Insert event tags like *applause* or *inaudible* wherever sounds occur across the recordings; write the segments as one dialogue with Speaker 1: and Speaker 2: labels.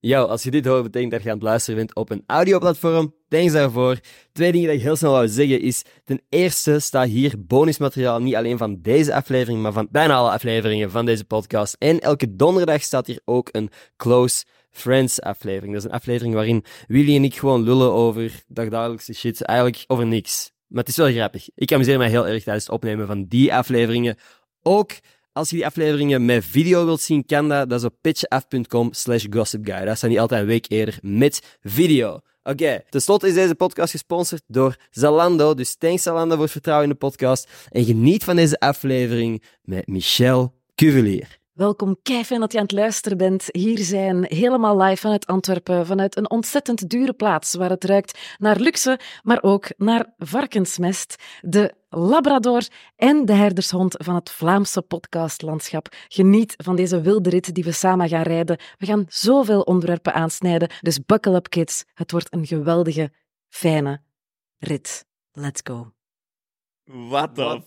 Speaker 1: Yo, als je dit hoort, betekent dat je aan het luisteren bent op een audioplatform. Thanks daarvoor. Twee dingen die ik heel snel wou zeggen is... Ten eerste staat hier bonusmateriaal niet alleen van deze aflevering, maar van bijna alle afleveringen van deze podcast. En elke donderdag staat hier ook een Close Friends aflevering. Dat is een aflevering waarin Willy en ik gewoon lullen over dagdagelijkse shit. Eigenlijk over niks. Maar het is wel grappig. Ik amuseer mij heel erg tijdens het opnemen van die afleveringen. Ook als je die afleveringen met video wilt zien, kan dat. Dat is op pitchaf.com slash gossipguy. Daar staan die altijd een week eerder met video. Oké, ten slotte is deze podcast gesponsord door Zalando. Dus thanks Zalando voor het vertrouwen in de podcast. En geniet van deze aflevering met Michel Cuvelier.
Speaker 2: Welkom, kei fijn dat je aan het luisteren bent. Hier zijn helemaal live vanuit Antwerpen, vanuit een ontzettend dure plaats waar het ruikt naar luxe, maar ook naar varkensmest. De Labrador en de herdershond van het Vlaamse podcastlandschap. Geniet van deze wilde rit die we samen gaan rijden. We gaan zoveel onderwerpen aansnijden, dus buckle up kids. Het wordt een geweldige, fijne rit. Let's go.
Speaker 3: Wat dan?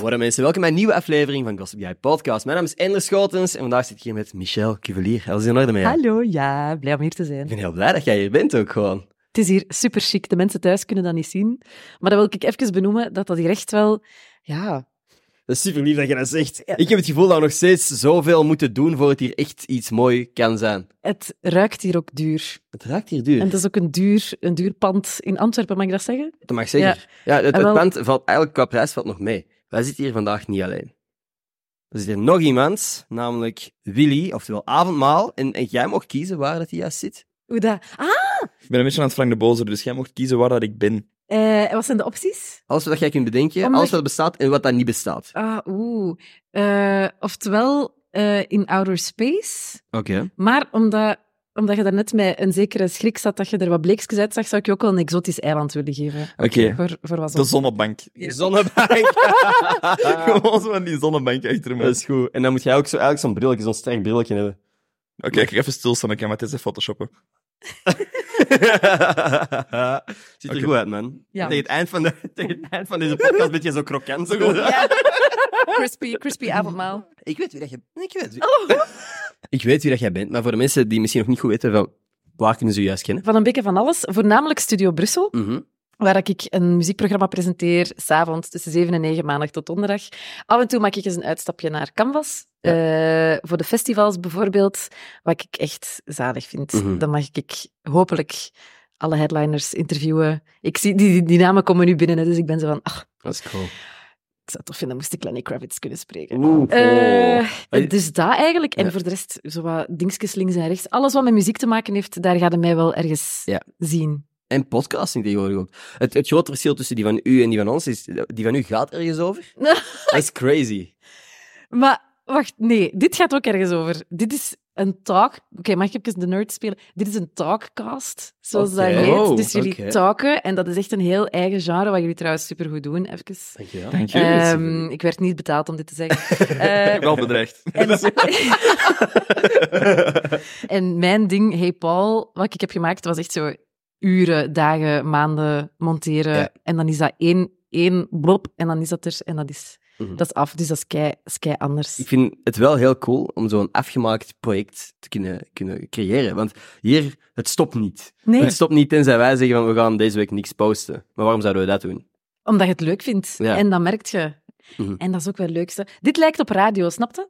Speaker 1: Hoi mensen, welkom bij een nieuwe aflevering van Gossip Guy Podcast. Mijn naam is Ender Schotens en vandaag zit ik hier met Michel Cuvelier. Alles in orde mee?
Speaker 2: Hallo, ja, blij om hier te zijn.
Speaker 1: Ik ben heel blij dat jij hier bent ook gewoon.
Speaker 2: Het is hier super chic. De mensen thuis kunnen dat niet zien. Maar dat wil ik even benoemen, dat dat hier echt wel... Ja,
Speaker 1: Dat is super lief dat je dat zegt. Ik heb het gevoel dat we nog steeds zoveel moeten doen voor het hier echt iets mooi kan zijn.
Speaker 2: het ruikt hier ook duur.
Speaker 1: Het raakt hier duur.
Speaker 2: En het is ook een duur, een duur pand in Antwerpen, mag ik dat zeggen?
Speaker 1: Dat mag zeker. Ja, het,
Speaker 2: En
Speaker 1: het
Speaker 2: wel-
Speaker 1: pand valt eigenlijk qua prijs valt nog mee. Wij zitten hier vandaag niet alleen. Er zit hier nog iemand, namelijk Willy, oftewel avondmaal. En, en jij mag kiezen waar dat hij juist zit.
Speaker 2: Hoe dat... Ah,
Speaker 3: Ik ben een beetje aan het Frank de Bozer, dus jij mocht kiezen waar dat ik ben.
Speaker 2: eh, wat zijn de opties?
Speaker 1: Alles wat jij kunt bedenken,
Speaker 2: Omdat
Speaker 1: alles
Speaker 2: je-
Speaker 1: wat bestaat en wat dat niet bestaat.
Speaker 2: Ah, oeh. Eh, oftewel eh, in outer space.
Speaker 1: Oké.
Speaker 2: Maar omdat, omdat je daarnet met een zekere schrik zat dat je er wat bleekjes uit zag, zou ik je ook wel een exotisch eiland willen geven.
Speaker 3: Oké.
Speaker 2: Voor, voor wat
Speaker 3: De zonnebank.
Speaker 1: Je zonnebank.
Speaker 3: *laughs* Gewoon zo van die zonnebank achter me.
Speaker 1: *laughs* dat is goed. En dan moet jij ook zo, eigenlijk zo'n brilletje, zo'n streng brilletje hebben. *laughs*
Speaker 3: Oké, ik ga even stilstaan, ik kan maar het is photoshoppen.
Speaker 1: Ziet er
Speaker 3: Oké.
Speaker 1: goed uit, man.
Speaker 2: Ja.
Speaker 1: Tegen, het eind van de, *laughs* tegen het eind van deze podcast ben je zo
Speaker 2: *laughs*
Speaker 1: krokant. Zo goed.
Speaker 2: crispy, crispy avondmaal. Oh.
Speaker 1: Ik weet wie dat jij Ik weet wie... ik weet wie dat jij bent, maar voor de mensen die misschien nog niet goed weten, wel, waar kunnen ze je juist kennen?
Speaker 2: Van een beetje van alles, voornamelijk Studio Brussel.
Speaker 1: Mhm.
Speaker 2: waar ik een muziekprogramma presenteer, s'avonds tussen 7 en 9, maandag tot donderdag. Af en toe maak ik eens een uitstapje naar Canvas.
Speaker 1: Ja.
Speaker 2: eh, voor de festivals bijvoorbeeld, wat ik echt zalig vind.
Speaker 1: Mhm.
Speaker 2: Dan mag ik hopelijk alle headliners interviewen. Ik zie, die, die, die namen komen nu binnen, hè, dus ik ben zo van, ach,
Speaker 1: Dat is cool.
Speaker 2: ik zou het tof vinden, moest ik Lenny Kravitz kunnen spreken.
Speaker 1: Oeh.
Speaker 2: Eh,
Speaker 1: Hey.
Speaker 2: dus dat eigenlijk. En
Speaker 1: Ja.
Speaker 2: voor de rest, zo wat dingetjes links en rechts. Alles wat met muziek te maken heeft, daar gaat het mij wel ergens
Speaker 1: Ja.
Speaker 2: zien.
Speaker 1: Eh, En podcasting tegenwoordig ook. Het, het grote verschil tussen die van u en die van ons is, die van u gaat ergens
Speaker 2: *laughs*
Speaker 1: over. dat is crazy.
Speaker 2: Maar wacht, nee, dit gaat ook ergens over. Dit is een talk. Oké, mag ik even de nerd spelen? Dit is een talkcast, zoals
Speaker 1: Oké.
Speaker 2: dat heet.
Speaker 1: Oh,
Speaker 2: dus jullie
Speaker 1: oké.
Speaker 2: talken en dat is echt een heel eigen genre, wat jullie trouwens supergoed doen. Even.
Speaker 1: Dankjewel.
Speaker 3: Dank je.
Speaker 2: Ehm, ik werd niet betaald om dit te zeggen.
Speaker 1: *laughs*
Speaker 2: Eh,
Speaker 3: *laughs* wel bedreigd.
Speaker 2: *laughs*
Speaker 3: Ah,
Speaker 2: en, en mijn ding, Hey Paul, wat ik heb gemaakt, was echt zo uren, dagen, maanden monteren.
Speaker 1: Ja.
Speaker 2: En dan is dat één, één blob en dan is dat er en dat is,
Speaker 1: Mhm.
Speaker 2: dat is af. Dus dat is kei, is kei anders.
Speaker 1: Ik vind het wel heel cool om zo'n afgemaakt project te kunnen, kunnen creëren. Want hier, het stopt niet.
Speaker 2: nee.
Speaker 1: Het stopt niet tenzij wij zeggen van we gaan deze week niks posten. Maar waarom zouden we dat doen?
Speaker 2: Omdat je het leuk vindt.
Speaker 1: Ja.
Speaker 2: En dat merkt je.
Speaker 1: Mhm.
Speaker 2: En dat is ook wel het leukste. Dit lijkt op radio, snapte?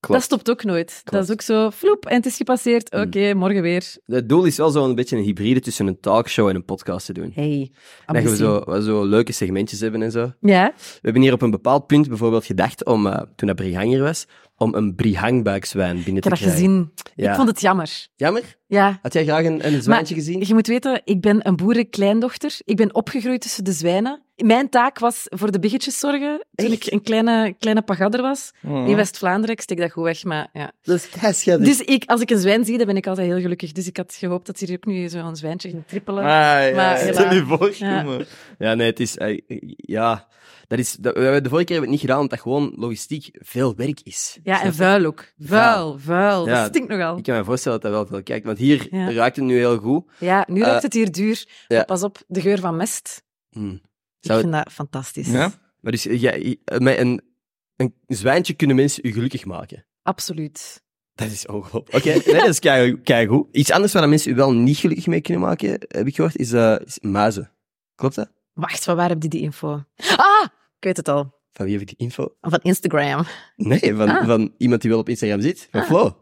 Speaker 2: Dat stopt ook nooit. Dat is ook zo, floep, en het is gepasseerd.
Speaker 1: Mhm.
Speaker 2: Oké, morgen weer.
Speaker 1: Het doel is wel zo'n beetje een hybride tussen een talkshow en een podcast te doen.
Speaker 2: Hey,
Speaker 1: Dat we
Speaker 2: ambitie.
Speaker 1: zo, wel zo leuke segmentjes hebben en zo. We
Speaker 2: Ja?
Speaker 1: hebben hier op een bepaald punt bijvoorbeeld gedacht om, eh, toen dat Brihanger was, om een Brihangbuikswijn binnen
Speaker 2: Ik heb
Speaker 1: te
Speaker 2: dat
Speaker 1: krijgen.
Speaker 2: gezien.
Speaker 1: Ja.
Speaker 2: Ik vond het jammer.
Speaker 1: Jammer?
Speaker 2: Ja.
Speaker 1: Had jij graag een, een zwijntje gezien?
Speaker 2: Je moet weten, ik ben een boerenkleindochter. Ik ben opgegroeid tussen de zwijnen. Mijn taak was voor de biggetjes zorgen. Toen
Speaker 1: Echt? Mhm.
Speaker 2: ik een kleine, kleine pagadder was. In West-Vlaanderen, ik steek dat goed weg, maar ja.
Speaker 1: Dat is kei schattig.
Speaker 2: Dus ik, als ik een zwijn zie, dan ben ik altijd heel gelukkig. Dus ik had gehoopt dat ze hier ook nu zo'n zwijntje ging trippelen.
Speaker 1: Ah,
Speaker 3: ja,
Speaker 2: Maar
Speaker 3: ja.
Speaker 2: helaas.
Speaker 3: Stel je voor,
Speaker 2: Ja.
Speaker 3: jongen.
Speaker 1: Ja, nee, het is... eh, ja, dat is... Dat, we hebben- de vorige keer hebben we het niet gedaan, omdat dat gewoon logistiek veel werk is.
Speaker 2: Ja, en
Speaker 1: Snap je?
Speaker 2: vuil ook. Vuil, vuil.
Speaker 1: Ja,
Speaker 2: dat stinkt nogal.
Speaker 1: Ik kan me voorstellen dat dat wel veel kijkt, want hier
Speaker 2: Ja.
Speaker 1: ruikt het nu heel goed.
Speaker 2: Ja, nu ruikt
Speaker 1: Eh,
Speaker 2: het hier duur.
Speaker 1: ja.
Speaker 2: Maar Pas op, de geur van mest.
Speaker 1: Hm.
Speaker 2: Ik
Speaker 1: Zou-
Speaker 2: vind dat fantastisch.
Speaker 3: Ja?
Speaker 1: Maar dus, eh, jij- eh, met een, een zwijntje kunnen mensen u gelukkig maken.
Speaker 2: Absoluut.
Speaker 1: Dat is ongelooflijk. Oké, *laughs* nee, dat is kei- keigoed. Iets anders waar mensen u wel niet gelukkig mee kunnen maken, heb ik gehoord, is, eh, is muizen. Klopt dat?
Speaker 2: Wacht, van waar heb je die info? Ah, ik weet het al.
Speaker 1: Van wie heb ik die info?
Speaker 2: Van Instagram.
Speaker 1: Nee, van,
Speaker 2: Ah.
Speaker 1: van iemand die wel op Instagram zit. Van Flo.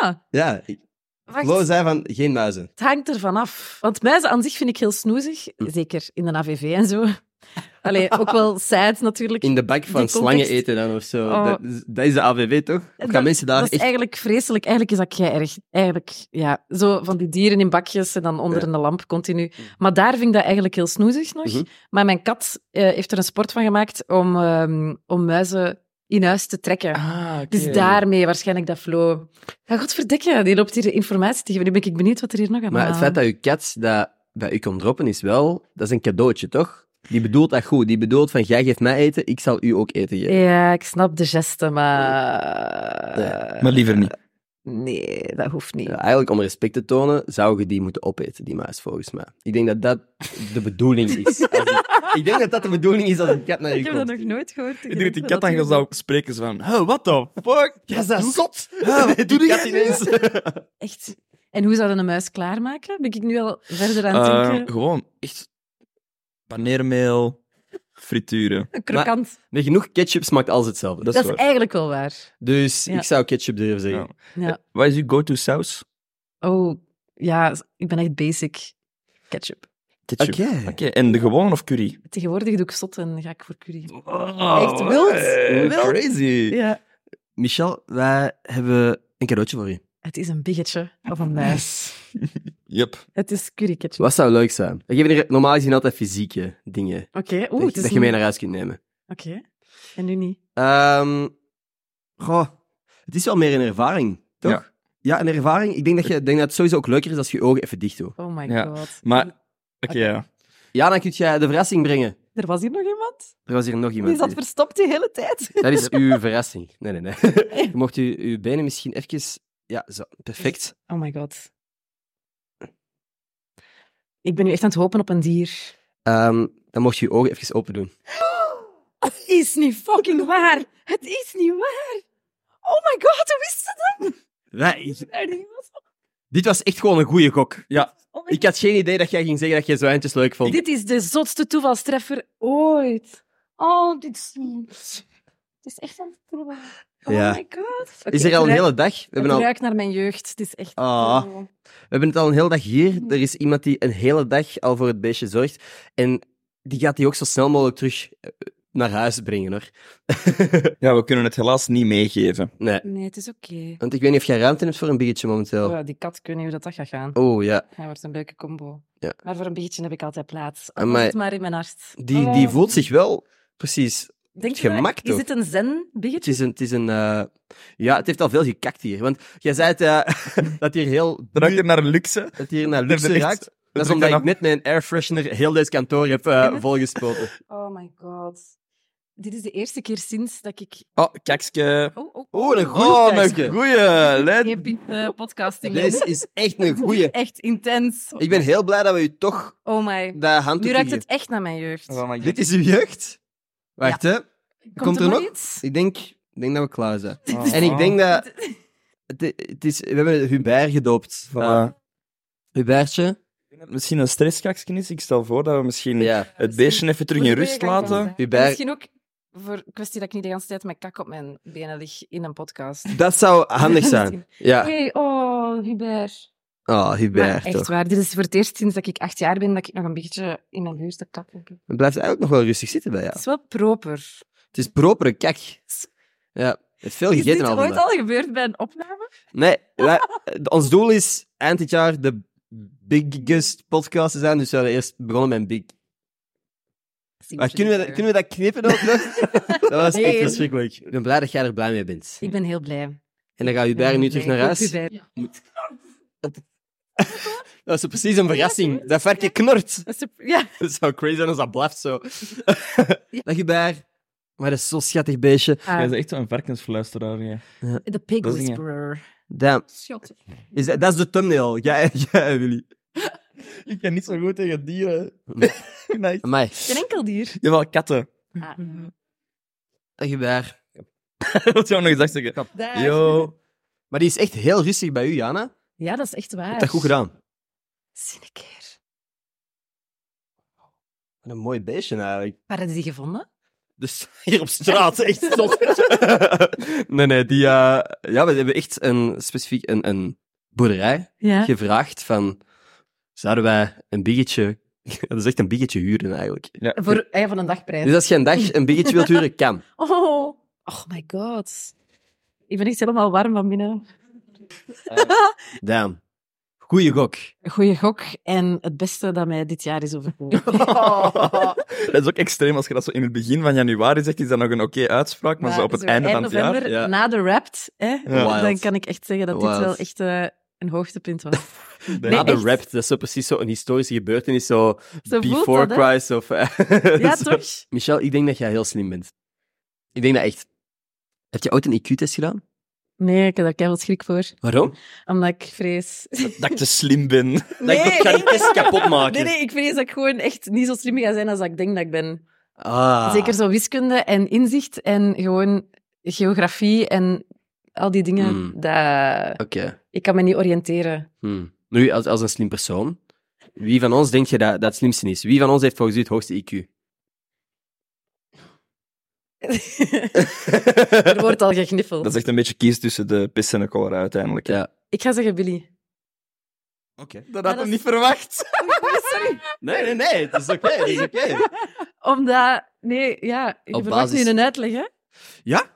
Speaker 2: Ah.
Speaker 1: Ja, ik-
Speaker 2: Wacht,
Speaker 1: Flo zei van geen muizen.
Speaker 2: het hangt ervan af. Want muizen aan zich vind ik heel snoezig.
Speaker 1: Hm.
Speaker 2: Zeker in de AVV en zo. *laughs* Allee, ook wel sad natuurlijk.
Speaker 1: In de bak van
Speaker 2: Die context-
Speaker 1: slangen eten dan of zo.
Speaker 2: Oh.
Speaker 1: Dat, is- dat is de AVV toch? Of gaan
Speaker 2: Dat-
Speaker 1: mensen daar
Speaker 2: dat is
Speaker 1: echt...
Speaker 2: eigenlijk vreselijk. Eigenlijk is dat jij erg. Eigenlijk, ja. Zo van die dieren in bakjes en dan onder
Speaker 1: Ja.
Speaker 2: in de lamp continu. Maar daar vind ik dat eigenlijk heel snoezig nog.
Speaker 1: Mhm.
Speaker 2: Maar mijn kat eh, heeft er een sport van gemaakt om, ehm, om muizen in huis te trekken.
Speaker 3: Ah, oké.
Speaker 2: Dus daarmee waarschijnlijk dat Flo... Ja, godverdikke, die loopt hier informatie te geven. Nu ben ik benieuwd wat er hier nog aan
Speaker 1: Maar het feit dat uw kat dat bij u komt droppen is wel... Dat is een cadeautje, toch? Die bedoelt dat goed. Die bedoelt van, jij geeft mij eten, ik zal u ook eten geven.
Speaker 2: Ja, ik snap de geste, maar...
Speaker 1: Nee.
Speaker 2: eh,
Speaker 3: Maar Eh, liever niet.
Speaker 2: Nee, dat hoeft niet.
Speaker 1: Ja, eigenlijk om respect te tonen, zou je die moeten opeten, die muis, volgens mij. Ik denk dat dat de bedoeling is. Als die- ik denk dat dat de bedoeling is als een kat naar je
Speaker 2: Ik heb dat
Speaker 1: komt.
Speaker 2: nog nooit gehoord.
Speaker 3: Ik denk dat die kat dan zou spreken zo van... Huh, what the fuck?
Speaker 1: Ja, is dat zot?
Speaker 3: Huh,
Speaker 1: Die kat ineens.
Speaker 2: Echt. En hoe zou je een muis klaarmaken? Ben ik nu al verder aan het
Speaker 3: Eh,
Speaker 2: denken?
Speaker 3: gewoon echt paneermeel, frituren.
Speaker 2: Een krokant.
Speaker 1: Met genoeg ketchup smaakt alles hetzelfde.
Speaker 3: Dat
Speaker 2: dat
Speaker 3: is
Speaker 2: is
Speaker 3: waar.
Speaker 2: eigenlijk wel waar.
Speaker 1: Dus
Speaker 2: Ja.
Speaker 1: ik zou ketchup durven zeggen.
Speaker 2: Ja.
Speaker 3: Wat is uw go-to saus?
Speaker 2: Oh, ja, ik ben echt basic. Ketchup.
Speaker 3: Ketchup. Oké, en de gewone of curry?
Speaker 2: Tegenwoordig doe ik zot en ga ik voor curry.
Speaker 3: Oh,
Speaker 2: Echt wild.
Speaker 3: hey,
Speaker 2: Wild.
Speaker 3: Crazy.
Speaker 2: Ja.
Speaker 1: Michel, wij hebben een cadeautje voor u.
Speaker 2: Het is een biggetje of een
Speaker 3: *laughs*
Speaker 2: muis.
Speaker 3: Yep.
Speaker 2: Het is curry ketchup.
Speaker 1: Wat zou leuk zijn? We geven hier normaal gezien altijd fysieke dingen.
Speaker 2: Oké, oeh,
Speaker 1: dat,
Speaker 2: het is
Speaker 1: dat je mee
Speaker 2: een-
Speaker 1: naar huis kunt nemen.
Speaker 2: Oké, en nu niet.
Speaker 1: Ehm, goh, het is wel meer een ervaring, toch? Ja,
Speaker 3: Ja.
Speaker 1: een ervaring. Ik denk dat, je, ik denk dat het sowieso ook leuker is als je je ogen even dicht doet.
Speaker 2: Oh my
Speaker 3: Ja,
Speaker 2: god.
Speaker 3: Maar, oké, ja.
Speaker 1: Ja, dan kun jij de verrassing brengen.
Speaker 2: Er was hier nog iemand?
Speaker 1: Er was hier nog
Speaker 2: Die
Speaker 1: iemand.
Speaker 2: zat verstopt de hele tijd. *laughs*
Speaker 1: Dat is uw *laughs* verrassing. Nee, nee, nee. Je mocht u, uw benen misschien even... Ja, zo. Perfect.
Speaker 2: Oh my god. Ik ben nu echt aan het hopen op een dier.
Speaker 1: Ehm, dan mocht je je ogen even open doen.
Speaker 2: Het is niet fucking waar. Het is niet waar. Oh my god, hoe wist ze
Speaker 1: Dit was echt gewoon een goede gok.
Speaker 3: Ja.
Speaker 2: dat?
Speaker 1: Ik had geen idee dat jij ging zeggen dat jij zwijntjes leuk vond.
Speaker 2: Oh Dit is de zotste toevalstreffer ooit. Oh, dit is... Het is echt een toeval. Oh
Speaker 1: Ja.
Speaker 2: my god.
Speaker 1: is er al een hele dag. We
Speaker 2: We
Speaker 1: hebben, al,
Speaker 2: ruikt naar mijn jeugd. Het is echt...
Speaker 1: Ah.
Speaker 2: oh.
Speaker 1: we hebben het al een hele dag hier. Er is iemand die een hele dag al voor het beestje zorgt. En die gaat die ook zo snel mogelijk terug eh, naar huis brengen, hoor.
Speaker 3: Ja, we kunnen het helaas niet meegeven.
Speaker 1: Nee.
Speaker 2: Nee, het is oké.
Speaker 1: Want ik weet niet of jij ruimte hebt voor een biggetje momenteel.
Speaker 2: Oh, die kat, ik weet niet hoe dat, dat gaat gaan.
Speaker 1: Oh ja.
Speaker 2: Hij wordt een leuke combo.
Speaker 1: Ja.
Speaker 2: Maar voor een beetje heb ik altijd plaats. Al
Speaker 1: Amai.
Speaker 2: was het maar in mijn hart.
Speaker 1: Die,
Speaker 2: Oh.
Speaker 1: die voelt zich wel precies
Speaker 2: Denk
Speaker 1: het
Speaker 2: je dat?
Speaker 1: gemak
Speaker 2: Is
Speaker 1: toch?
Speaker 2: dit een zen
Speaker 1: Het
Speaker 2: biggetje?
Speaker 1: is een... Het is een eh, Ja, het heeft al veel gekakt hier. Want jij zei het, eh, *laughs* dat hier heel...
Speaker 3: Dan ruikt het naar luxe.
Speaker 1: Dat hier naar
Speaker 3: Dat is
Speaker 1: luxe
Speaker 3: echt-
Speaker 1: raakt. Dat
Speaker 3: dat
Speaker 1: is
Speaker 3: is
Speaker 1: omdat
Speaker 3: bijna-
Speaker 1: ik net mijn airfreshener heel deze kantoor heb
Speaker 2: *laughs*
Speaker 1: eh volgespoten.
Speaker 2: Oh my god. Dit is de eerste keer sinds dat ik...
Speaker 3: Oh, kijkske.
Speaker 2: Oh, oh,
Speaker 1: Oeh, een goeie
Speaker 3: Oh,
Speaker 1: kijkske.
Speaker 3: een goeie. Let.
Speaker 2: Geen piep, eh, podcasting. *laughs*
Speaker 1: Deze is echt een goeie.
Speaker 2: Echt intens.
Speaker 1: Ik ben heel blij dat we u toch
Speaker 2: Oh my.
Speaker 1: dat handdoekje
Speaker 2: Nu ruikt het
Speaker 1: geven.
Speaker 2: echt naar mijn jeugd.
Speaker 3: Oh
Speaker 1: Dit is uw jeugd? Wacht, hè. Komt er nog?
Speaker 2: iets?
Speaker 1: Ik denk, ik denk dat we klaar zijn.
Speaker 3: Oh.
Speaker 1: En ik denk dat... Het, het is, we hebben Hubert gedoopt. Eh,
Speaker 3: Voilà.
Speaker 1: Hubertje.
Speaker 3: Ik denk dat het Misschien een stresskakje is. Ik stel voor dat we misschien
Speaker 1: Ja.
Speaker 3: het beestje even terug in rust laten.
Speaker 1: Hubert.
Speaker 2: Misschien ook voor kwestie dat ik niet de hele tijd met kak op mijn benen lig in een podcast.
Speaker 1: Dat zou handig
Speaker 2: *laughs*
Speaker 1: zijn. Ja.
Speaker 2: Hey, oh, Hubert.
Speaker 1: Oh,
Speaker 2: Maar
Speaker 1: Hubert,
Speaker 2: echt
Speaker 1: toch.
Speaker 2: waar, dit is voor het eerst sinds dat ik acht jaar ben dat ik nog een beetje in mijn buurt heb kak. heb.
Speaker 1: Het blijft eigenlijk nog wel rustig zitten bij jou.
Speaker 2: Het is wel proper.
Speaker 1: Het is propere kak. Ja. Het is veel
Speaker 2: Is
Speaker 1: gegeten
Speaker 2: dit
Speaker 1: al
Speaker 2: ooit
Speaker 1: vandaag.
Speaker 2: al gebeurd bij een opname?
Speaker 1: Nee, wij- ons doel is eind dit jaar de biggest podcast te zijn. Dus we zouden eerst begonnen met een big. Maar kunnen we, dat- kunnen we dat knippen ook
Speaker 2: *laughs*
Speaker 1: nog? dat was echt
Speaker 2: Nee.
Speaker 1: verschrikkelijk. Ik ben blij dat jij er blij mee bent.
Speaker 2: Ik ben heel blij.
Speaker 1: En dan gaat Hubert nu terug naar huis. Dat
Speaker 2: Dat
Speaker 1: was zo precies een verrassing. Dat varkje knort.
Speaker 2: is super- Ja,
Speaker 1: Dat zou crazy zijn als dat blaft zo. Dag Hubert. Maar dat is zo'n schattig beestje.
Speaker 3: Jij
Speaker 2: ah,
Speaker 3: bent echt zo'n varkensfluisteraar. ja.
Speaker 2: de pig
Speaker 3: dat is niet-
Speaker 2: whisperer.
Speaker 1: Damn.
Speaker 2: Schot.
Speaker 1: Is dat, dat is de thumbnail. *laughs* Ja, ja Willy.
Speaker 3: Ik ken niet zo goed tegen dieren. nee.
Speaker 1: Amai,
Speaker 2: Geen enkel dier.
Speaker 3: Jawel, katten. *laughs*
Speaker 2: Ah.
Speaker 1: een gebaar.
Speaker 3: Wat zou ik nog eens echt zeggen?
Speaker 2: Daar.
Speaker 3: Yo.
Speaker 1: Maar die is echt heel rustig bij u, Jana. Je
Speaker 2: Ja, dat is echt waar.
Speaker 1: hebt dat goed gedaan.
Speaker 2: Zie een keer.
Speaker 1: Wat een mooi beestje eigenlijk.
Speaker 2: Waar hebben die gevonden?
Speaker 1: Dus *laughs* hier op straat, echt zot. *laughs* nee, nee, die... eh, ja, we hebben echt een specifiek een, een boerderij
Speaker 2: Ja.
Speaker 1: gevraagd van... Zouden wij een biggetje... *laughs* Dat is echt een biggetje huren, eigenlijk.
Speaker 2: Voor, ja, van een dagprijs.
Speaker 1: Dus als je een dag een biggetje wilt huren, kan.
Speaker 2: Oh, oh my god. Ik ben echt helemaal warm van binnen.
Speaker 1: Damn. Goeie gok.
Speaker 2: Goeie gok en het beste dat mij dit jaar is *laughs* overkomen.
Speaker 3: dat is ook extreem als je dat zo in het begin van januari zegt. Is dat nog een oké uitspraak, maar, zo op het einde van het jaar.
Speaker 2: november,
Speaker 1: ja.
Speaker 2: na de Wrapped, hè, dan
Speaker 1: Wild.
Speaker 2: kan ik echt zeggen dat
Speaker 1: Wild.
Speaker 2: dit wel echt eh, een hoogtepunt was.
Speaker 3: Nee,
Speaker 1: Na *laughs* de
Speaker 2: echt.
Speaker 1: rap, dat is zo precies zo'n historische gebeurtenis, zo,
Speaker 2: Zo voelt
Speaker 1: before
Speaker 2: dat, hè?
Speaker 1: Christ of... eh, *laughs*
Speaker 2: Ja,
Speaker 1: zo.
Speaker 2: toch?
Speaker 1: Michel, ik denk dat jij heel slim bent. Ik denk dat echt... Heb je ooit een IQ-test gedaan?
Speaker 2: Nee, ik heb daar keihard schrik voor.
Speaker 1: Waarom?
Speaker 2: Omdat ik vrees...
Speaker 3: *laughs* Dat ik te slim ben.
Speaker 1: Dat ik ga die test kapot maken.
Speaker 2: Nee, nee, ik vrees dat ik gewoon echt niet zo slim ga zijn als dat ik denk dat ik ben.
Speaker 1: Ah.
Speaker 2: Zeker zo wiskunde en inzicht en gewoon geografie en al die dingen.
Speaker 1: Hmm.
Speaker 2: Dat...
Speaker 1: Oké.
Speaker 2: Ik kan me niet
Speaker 3: *laughs*
Speaker 2: oriënteren.
Speaker 1: Hmm. Nu, als, als een slim persoon, wie van ons denk je dat, dat het slimste is? Wie van ons heeft volgens u het hoogste IQ?
Speaker 2: er wordt al gegniffeld.
Speaker 3: Dat is echt een beetje kies tussen de pis en de cholera uiteindelijk.
Speaker 1: Ja.
Speaker 2: Ik ga zeggen Billy.
Speaker 3: Oké.
Speaker 2: Ja,
Speaker 3: Dat
Speaker 2: dat
Speaker 3: had ik
Speaker 2: is-
Speaker 3: niet verwacht.
Speaker 2: Sorry.
Speaker 1: *laughs* Nee, nee, nee. Het is oké. het is
Speaker 2: *laughs*
Speaker 1: oké.
Speaker 2: Omdat... Nee, ja. Je
Speaker 1: Op
Speaker 2: verwacht
Speaker 1: basis-
Speaker 2: nu een uitleg, hè?
Speaker 1: Ja,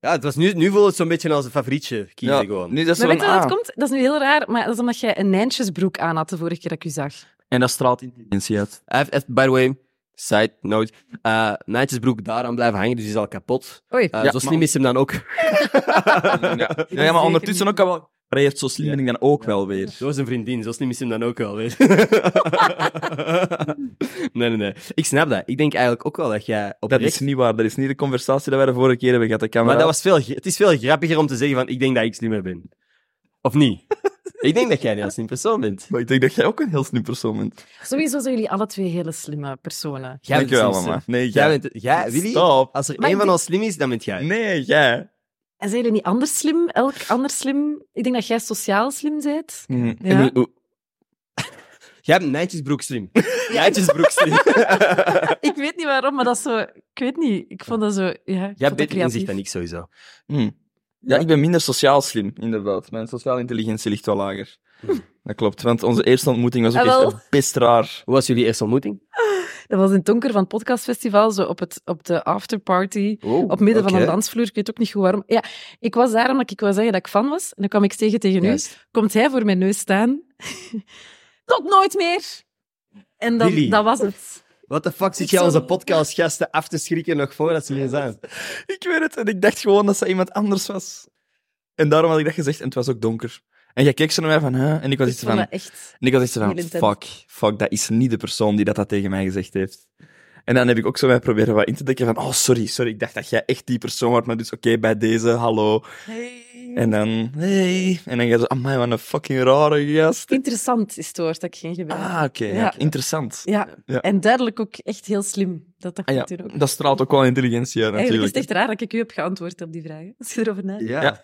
Speaker 1: het was nu, nu voelt het zo'n beetje als een favorietje kiezen gewoon.
Speaker 3: nu dat is
Speaker 2: Maar
Speaker 3: wel
Speaker 2: weet je
Speaker 3: een
Speaker 2: wat het
Speaker 3: A.
Speaker 2: komt? Dat is nu heel raar, maar dat is omdat jij een nijntjesbroek aan had de vorige keer dat ik u zag.
Speaker 3: En dat straalt intelligentie uit.
Speaker 1: Hij heeft echt, by the way, side note, eh Nijtjesbroek daaraan blijven hangen, dus die is al kapot.
Speaker 2: Oei.
Speaker 1: Eh,
Speaker 3: Ja,
Speaker 1: zo slim
Speaker 3: maar-
Speaker 1: is hem dan ook.
Speaker 3: *laughs* ja. ja, maar ondertussen ook al wel. Maar hij heeft zo slim ben ik dan ook wel weer.
Speaker 1: Zo is een vriendin, zo slim is hem dan ook wel weer. *laughs* nee, nee, nee. Ik snap dat. Ik denk eigenlijk ook wel dat jij
Speaker 3: Dat
Speaker 1: oprecht...
Speaker 3: is niet waar. Dat is niet de conversatie die wij de vorige keer hebben gehad. De camera.
Speaker 1: Maar dat was veel, gr- het is veel grappiger om te zeggen van, ik denk dat ik slimmer ben. Of *laughs* niet? ik denk dat jij een heel slim persoon bent.
Speaker 3: Maar ik denk dat jij ook een heel slim persoon bent.
Speaker 2: Sowieso zijn jullie alle twee hele slimme personen.
Speaker 1: Jij bent de
Speaker 3: Dankjewel,
Speaker 1: slimste.
Speaker 3: mama. Nee,
Speaker 1: Jij
Speaker 3: jij.
Speaker 1: bent... Jij, Willy,
Speaker 3: Stop.
Speaker 1: als er
Speaker 2: Maar
Speaker 1: één
Speaker 2: ik
Speaker 1: van
Speaker 2: denk-
Speaker 1: ons slim is, dan bent jij.
Speaker 3: Nee, jij.
Speaker 2: En zijn jullie niet anders slim? Elk anders slim? Ik denk dat jij sociaal slim
Speaker 1: *laughs*
Speaker 2: bent.
Speaker 1: Ik
Speaker 2: Ja.
Speaker 1: bedoel, oeh. Jij bent Nijtjesbroek
Speaker 2: *laughs*
Speaker 1: slim. Nijtjesbroek slim.
Speaker 2: Ik weet niet waarom, maar dat is zo... Ik weet niet. Ik vond dat zo... Ja, ik vond
Speaker 1: Jij
Speaker 2: dat
Speaker 1: hebt beter
Speaker 2: creatief.
Speaker 1: inzicht dan ik sowieso.
Speaker 3: Hm. Ja, ik ben minder sociaal slim, inderdaad. Mijn sociale intelligentie ligt wel lager. Dat klopt, want onze eerste ontmoeting was ook
Speaker 2: Ah, wel.
Speaker 3: echt best raar.
Speaker 1: Hoe was jullie eerste ontmoetting?
Speaker 2: Dat was in het donker van het podcastfestival, zo op, het, op de afterparty,
Speaker 1: Oh,
Speaker 2: op midden van
Speaker 1: oké.
Speaker 2: een dansvloer. Ik weet ook niet goed waarom. Ja, ik was daar omdat ik wou zeggen dat ik fan was. En dan kwam ik tegen tegen u.
Speaker 1: Juist.
Speaker 2: Komt hij voor mijn neus staan. *laughs* Tot nooit meer! En dat,
Speaker 1: Billy.
Speaker 2: dat was het.
Speaker 1: What the fuck zit
Speaker 2: Ik
Speaker 1: jij
Speaker 2: zou-
Speaker 1: onze podcastgasten af te schrikken nog voordat ze hier zijn?
Speaker 3: Ik weet het, en ik dacht gewoon dat ze iemand anders was. En daarom had ik dat gezegd, en het was ook donker. En jij keek zo naar mij van, hè? En ik was
Speaker 2: Ik
Speaker 3: iets
Speaker 2: vond
Speaker 3: van...
Speaker 2: dat echt...
Speaker 3: En ik was echt zo
Speaker 2: Heel
Speaker 3: van,
Speaker 2: intens.
Speaker 3: fuck, fuck, dat is niet de persoon die dat, dat tegen mij gezegd heeft. En dan heb ik ook zo mij proberen wat in te denken van, oh, sorry, sorry, ik dacht dat jij echt die persoon wordt, maar dus oké, bij deze, hallo. En dan, hey. En dan ga je zo, amai, wat een fucking rare gast.
Speaker 2: Interessant is het woord dat ik geen gebruik.
Speaker 3: Ah, oké, ja,
Speaker 2: Ja.
Speaker 3: interessant.
Speaker 2: Ja.
Speaker 3: Ja.
Speaker 2: en duidelijk ook echt heel slim. Dat dacht
Speaker 3: Ah,
Speaker 2: ik toen ook.
Speaker 3: ja, dat straalt ook wel intelligentie uit,
Speaker 2: Eigenlijk is
Speaker 3: natuurlijk.
Speaker 2: het echt raar dat ik u heb geantwoord op die vragen. Als je erover nadenkt.
Speaker 1: Ja.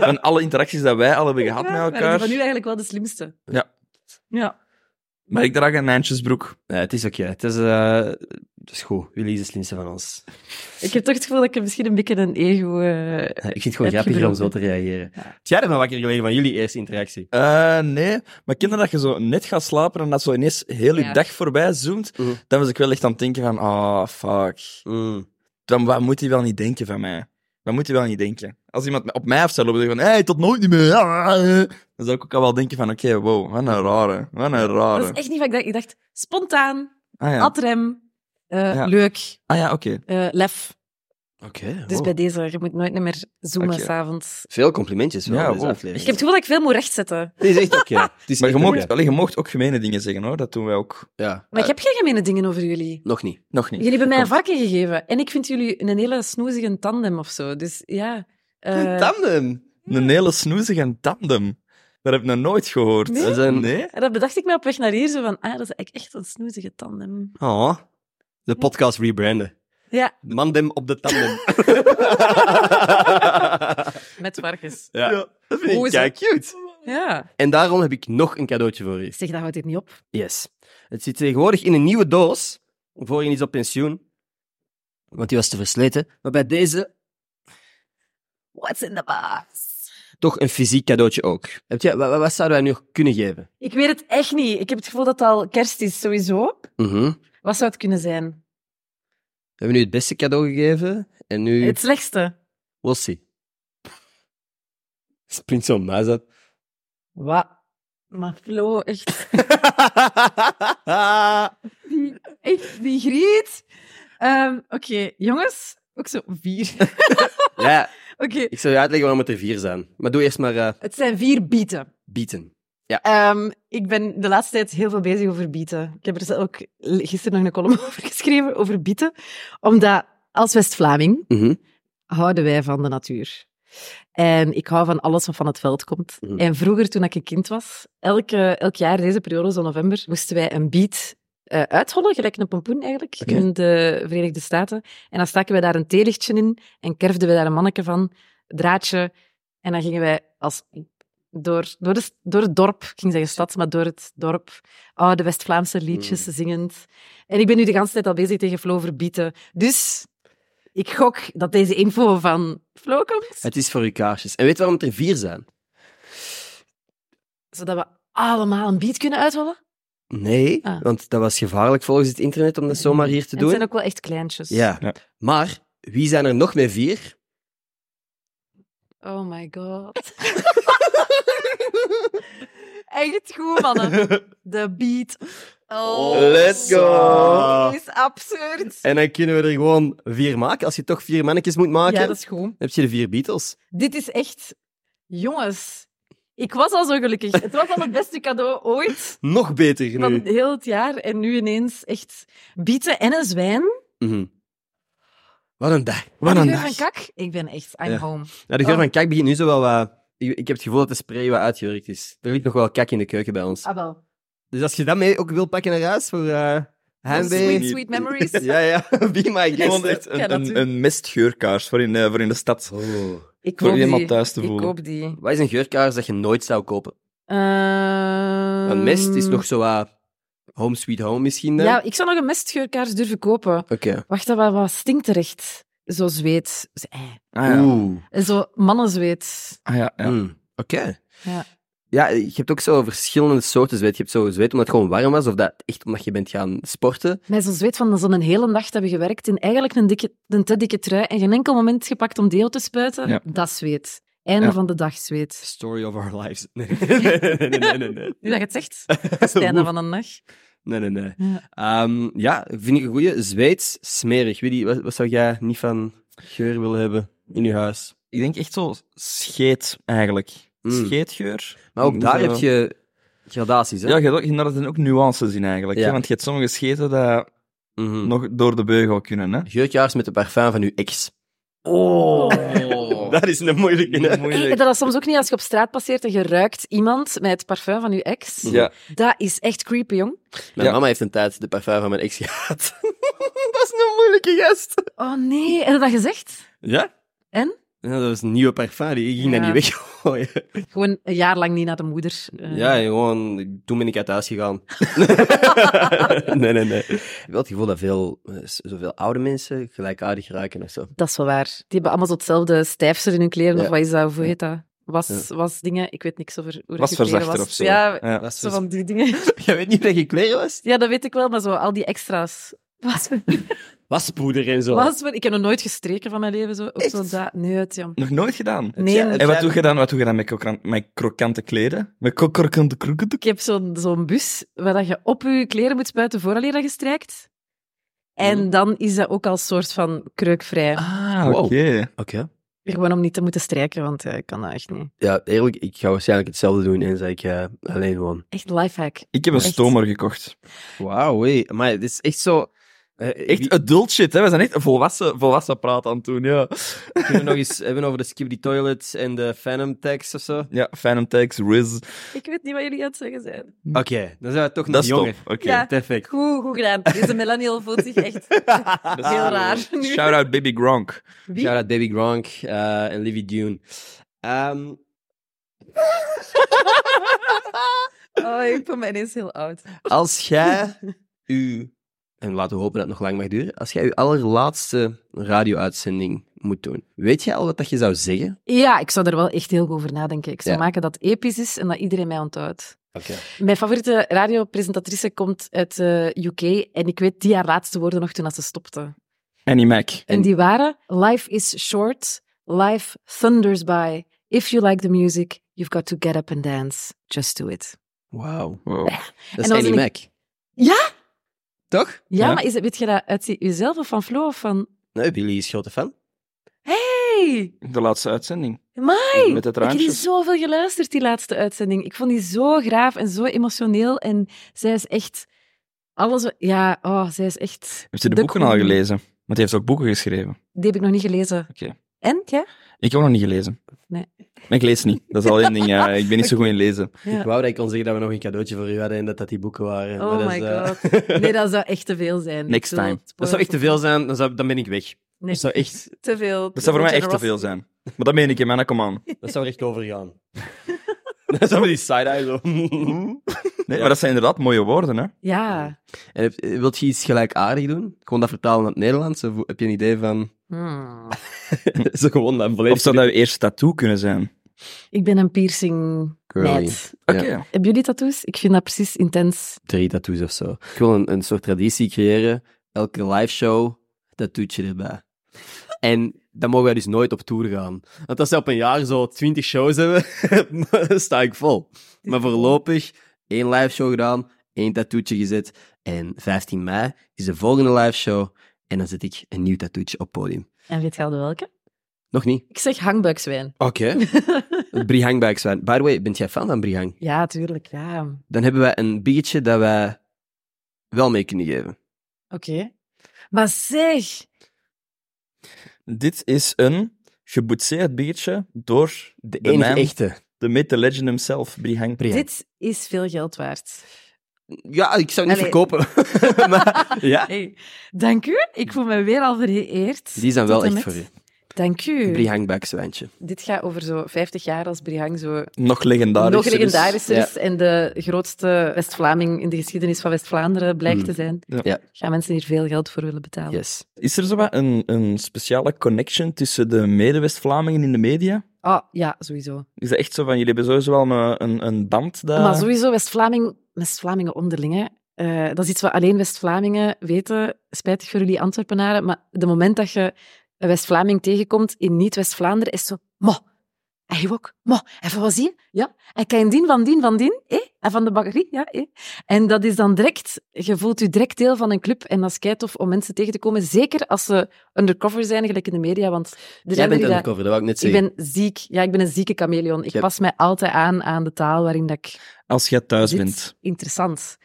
Speaker 3: En alle interacties dat wij al hebben gehad
Speaker 2: Ja, maar
Speaker 3: met
Speaker 2: ik ben
Speaker 3: elkaar.
Speaker 2: van nu eigenlijk wel de slimste.
Speaker 3: Ja.
Speaker 2: Ja.
Speaker 3: Maar ik draag een Nijntjesbroek.
Speaker 1: Nee, het is oké. Het, is, eh, het is goed. Jullie is de slimste van ons.
Speaker 2: Ik heb toch het gevoel dat ik misschien een beetje een ego... eh,
Speaker 1: Ja, ik vind het gewoon
Speaker 2: Heb je
Speaker 1: grappiger om zo
Speaker 2: beloofd,
Speaker 1: te reageren. Ja. Jij hebt me wakker gelegen van jullie eerste interactie.
Speaker 3: Eh, nee, maar kinderen dat je zo net gaat slapen en dat zo ineens heel je
Speaker 2: Ja.
Speaker 3: dag voorbij zoomt,
Speaker 1: Mhm.
Speaker 3: dan was ik wel echt aan het denken van, ah, fuck.
Speaker 1: Mm.
Speaker 3: Dan, wat moet hij wel niet denken van mij? Wat moet hij wel niet denken? Als iemand op mij af zou lopen en zeggen van, hey, tot nooit meer. Dan zou ik ook al wel denken van, oké, wow, wat een rare. Wat een
Speaker 2: dat is
Speaker 3: rare.
Speaker 2: echt niet wat ik dacht. Ik dacht, spontaan,
Speaker 3: Ah ja,
Speaker 2: adrem, eh,
Speaker 3: Ja.
Speaker 2: leuk,
Speaker 3: ah, ja oké.
Speaker 2: eh, lef.
Speaker 1: Oké.
Speaker 2: Dus
Speaker 3: Oh.
Speaker 2: bij deze, je moet nooit meer zoomen
Speaker 3: Oké.
Speaker 2: s'avonds.
Speaker 1: Veel complimentjes wel
Speaker 3: Ja,
Speaker 1: in deze
Speaker 3: wow.
Speaker 2: Ik
Speaker 1: aflevering.
Speaker 2: heb het gevoel dat ik veel moet rechtzetten.
Speaker 1: Het is echt *laughs* oké. Het is
Speaker 3: Maar je
Speaker 1: echt
Speaker 3: mocht,
Speaker 1: oké.
Speaker 3: allee, je mocht ook gemene dingen zeggen, hoor. Dat doen wij ook.
Speaker 1: Ja.
Speaker 2: Maar ik
Speaker 1: Eh,
Speaker 2: heb geen gemene dingen over jullie.
Speaker 1: Nog niet.
Speaker 3: Nog niet.
Speaker 2: Jullie hebben mij een
Speaker 3: Kom.
Speaker 2: varken gegeven. En ik vind jullie een hele snoezige tandem of zo. Dus ja... eh,
Speaker 1: Tandem.
Speaker 3: Een hele snoezige tandem. Dat heb ik nog nooit gehoord.
Speaker 2: Nee?
Speaker 1: Dat is een-
Speaker 3: Nee?
Speaker 2: En dat bedacht ik me op weg naar hier, zo van, ah, dat is eigenlijk echt een snoezige tandem.
Speaker 1: Oh. De podcast rebranden.
Speaker 2: Ja,
Speaker 1: Mandem op de tanden. *laughs*
Speaker 2: met varkens.
Speaker 1: Ja.
Speaker 3: dat vind
Speaker 2: Hoe
Speaker 3: ik
Speaker 2: is het?
Speaker 3: kijk cute.
Speaker 2: Ja.
Speaker 1: en daarom heb ik nog een cadeautje voor je.
Speaker 2: Zeg, dat houdt dit niet op.
Speaker 1: Yes. Het zit tegenwoordig in een nieuwe doos. Voor je is op pensioen. Want die was te versleten. Maar bij deze
Speaker 2: What's in the box?
Speaker 1: toch een fysiek cadeautje ook. Heb jij, wa- wa- wat, zouden wij nu nog kunnen geven?
Speaker 2: Ik weet het echt niet. Ik heb het gevoel dat het al kerst is, sowieso.
Speaker 1: Mhm.
Speaker 2: Wat zou het kunnen zijn?
Speaker 1: We hebben nu het beste cadeau gegeven. En nu...
Speaker 2: Het slechtste.
Speaker 1: We'll *laughs* see. Springt zo'n muis uit.
Speaker 2: Wat? Maar Flo, echt, die, echt, die griet. Ehm, Oké, jongens. Ook zo vier. *laughs*
Speaker 1: *laughs*
Speaker 2: Oké,
Speaker 1: ja, ik zal je uitleggen waarom het er vier zijn. Maar doe eerst maar eh,
Speaker 2: het zijn vier bieten.
Speaker 1: bieten.
Speaker 2: Ehm, ik ben de laatste tijd heel veel bezig over bieten. Ik heb er zelf ook gisteren nog een column *laughs* over geschreven, over bieten. Omdat als West-Vlaming
Speaker 1: Mhm.
Speaker 2: houden wij van de natuur. En ik hou van alles wat van het veld komt.
Speaker 1: Mhm.
Speaker 2: En vroeger, toen ik een kind was, elke, elk jaar deze periode, zo november, moesten wij een biet eh, uithollen, gelijk een pompoen eigenlijk,
Speaker 1: Oké.
Speaker 2: in de Verenigde Staten. En dan staken wij daar een theelichtje in en kerfden we daar een manneke van, draadje. En dan gingen wij als door, door, de, s- door het dorp, ik ging zeggen stad, maar door het dorp, oude West-Vlaamse liedjes zingend. En ik ben nu de hele tijd al bezig tegen Flo verbieten. Dus ik gok dat deze info van Flo komt,
Speaker 1: Het is voor uw kaarsjes. En weet waarom het er vier zijn?
Speaker 2: zodat we allemaal een beat kunnen uithollen.
Speaker 1: Nee,
Speaker 2: Ah.
Speaker 1: want dat was gevaarlijk volgens het internet om dat zomaar hier te
Speaker 2: En het
Speaker 1: doen.
Speaker 2: zijn ook wel echt kleintjes.
Speaker 1: Ja.
Speaker 3: Ja.
Speaker 1: Maar wie zijn er nog met vier?
Speaker 2: Oh my god. *laughs* Echt goed, mannen. De beat. Oh,
Speaker 1: Let's go.
Speaker 2: Is absurd.
Speaker 1: En dan kunnen we er gewoon vier maken. Als je toch vier mannetjes moet maken,
Speaker 2: Ja, dat is goed.
Speaker 1: dan heb je de vier Beatles.
Speaker 2: Dit is echt... Jongens, ik was al zo gelukkig. Het was al het beste cadeau ooit
Speaker 1: *laughs* Nog beter
Speaker 2: van
Speaker 1: nu.
Speaker 2: heel het jaar. En nu ineens echt bieten en een zwijn.
Speaker 1: Mhm. Wat een dag. Wat
Speaker 2: En de
Speaker 1: een
Speaker 2: geur
Speaker 1: dag.
Speaker 2: van kak. Ik ben echt I'm
Speaker 1: Ja.
Speaker 2: home.
Speaker 1: Nou, de geur
Speaker 2: Oh.
Speaker 1: van kak begint nu zo wel wat... Ik, ik heb het gevoel dat de spray wat uitgewerkt is. Er ligt nog wel kak in de keuken bij ons.
Speaker 2: Ah, wel.
Speaker 1: Dus als je dat mee ook wil pakken naar huis voor eh
Speaker 2: Sweet,
Speaker 1: heimwee...
Speaker 2: sweet memories.
Speaker 1: *laughs* Ja, ja. Be my
Speaker 3: Gewoon
Speaker 1: guest.
Speaker 3: echt
Speaker 2: Ja,
Speaker 3: een,
Speaker 2: dat doe
Speaker 3: een,
Speaker 2: ik.
Speaker 3: een mistgeurkaars voor in, eh, voor in de stad.
Speaker 1: Oh.
Speaker 2: Ik
Speaker 3: Voor
Speaker 2: koop
Speaker 3: iemand
Speaker 2: die.
Speaker 3: thuis te
Speaker 2: Ik
Speaker 3: voelen.
Speaker 2: koop die.
Speaker 1: Wat is een geurkaars dat je nooit zou kopen? Een
Speaker 2: Een
Speaker 1: mest is nog zo wat... home sweet home misschien dan?
Speaker 2: Ehm, Mm. Ja, ik zou nog een mestgeurkaars durven kopen.
Speaker 1: Oké.
Speaker 2: Wacht, dat wat, wat stinkt er echt? Zo zweet. Z- eh,
Speaker 3: Ah ja.
Speaker 1: Oeh.
Speaker 2: Zo mannenzweet.
Speaker 3: Ah, ja, ja.
Speaker 1: Mm, Oké.
Speaker 2: Ja.
Speaker 1: Ja, je hebt ook zo verschillende soorten zweet. Je hebt zo zweet omdat het gewoon warm was, of dat echt omdat je bent gaan sporten.
Speaker 2: Met zo'n zweet van zo'n hele nacht hebben gewerkt in eigenlijk een, dikke, een te dikke trui en geen enkel moment gepakt om deel te spuiten.
Speaker 3: Ja.
Speaker 2: Dat zweet. Einde
Speaker 3: Ja.
Speaker 2: van de dag zweet.
Speaker 1: Story of our lives. *laughs* Nee, nee, nee, nee, nee. nee.
Speaker 2: Nu dat je het zegt, dat is het einde van de dag.
Speaker 1: Nee, nee, nee.
Speaker 2: Ja.
Speaker 1: Ehm, ja, vind ik een goeie. Zweeds, smerig. Willy, wat, wat zou jij niet van geur willen hebben in je huis?
Speaker 3: Ik denk echt zo scheet, eigenlijk.
Speaker 1: Mm.
Speaker 3: Scheetgeur.
Speaker 1: Maar ook
Speaker 3: Moet
Speaker 1: daar
Speaker 3: wel-
Speaker 1: heb je gradaties, hè?
Speaker 3: Ja, je hebt ook, inderdaad, er zijn ook nuances in eigenlijk.
Speaker 1: Ja.
Speaker 3: hè, want je hebt sommige scheten dat
Speaker 1: Mhm.
Speaker 3: nog door de beugel *laughs* kunnen. Hè?
Speaker 1: Geurkaars met de parfum van je ex.
Speaker 2: Oh.
Speaker 1: *laughs* Dat is een moeilijke. hè?
Speaker 2: En dat is soms ook niet als je op straat passeert en je ruikt iemand met het parfum van je ex.
Speaker 3: Ja.
Speaker 2: Dat is echt creepy, jong.
Speaker 1: Mijn
Speaker 3: Ja.
Speaker 1: mama heeft een tijd de parfum van mijn ex gehad. *laughs* dat is een moeilijke gast.
Speaker 2: Oh nee, heb je dat gezegd?
Speaker 1: Ja?
Speaker 2: En?
Speaker 1: Ja, dat was een nieuwe parfum, die ik ging
Speaker 2: Ja.
Speaker 1: dat niet weggooien.
Speaker 2: Gewoon een jaar lang niet naar de moeder. Eh,
Speaker 1: Ja, gewoon, toen ben ik uit huis gegaan. nee, nee, nee. Ik heb wel het gevoel dat veel, eh, z- zoveel oude mensen gelijkaardig ruiken of zo.
Speaker 2: Dat is wel waar. Die hebben allemaal zo hetzelfde stijfsel in hun kleren.
Speaker 1: Ja.
Speaker 2: Of wat is dat? Of Hoe heet dat? Was, was dingen. Ik weet niks over hoe dat
Speaker 3: Was
Speaker 2: je kleren
Speaker 3: verzachter
Speaker 2: was.
Speaker 3: of zo.
Speaker 2: Ja,
Speaker 3: Ja.
Speaker 2: zo van die dingen.
Speaker 1: Jij weet niet dat *laughs* je kleren was?
Speaker 2: Ja, dat weet ik wel, maar zo al die extra's. Was,
Speaker 1: Waspoeder en zo.
Speaker 2: *laughs* was, ik heb nog nooit gestreken van mijn leven. Zo. Ook zo dat. Nee, het, jong.
Speaker 3: Nog nooit gedaan.
Speaker 2: Nee,
Speaker 1: ja, het-
Speaker 3: En wat doe je dan, wat doe je dan met, krokant, met krokante kleden? Met kro- krokante krokante
Speaker 2: Ik heb zo'n zo'n bus waar dat je op je kleren moet spuiten vooraleer dat je strijkt. En dan is dat ook al soort van kreukvrij.
Speaker 3: Ah,
Speaker 1: Wow.
Speaker 3: oké.
Speaker 1: Oké.
Speaker 2: Gewoon om niet te moeten strijken, want eh, ik kan dat echt niet.
Speaker 1: Ja, eerlijk, ik ga waarschijnlijk hetzelfde doen eens dat ik eh, alleen woon.
Speaker 2: Echt lifehack.
Speaker 3: Ik heb een
Speaker 2: Echt?
Speaker 3: stomer gekocht.
Speaker 1: Wauw, hé. Maar het is echt zo... Oké, Eh,
Speaker 3: Echt
Speaker 1: wie-
Speaker 3: adult shit, hè? We zijn echt volwassen, volwassen praat aan het doen, ja.
Speaker 1: Kunnen we nog eens hebben over de Skibidi Toilet en de Phantom Tax of zo? Oké,
Speaker 3: Ja, Phantom Tags, Riz.
Speaker 2: Ik weet niet wat jullie aan het zeggen zijn.
Speaker 1: dan zijn we toch nog
Speaker 3: Dat is top.
Speaker 1: jonger.
Speaker 3: Oké.
Speaker 1: Ja.
Speaker 2: Ja.
Speaker 1: Perfect.
Speaker 2: Goed, goed gedaan. Deze millennial voelt zich echt
Speaker 3: Dat is
Speaker 2: heel
Speaker 3: cool.
Speaker 2: raar nu.
Speaker 3: *laughs* Shout-out Baby Gronk.
Speaker 2: Wie?
Speaker 1: Shout out Baby Gronk eh, en Livy Dune. Ehm,
Speaker 2: Oh, ik voel me ineens heel oud.
Speaker 1: als jij u, en laten we hopen dat het nog lang mag duren, als jij uw allerlaatste radio-uitzending moet doen, weet jij al wat dat je zou zeggen?
Speaker 2: Ja, ik zou er wel echt heel goed over nadenken. Ik zou
Speaker 1: Ja.
Speaker 2: maken dat episch is en dat iedereen mij onthoudt.
Speaker 1: Oké.
Speaker 2: Mijn favoriete radiopresentatrice komt uit de UK en ik weet die haar laatste woorden nog toen dat ze stopte.
Speaker 3: Annie Mac.
Speaker 2: En, die waren: Life is short, life thunders by. If you like the music, you've got to get up and dance. Just do it.
Speaker 1: Wauw.
Speaker 3: Wow.
Speaker 1: Dat is
Speaker 2: was
Speaker 1: Annie
Speaker 2: een-
Speaker 1: Mac.
Speaker 2: Ja?
Speaker 1: Toch?
Speaker 2: Ja,
Speaker 3: Ja.
Speaker 2: maar is het, weet je dat uit jezelf of van Flo of van.
Speaker 1: Nee, Billy is grote fan.
Speaker 2: Hey!
Speaker 3: De laatste uitzending.
Speaker 2: Mai!
Speaker 3: Met het
Speaker 2: Ik heb
Speaker 3: raampje.
Speaker 2: die zoveel geluisterd, die laatste uitzending. Ik vond die zo graaf en zo emotioneel. En zij is echt. Alles. wat- Ja, oh, zij is echt.
Speaker 3: Heeft je de,
Speaker 2: de
Speaker 3: boeken
Speaker 2: queen.
Speaker 3: al gelezen? Want die heeft ook boeken geschreven.
Speaker 2: Die heb ik nog niet gelezen.
Speaker 3: Oké.
Speaker 2: En jij?
Speaker 3: Ik heb nog niet gelezen.
Speaker 2: Nee.
Speaker 3: Maar ik lees niet. Dat is al één ding.
Speaker 2: *laughs*
Speaker 3: ja. ik ben niet zo goed in lezen.
Speaker 1: Ik wou dat ik kon zeggen dat we nog een cadeautje voor u hadden en dat dat die boeken waren.
Speaker 2: Oh
Speaker 1: maar dat is,
Speaker 2: my
Speaker 1: eh,
Speaker 2: *laughs* Nee, dat zou echt te veel zijn.
Speaker 3: Next
Speaker 2: Ik bedoel,
Speaker 3: time.
Speaker 1: dat zou echt te veel zijn, dan, zou, dan ben ik weg.
Speaker 2: Nee,
Speaker 1: Dat zou echt,
Speaker 2: te veel.
Speaker 3: Dat zou voor mij echt te veel zijn. Maar dat meen ik, hè, man.
Speaker 2: *laughs*
Speaker 3: Kom aan.
Speaker 1: dat zou er echt overgaan. dan zou we die side-eye zo...
Speaker 3: Nee, maar dat zijn inderdaad mooie woorden, hè.
Speaker 2: Ja.
Speaker 1: En heb- eh, wilt je iets gelijkaardig doen? Gewoon dat vertalen naar het Nederlands? Of heb je een idee van...
Speaker 2: Hmm.
Speaker 1: *laughs* zo gewoon dat volledig...
Speaker 3: Of zou dat je eerste tattoo kunnen zijn?
Speaker 2: Ik ben een piercing
Speaker 1: Curly.
Speaker 2: meid.
Speaker 3: Oké.
Speaker 1: Ja.
Speaker 2: Hebben jullie tattoos? Ik vind dat precies intens.
Speaker 1: Drie tattoos of zo. Ik wil een, een soort traditie creëren. Elke liveshow, tattoetje erbij. En dan mogen wij dus nooit op tour gaan. Want als ze op een jaar zo twintig shows hebben, *laughs* sta ik vol. Maar voorlopig één liveshow gedaan, één tattoetje gezet. En 15 mei is de volgende liveshow. En dan zet ik een nieuw tattoetje op podium.
Speaker 2: En weet je al de welke?
Speaker 1: Nog niet?
Speaker 2: Ik zeg hangbuikswijn.
Speaker 1: Oké. *laughs* Brihang Buikswijn. By the way, bent jij fan van Brihang?
Speaker 2: *laughs* Ja, tuurlijk. Ja. Oké.
Speaker 1: Dan hebben wij een biertje dat wij wel mee kunnen geven.
Speaker 2: Maar zeg,
Speaker 3: Dit is een geboetseerd biertje door
Speaker 1: De
Speaker 3: De
Speaker 1: enige
Speaker 3: man.
Speaker 1: echte.
Speaker 3: de myth, the legend himself, Brihang.
Speaker 1: Brihang.
Speaker 2: dit is veel geld waard.
Speaker 1: Ja, ik zou het niet
Speaker 2: *laughs* Allee.
Speaker 1: verkopen. maar, ja.
Speaker 2: Hey, dank u. Ik voel me weer al vereerd.
Speaker 1: Die zijn
Speaker 2: Tot
Speaker 1: wel
Speaker 2: en
Speaker 1: echt
Speaker 2: met.
Speaker 1: voor u.
Speaker 2: Dank u.
Speaker 1: Brihang Buikswijntje.
Speaker 2: Dit gaat over zo 50 jaar als Brihang zo
Speaker 3: Nog legendarisch.
Speaker 2: nog legendarischer
Speaker 1: dus. Ja.
Speaker 2: is en de grootste West-Vlaming in de geschiedenis van West-Vlaanderen blijkt
Speaker 1: Hmm.
Speaker 2: te zijn,
Speaker 3: Ja.
Speaker 1: Ja.
Speaker 2: gaan mensen hier veel geld voor willen betalen.
Speaker 1: Yes.
Speaker 3: Is er zo wat een, een speciale connection tussen de mede-West-Vlamingen in de media?
Speaker 2: Ah, ja, sowieso.
Speaker 3: Is dat echt zo van, jullie hebben sowieso wel een, een, een band daar?
Speaker 1: Eh.
Speaker 2: Maar sowieso West-Vlaming, West-Vlamingen onderling, hè. Eh, dat is iets wat alleen West-Vlamingen weten. Spijtig voor jullie Antwerpenaren, maar de moment dat je een West-Vlaming tegenkomt in niet-West-Vlaanderen, is het zo... Mo, hij ook. Mo, even wat zie je? Ja. Hij kan dien van dien van dien. hè? En van de bakkerie, ja. hè? En dat is dan direct... Je voelt je direct deel van een club. En dat is keitof om mensen tegen te komen. Zeker als ze undercover zijn, gelijk in de media. Want er
Speaker 1: Jij
Speaker 2: zijn er
Speaker 1: bent
Speaker 2: die dat-
Speaker 1: undercover, dat wou ik net
Speaker 2: Dus Ik
Speaker 1: zeggen.
Speaker 2: ben ziek. Ja, ik ben een zieke chameleon. Ik
Speaker 1: Ja.
Speaker 2: pas mij altijd aan aan de taal waarin dat ik
Speaker 3: Als jij thuis
Speaker 2: dit
Speaker 3: bent.
Speaker 2: interessant.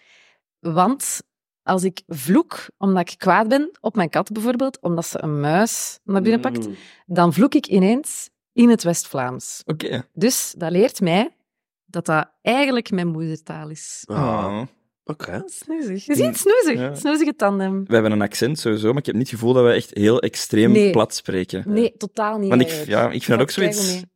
Speaker 2: Want als ik vloek omdat ik kwaad ben op mijn kat bijvoorbeeld, omdat ze een muis naar binnen pakt,
Speaker 1: Mm.
Speaker 2: dan vloek ik ineens in het West-Vlaams.
Speaker 3: Oké.
Speaker 2: Dus dat leert mij dat dat eigenlijk mijn moedertaal is.
Speaker 1: Ah,
Speaker 3: Ah.
Speaker 1: Oké.
Speaker 2: Snoezig. Je ziet, snoezig.
Speaker 3: Mm. Ja.
Speaker 2: Snoezige tandem.
Speaker 3: We hebben een accent sowieso, maar ik heb niet het gevoel dat we echt heel extreem
Speaker 2: Nee.
Speaker 3: plat spreken.
Speaker 2: Nee, totaal niet.
Speaker 3: Want ik,
Speaker 2: eigenlijk.
Speaker 3: ja, ik vind dat ook
Speaker 2: valt keigoed
Speaker 3: zoiets
Speaker 2: mee.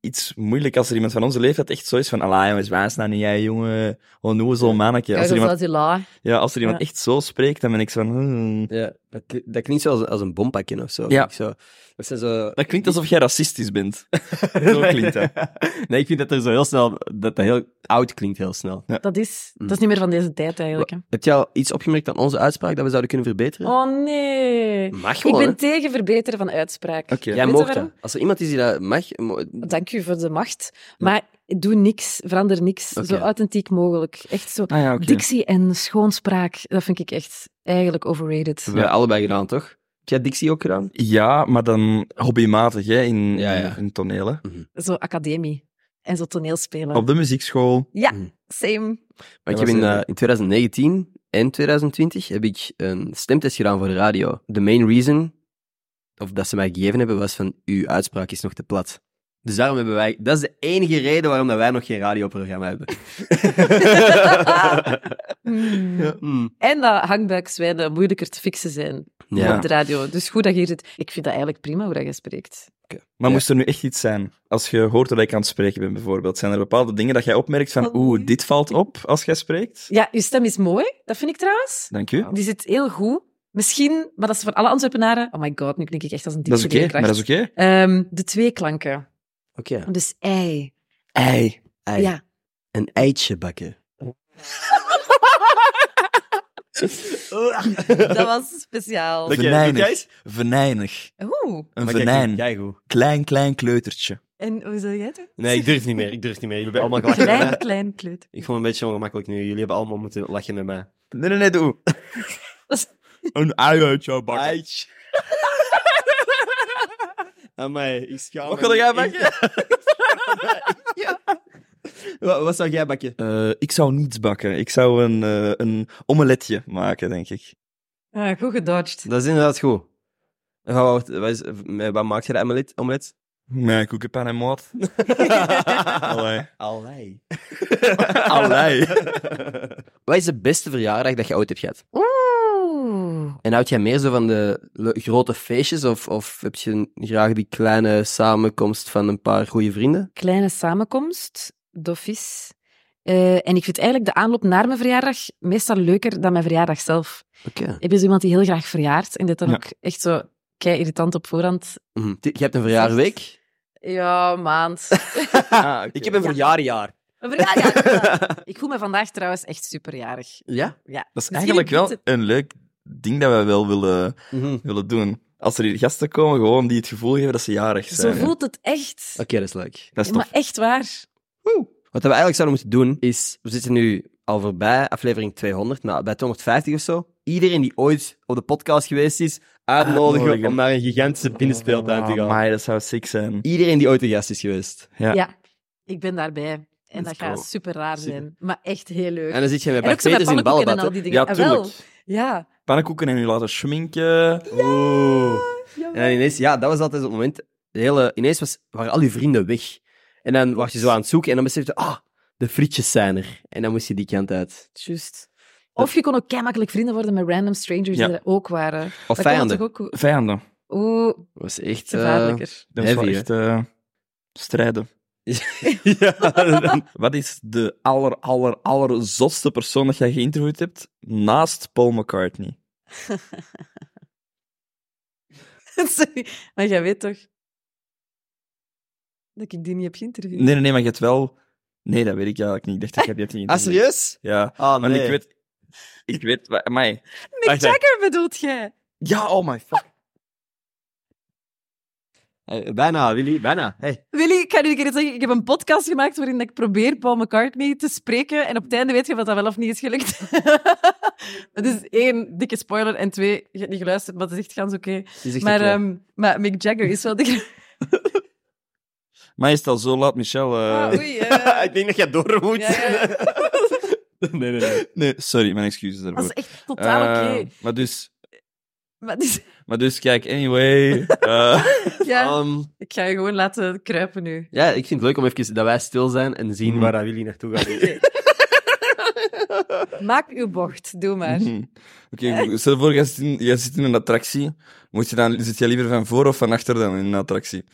Speaker 3: iets moeilijk als er iemand van onze leeftijd echt zo is van Allah, jongens, wijs nou niet jij, jongen. Oh, Onnozel mannetje. Als er
Speaker 2: Kijk,
Speaker 3: iemand,
Speaker 2: als je la.
Speaker 3: ja, als er iemand
Speaker 2: Ja.
Speaker 3: echt zo spreekt, dan ben ik zo van... hmm.
Speaker 1: Ja, dat, kli- dat klinkt zo als, als een bompakje of zo.
Speaker 3: Ja.
Speaker 1: Ik zo dat zijn zo...
Speaker 3: Dat klinkt alsof jij racistisch *laughs* bent. zo klinkt dat.
Speaker 1: Nee, ik vind dat er zo heel snel... Dat dat heel oud klinkt heel snel.
Speaker 2: Dat is,
Speaker 1: Mm.
Speaker 2: dat is niet meer van deze tijd eigenlijk. hè.
Speaker 1: Heb jij al iets opgemerkt aan onze uitspraak dat we zouden kunnen verbeteren?
Speaker 2: Oh nee.
Speaker 1: Mag
Speaker 2: Ik
Speaker 1: gewoon,
Speaker 2: ben tegen verbeteren van uitspraak.
Speaker 3: Mm. Oké.
Speaker 1: hè?
Speaker 3: Ja.
Speaker 1: Jij
Speaker 2: Weet
Speaker 1: mag
Speaker 2: je
Speaker 1: dat.
Speaker 2: waarom?
Speaker 1: Als er iemand is die dat mag... mo-
Speaker 2: Dank u voor de macht. Maar doe niks, verander niks.
Speaker 1: Oké.
Speaker 2: Zo authentiek mogelijk. Echt zo.
Speaker 3: Ah ja, oké.
Speaker 2: Dictie en schoonspraak, dat vind ik echt eigenlijk overrated.
Speaker 1: hebben we allebei gedaan, toch? Heb jij Dixie ook gedaan?
Speaker 3: Ja, maar dan hobbymatig, hè, in,
Speaker 1: Ja, ja.
Speaker 3: in tonelen.
Speaker 2: Zo academie en zo toneelspelen.
Speaker 3: Op de muziekschool.
Speaker 2: Ja,
Speaker 1: Mm.
Speaker 2: same.
Speaker 1: Maar ik
Speaker 3: Dat
Speaker 1: heb in,
Speaker 3: was,
Speaker 1: eh,
Speaker 3: eh,
Speaker 1: in 2019 en 2020 heb ik een stemtest gedaan voor de radio. The main reason, of dat ze mij gegeven hebben, was van uw uitspraak is nog te plat. Dus daarom hebben wij, dat is de enige reden waarom dat wij nog geen radioprogramma *laughs* hebben.
Speaker 2: Hmm.
Speaker 1: Hmm.
Speaker 2: En dat hangbuikzwijnen moeilijker te fixen zijn
Speaker 1: Ja.
Speaker 2: op de radio. Dus goed dat je hier zit. Ik vind dat eigenlijk prima hoe dat je spreekt.
Speaker 3: Maar
Speaker 1: Ja.
Speaker 3: moest er nu echt iets zijn? Als je hoort dat ik aan het spreken ben, bijvoorbeeld, zijn er bepaalde dingen dat jij opmerkt van, oeh, dit valt op als jij spreekt?
Speaker 2: Ja, je stem is mooi. Dat vind ik trouwens.
Speaker 3: Dank u.
Speaker 2: Die zit heel goed. Misschien, maar dat is voor alle Antwerpenaren... Oh my god, nu klink ik echt als een Ehm,
Speaker 3: Dat is oké, maar dat is oké.
Speaker 2: de twee klanken.
Speaker 1: Oké.
Speaker 2: Dus ei.
Speaker 1: Ei. Ei.
Speaker 3: *laughs*
Speaker 2: Ja.
Speaker 1: Een eitje bakken.
Speaker 2: Dat was speciaal.
Speaker 3: Dank je,
Speaker 1: Venijnig.
Speaker 3: doe jij eens? Venijnig.
Speaker 2: Oeh.
Speaker 3: Een venijn.
Speaker 1: Kijk hoe.
Speaker 3: Klein, klein kleutertje.
Speaker 2: En hoe zou jij doen?
Speaker 1: Nee, ik durf niet meer. *laughs* Ik durf niet meer. Jullie hebben allemaal gelachen.
Speaker 2: Klein,
Speaker 1: met mij.
Speaker 2: klein kleuter.
Speaker 1: Ik vond het een beetje ongemakkelijk nu. Jullie hebben allemaal moeten lachen met mij.
Speaker 3: Nee, nee, nee, doe. Een ei uit jouw
Speaker 1: *laughs*
Speaker 3: bak.
Speaker 1: Eitje. Amai, ik schaam
Speaker 3: Wat kon jij bakken?
Speaker 1: Wat, wat zou jij bakken?
Speaker 3: Eh, ik zou niets bakken. Ik zou een, eh, een omeletje maken, denk ik.
Speaker 2: Ah, goed gedodged.
Speaker 1: Dat is inderdaad goed. En Wat, wat, wat, is- met wat maak je dat omelet? *laughs* omelet?
Speaker 3: Nee, koekenpan en moord. Allee.
Speaker 1: *laughs* Allee.
Speaker 3: Allee.
Speaker 1: Wat is de beste verjaardag dat je ooit hebt gehad?
Speaker 2: Oeh.
Speaker 1: En houd jij meer zo van de le- grote feestjes? Of, of heb je een- graag die kleine samenkomst van een paar goede vrienden?
Speaker 2: kleine samenkomst, doffies. Eh, en ik vind eigenlijk de aanloop naar mijn verjaardag meestal leuker dan mijn verjaardag zelf.
Speaker 1: Oké.
Speaker 2: Ik ben zo iemand die heel graag verjaart en dit dan
Speaker 3: Ja.
Speaker 2: ook echt zo kei irritant op voorhand.
Speaker 1: Mhm. Je hebt een verjaarweek?
Speaker 2: Ja,
Speaker 3: *laughs*
Speaker 2: maand.
Speaker 1: Ah, oké. Ik heb een
Speaker 2: Ja.
Speaker 1: verjaarjaar.
Speaker 2: Mijn verjaardag. ja. Ik voel me vandaag trouwens echt superjarig.
Speaker 1: Ja?
Speaker 2: Ja.
Speaker 3: Dat is
Speaker 2: Misschien
Speaker 3: eigenlijk
Speaker 2: moet
Speaker 3: wel
Speaker 2: het-
Speaker 3: een leuk ding dat wij wel willen,
Speaker 1: Mhm.
Speaker 3: willen doen. Als er hier gasten komen, gewoon die het gevoel geven dat ze jarig
Speaker 2: Zo
Speaker 3: zijn.
Speaker 2: voelt het echt.
Speaker 1: Oké, dat is leuk.
Speaker 3: Dat is
Speaker 2: Maar
Speaker 3: tof.
Speaker 2: echt waar.
Speaker 1: Wat we eigenlijk zouden moeten doen, is... We zitten nu al voorbij, aflevering 200, nou, bij 250 of zo. Iedereen die ooit op de podcast geweest is, uitnodigen
Speaker 3: Uitnodigen. Oh,
Speaker 1: om naar een gigantische binnenspeeltuin te gaan.
Speaker 3: Amai, dat zou sick zijn.
Speaker 1: Iedereen die ooit de gast is geweest.
Speaker 3: Ja.
Speaker 2: Ja. Ik ben daarbij. En dat
Speaker 3: Let's
Speaker 2: gaat
Speaker 3: go.
Speaker 2: super raar
Speaker 3: Super.
Speaker 2: zijn. Maar echt heel leuk.
Speaker 1: En dan zit je met
Speaker 2: En ook zo met
Speaker 1: Peters in
Speaker 2: pannenkoeken en
Speaker 1: ballenbad. hè?
Speaker 2: al die dingen. Ah,
Speaker 3: Ja,
Speaker 2: wel.
Speaker 3: tuurlijk.
Speaker 2: Ja.
Speaker 3: Pannenkoeken en u laten schminken.
Speaker 1: Oeh.
Speaker 2: Jawel.
Speaker 1: En dan ineens, ja, dat was altijd het moment. De hele, ineens was, waren al je vrienden weg. En dan was je zo aan het zoeken en dan besefte je, ah, de frietjes zijn er. En dan moest je die kant uit.
Speaker 2: Juist. Of je kon ook makkelijk vrienden worden met random strangers
Speaker 3: Ja.
Speaker 2: die er ook waren. Dat
Speaker 1: Of
Speaker 2: kon
Speaker 1: vijanden. Dat
Speaker 2: toch ook-
Speaker 3: Vijanden.
Speaker 2: Oeh,
Speaker 1: was echt... eh,
Speaker 2: gevaarlijker. *laughs*
Speaker 3: Dat is wel
Speaker 1: Heavy, hè?
Speaker 3: echt eh, strijden.
Speaker 1: *laughs* ja,
Speaker 3: Wat is de aller, aller, aller zotste persoon dat jij geïnterviewd hebt naast Paul McCartney?
Speaker 2: Sorry, maar jij weet toch dat ik die niet heb geïnterviewd?
Speaker 3: Nee, nee, nee, maar je hebt wel... Nee, dat weet ik eigenlijk niet. Ik dacht dat jij die hebt niet
Speaker 1: Ah,
Speaker 3: geïnterviewd.
Speaker 1: serieus?
Speaker 3: Ja.
Speaker 1: Ah,
Speaker 3: Maar
Speaker 1: nee.
Speaker 3: ik weet... Ik weet... wa- Amai.
Speaker 2: Mick
Speaker 3: Wacht, hè.
Speaker 2: Jagger bedoelt jij?
Speaker 3: Ja, oh my fuck.
Speaker 1: Eh, bijna, Willy, bijna. Hey.
Speaker 2: Willy, ik ga nu een keer iets zeggen. Ik heb een podcast gemaakt waarin ik probeer Paul McCartney te spreken. En op het einde weet je wat dat wel of niet is gelukt. *laughs* Het is één, dikke spoiler. En twee, je hebt niet geluisterd, maar het is echt gans oké.
Speaker 1: Het eh. is echt
Speaker 2: Maar,
Speaker 1: oké.
Speaker 2: ehm, maar Mick Jagger is
Speaker 1: *laughs*
Speaker 2: wel de... gro-
Speaker 3: Maar is het al zo laat, Michel? eh,
Speaker 2: Ah,
Speaker 1: *laughs*
Speaker 2: oei, eh.
Speaker 1: ik denk dat jij door moet.
Speaker 2: Ja, ja.
Speaker 1: nee, nee, nee.
Speaker 3: *laughs* Nee, sorry, mijn excuses
Speaker 2: Dat
Speaker 3: daarvoor.
Speaker 2: is echt totaal oké.
Speaker 3: Eh, maar, dus,
Speaker 2: Maar het is-
Speaker 3: maar dus, kijk, anyway. eh,
Speaker 2: *laughs* ja,
Speaker 1: *laughs* Ehm,
Speaker 2: ik ga je gewoon laten kruipen nu.
Speaker 1: ja, ik vind het leuk om even dat wij stil zijn en zien
Speaker 3: Mhm.
Speaker 1: waar dat Willy naartoe *laughs* gaat.
Speaker 2: Maak uw bocht, doe maar.
Speaker 3: mhm. *laughs* Oké, stel voor, jij zit, in, jij zit in een attractie. Moet je dan, zit jij liever van voor of van achter dan in een attractie?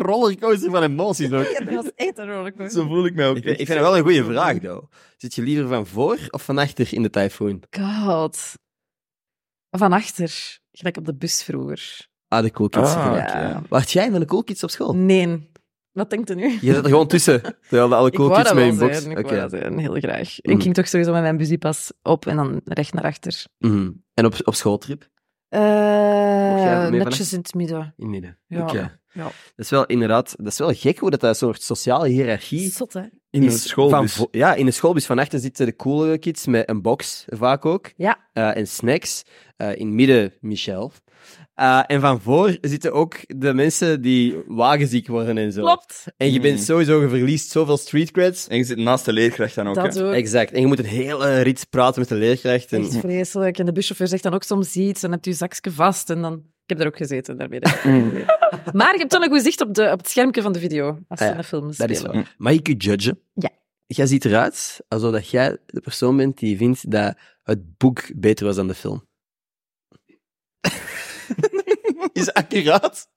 Speaker 1: Rollercoaster van emoties ook.
Speaker 2: *laughs* Ja, *laughs* dat was echt een rollercoaster.
Speaker 3: Zo voel ik mij ook.
Speaker 1: Ik vind, ik vind het wel een goede vraag, though. Zit je liever van voor of van achter in de tyfoon?
Speaker 2: God. Van achter, gelijk op de bus vroeger.
Speaker 1: Ah, de cool kids.
Speaker 3: Ah,
Speaker 1: gelijk.
Speaker 2: oké.
Speaker 1: Ja. Wacht jij van de cool kids op school?
Speaker 2: Nee. Wat denkt u nu?
Speaker 1: Je zit er gewoon tussen, terwijl de alle cool
Speaker 2: ik wou
Speaker 1: kids
Speaker 2: dat
Speaker 1: mee
Speaker 2: wel
Speaker 1: in box.
Speaker 2: zijn, ik
Speaker 1: Oké.
Speaker 2: wou dat zijn, heel graag.
Speaker 1: Mm.
Speaker 2: Ik ging toch sowieso met mijn busiepas op en dan recht naar achter.
Speaker 1: Mhm. En op, op schooltrip?
Speaker 2: Eh
Speaker 1: jij mee van
Speaker 2: netjes in het midden.
Speaker 1: In midden.
Speaker 2: Ja.
Speaker 1: Oké.
Speaker 3: Ja.
Speaker 1: Dat is wel inderdaad, dat is wel gek hoe dat, dat soort sociale hiërarchie
Speaker 4: Zot, hè?
Speaker 3: In een
Speaker 1: is
Speaker 3: school
Speaker 1: van
Speaker 3: dus.
Speaker 1: vo- Ja, in de schoolbus van achter zitten de coolere kids met een box, vaak ook.
Speaker 2: Ja.
Speaker 1: Eh, en snacks. Eh, in het midden Michel. Eh, en van voor zitten ook de mensen die wagenziek worden en zo.
Speaker 2: Klopt.
Speaker 1: En je bent
Speaker 3: Mm.
Speaker 1: sowieso, je verliest zoveel street creds.
Speaker 3: En je zit naast de leerkracht dan ook. hè.
Speaker 2: Dat ook.
Speaker 1: Exact. En je moet een hele rits praten met de leerkracht. En...
Speaker 2: Echt vreselijk. En de buschauffeur zegt dan ook soms iets en hebt je zakje vast. En dan... Ik heb er ook gezeten daarmee.
Speaker 1: *laughs* Mm.
Speaker 2: maar je hebt wel een goed zicht op, de, op het schermpje van de video. Als je
Speaker 1: Ah ja,
Speaker 2: een film
Speaker 1: Dat is
Speaker 2: spelen.
Speaker 1: waar. Mag ik je judgen?
Speaker 4: Ja.
Speaker 1: Jij ziet eruit alsof dat jij de persoon bent die vindt dat het boek beter was dan de film. *laughs*
Speaker 3: Is accuraat.
Speaker 1: *laughs*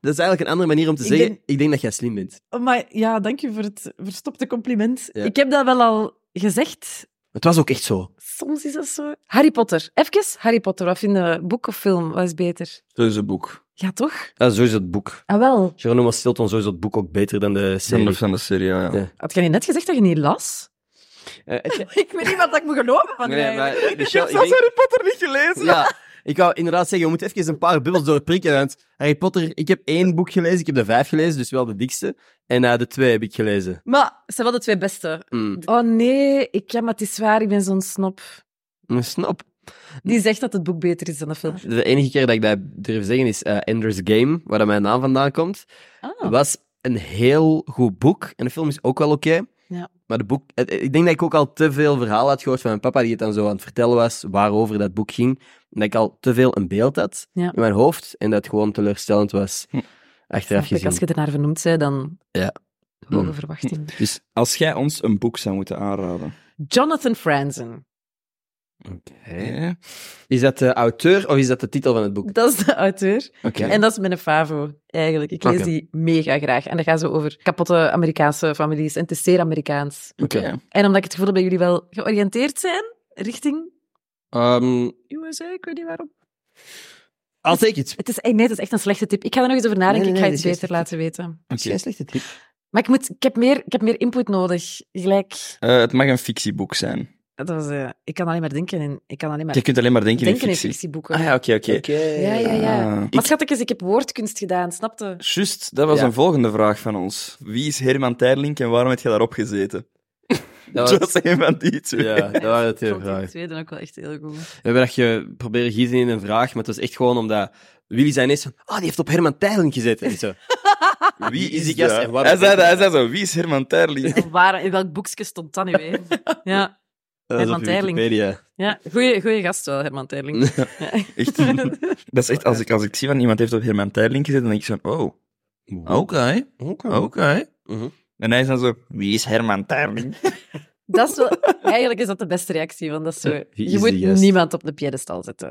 Speaker 1: dat is eigenlijk een andere manier om te
Speaker 4: Ik
Speaker 1: zeggen,
Speaker 4: denk-
Speaker 1: ik denk dat jij slim bent.
Speaker 4: Oh, Maar ja, dank je voor het verstopte compliment.
Speaker 1: Ja.
Speaker 2: Ik heb dat wel al gezegd.
Speaker 1: Het was ook echt zo.
Speaker 2: Soms is dat zo. Harry Potter. Even Harry Potter. Wat vinden we? Boek of film? Wat is beter?
Speaker 3: Dat is een boek.
Speaker 2: Ja, toch?
Speaker 1: Ja, zo is het boek.
Speaker 2: Ah, wel.
Speaker 1: Geronimo Stilton, zo is het boek ook beter dan de
Speaker 3: Van de,
Speaker 1: serie.
Speaker 3: van de serie, ja.
Speaker 1: Ja.
Speaker 3: ja.
Speaker 2: Had jij niet net gezegd dat je niet *laughs* las?
Speaker 4: Ik weet niet wat ik moet geloven van mij.
Speaker 1: Nee,
Speaker 2: *laughs*
Speaker 1: maar Michel, ik
Speaker 3: zelfs
Speaker 1: denk...
Speaker 3: Harry Potter niet gelezen.
Speaker 1: *laughs* Ja, ik wou inderdaad zeggen, je moet even een paar bubbels doorprikken, want Harry Potter, ik heb één boek gelezen, ik heb de vijf gelezen, dus wel de dikste, en eh, de twee heb ik gelezen.
Speaker 4: Maar ze wel de twee beste.
Speaker 1: Mm.
Speaker 2: Oh nee, ik, ja, maar het is waar, ik ben zo'n snop.
Speaker 1: Een snap. Hm.
Speaker 2: Die zegt dat het boek beter is dan de film.
Speaker 1: De enige keer dat ik dat durf zeggen is eh, Ender's Game, waar dat mijn naam vandaan komt.
Speaker 2: Ah.
Speaker 1: was een heel goed boek. En de film is ook wel oké.
Speaker 2: Ja.
Speaker 1: Maar de boek, het- ik denk dat ik ook al te veel verhaal had gehoord van mijn papa, die het dan zo aan het vertellen was waarover dat boek ging. En dat ik al te veel een beeld had
Speaker 2: Ja.
Speaker 1: in mijn hoofd. En dat het gewoon teleurstellend was.
Speaker 3: Hm.
Speaker 1: Achteraf
Speaker 2: Snap ik,
Speaker 1: gezien.
Speaker 2: Als je ernaar vernoemd bent, dan...
Speaker 1: Ja.
Speaker 2: Hoge
Speaker 1: Hm.
Speaker 2: verwachtingen.
Speaker 1: Dus
Speaker 3: Als jij ons een boek zou moeten aanraden.
Speaker 2: *laughs* Jonathan Franzen.
Speaker 1: is dat de auteur of is dat de titel van het boek?
Speaker 2: Dat is de auteur.
Speaker 3: Oké.
Speaker 2: En dat is mijn favo, eigenlijk. Ik lees
Speaker 3: Oké.
Speaker 2: die mega graag. En dat gaat zo over kapotte Amerikaanse families. En het is zeer Amerikaans.
Speaker 1: Oké.
Speaker 2: En omdat ik het gevoel heb dat jullie wel georiënteerd zijn richting
Speaker 1: Ehm,
Speaker 2: USA, ik weet niet waarom.
Speaker 1: I'll take it.
Speaker 2: Het is, nee, dat is echt een slechte tip. Ik ga er nog eens over nadenken.
Speaker 1: Nee, nee,
Speaker 2: ik ga
Speaker 1: nee,
Speaker 2: het
Speaker 1: dit is
Speaker 2: beter
Speaker 1: juist.
Speaker 2: laten weten.
Speaker 1: Dat is geen slechte tip.
Speaker 2: Maar ik, moet, ik, heb meer, ik heb meer input nodig. Gelijk.
Speaker 3: Eh, het mag een fictieboek zijn.
Speaker 2: Dat was, eh, ik kan alleen maar denken in, ik kan alleen maar
Speaker 3: Je kunt alleen maar denken,
Speaker 2: denken
Speaker 3: in
Speaker 2: in
Speaker 3: fictie.
Speaker 2: fictieboeken.
Speaker 3: Ah ja, oké, oké.
Speaker 2: Ja, ja, ja.
Speaker 3: Ah.
Speaker 2: Maar
Speaker 3: Ik-
Speaker 2: schattekes, ik heb woordkunst gedaan, snapte?
Speaker 3: Juist, dat was
Speaker 1: Ja.
Speaker 3: een volgende vraag van ons. Wie is Herman Tijlink en waarom heb je daarop gezeten?
Speaker 1: Dat
Speaker 3: Dat
Speaker 1: was-
Speaker 3: was een van die twee.
Speaker 1: *laughs* Ja, dat waren
Speaker 2: Ik
Speaker 1: twee
Speaker 2: vond die
Speaker 1: vragen.
Speaker 2: twee dan ook wel echt heel goed. *laughs*
Speaker 1: We hebben dat je proberen giezen in een vraag, maar het was echt gewoon omdat Willy zijn is van, ah, die heeft op Herman Tijlink gezeten. En zo. Wie is die gast en waarom-
Speaker 3: Hij zei dat, hij zei zo. Wie is
Speaker 1: *laughs*
Speaker 3: Herman Tijlink?
Speaker 2: Waar, in welk boekje stond *laughs* dat nu weer? Ja,
Speaker 1: Dat is op
Speaker 2: Herman Tijlink.
Speaker 1: Wikipedia.
Speaker 2: ja. Goeie, goeie gast wel, Herman Terling. *laughs* Ja.
Speaker 3: Echt. Dat is echt, als ik, als ik zie van iemand heeft op Herman Tijlink gezet, dan denk ik zo, oh, oké,
Speaker 1: Oké.
Speaker 3: oké.
Speaker 1: Mhm.
Speaker 3: En hij is dan zo, wie is Herman Tijlink?
Speaker 2: Dat is wel, eigenlijk is dat de beste reactie, want dat is zo,
Speaker 1: Wie
Speaker 2: je
Speaker 1: is
Speaker 2: moet
Speaker 1: die gast?
Speaker 2: niemand op de piedestal *laughs* zetten.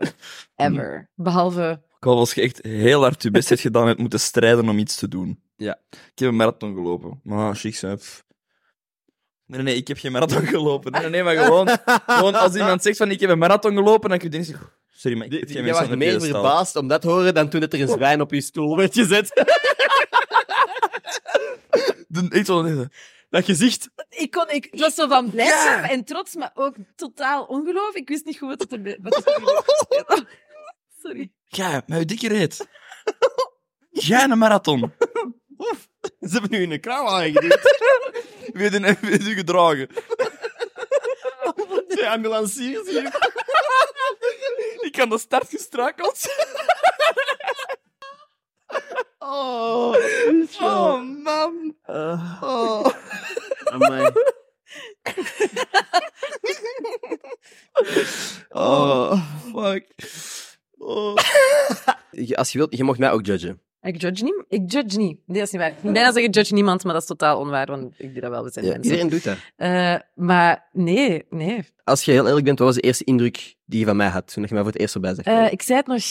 Speaker 2: Ever. Behalve,
Speaker 3: Ik had als je echt heel hard je *laughs* best hebt gedaan hebt moeten strijden om iets te doen.
Speaker 1: Ja.
Speaker 3: Ik heb een marathon gelopen. Maar chic zijn. pff. Nee, nee, nee, ik heb geen marathon *laughs* gelopen. Nee, nee, nee, maar gewoon, gewoon als iemand zegt van ik heb een marathon gelopen, dan kun je denken, sorry, maar ik heb
Speaker 1: Die-
Speaker 3: geen
Speaker 1: Jij was
Speaker 3: mensen
Speaker 1: meer verbaasd om dat te horen dan toen dat er een zwijn op je stoel werd gezet.
Speaker 3: Ik
Speaker 1: Dat gezicht.
Speaker 4: Ik, kon, ik het was zo van blijdschap en trots, maar ook totaal ongeloof. Ik wist niet goed wat het er... Wat het *laughs* er- Sorry.
Speaker 3: Ja, met je dikke reet. Jij een marathon.
Speaker 1: Oef, ze hebben nu in een kraan
Speaker 3: *laughs*
Speaker 1: aangeduwd.
Speaker 3: Weet je, weet je *laughs* gedragen.
Speaker 1: Twee ambulanciers
Speaker 3: *laughs*
Speaker 1: hier.
Speaker 3: Ik kan de start gestrakeld *laughs* zijn.
Speaker 1: Oh,
Speaker 3: Oh, man. Oh.
Speaker 1: *laughs* Amai.
Speaker 3: Oh, fuck. Oh.
Speaker 1: Je- Als je wilt, je mag mij ook judgen.
Speaker 2: ik judge niet. Ik judge niet. Nee, dat is niet waar. Ik wil bijna zeggen judge niemand, maar dat is totaal onwaar, want ik doe dat wel. We zijn
Speaker 1: Ja,
Speaker 2: mensen.
Speaker 1: Iedereen doet dat.
Speaker 2: Eh, maar nee, nee.
Speaker 1: Als je heel eerlijk bent, wat was de eerste indruk die je van mij had toen je mij voor het eerst erbij zag?
Speaker 2: Eh, ik zei het nog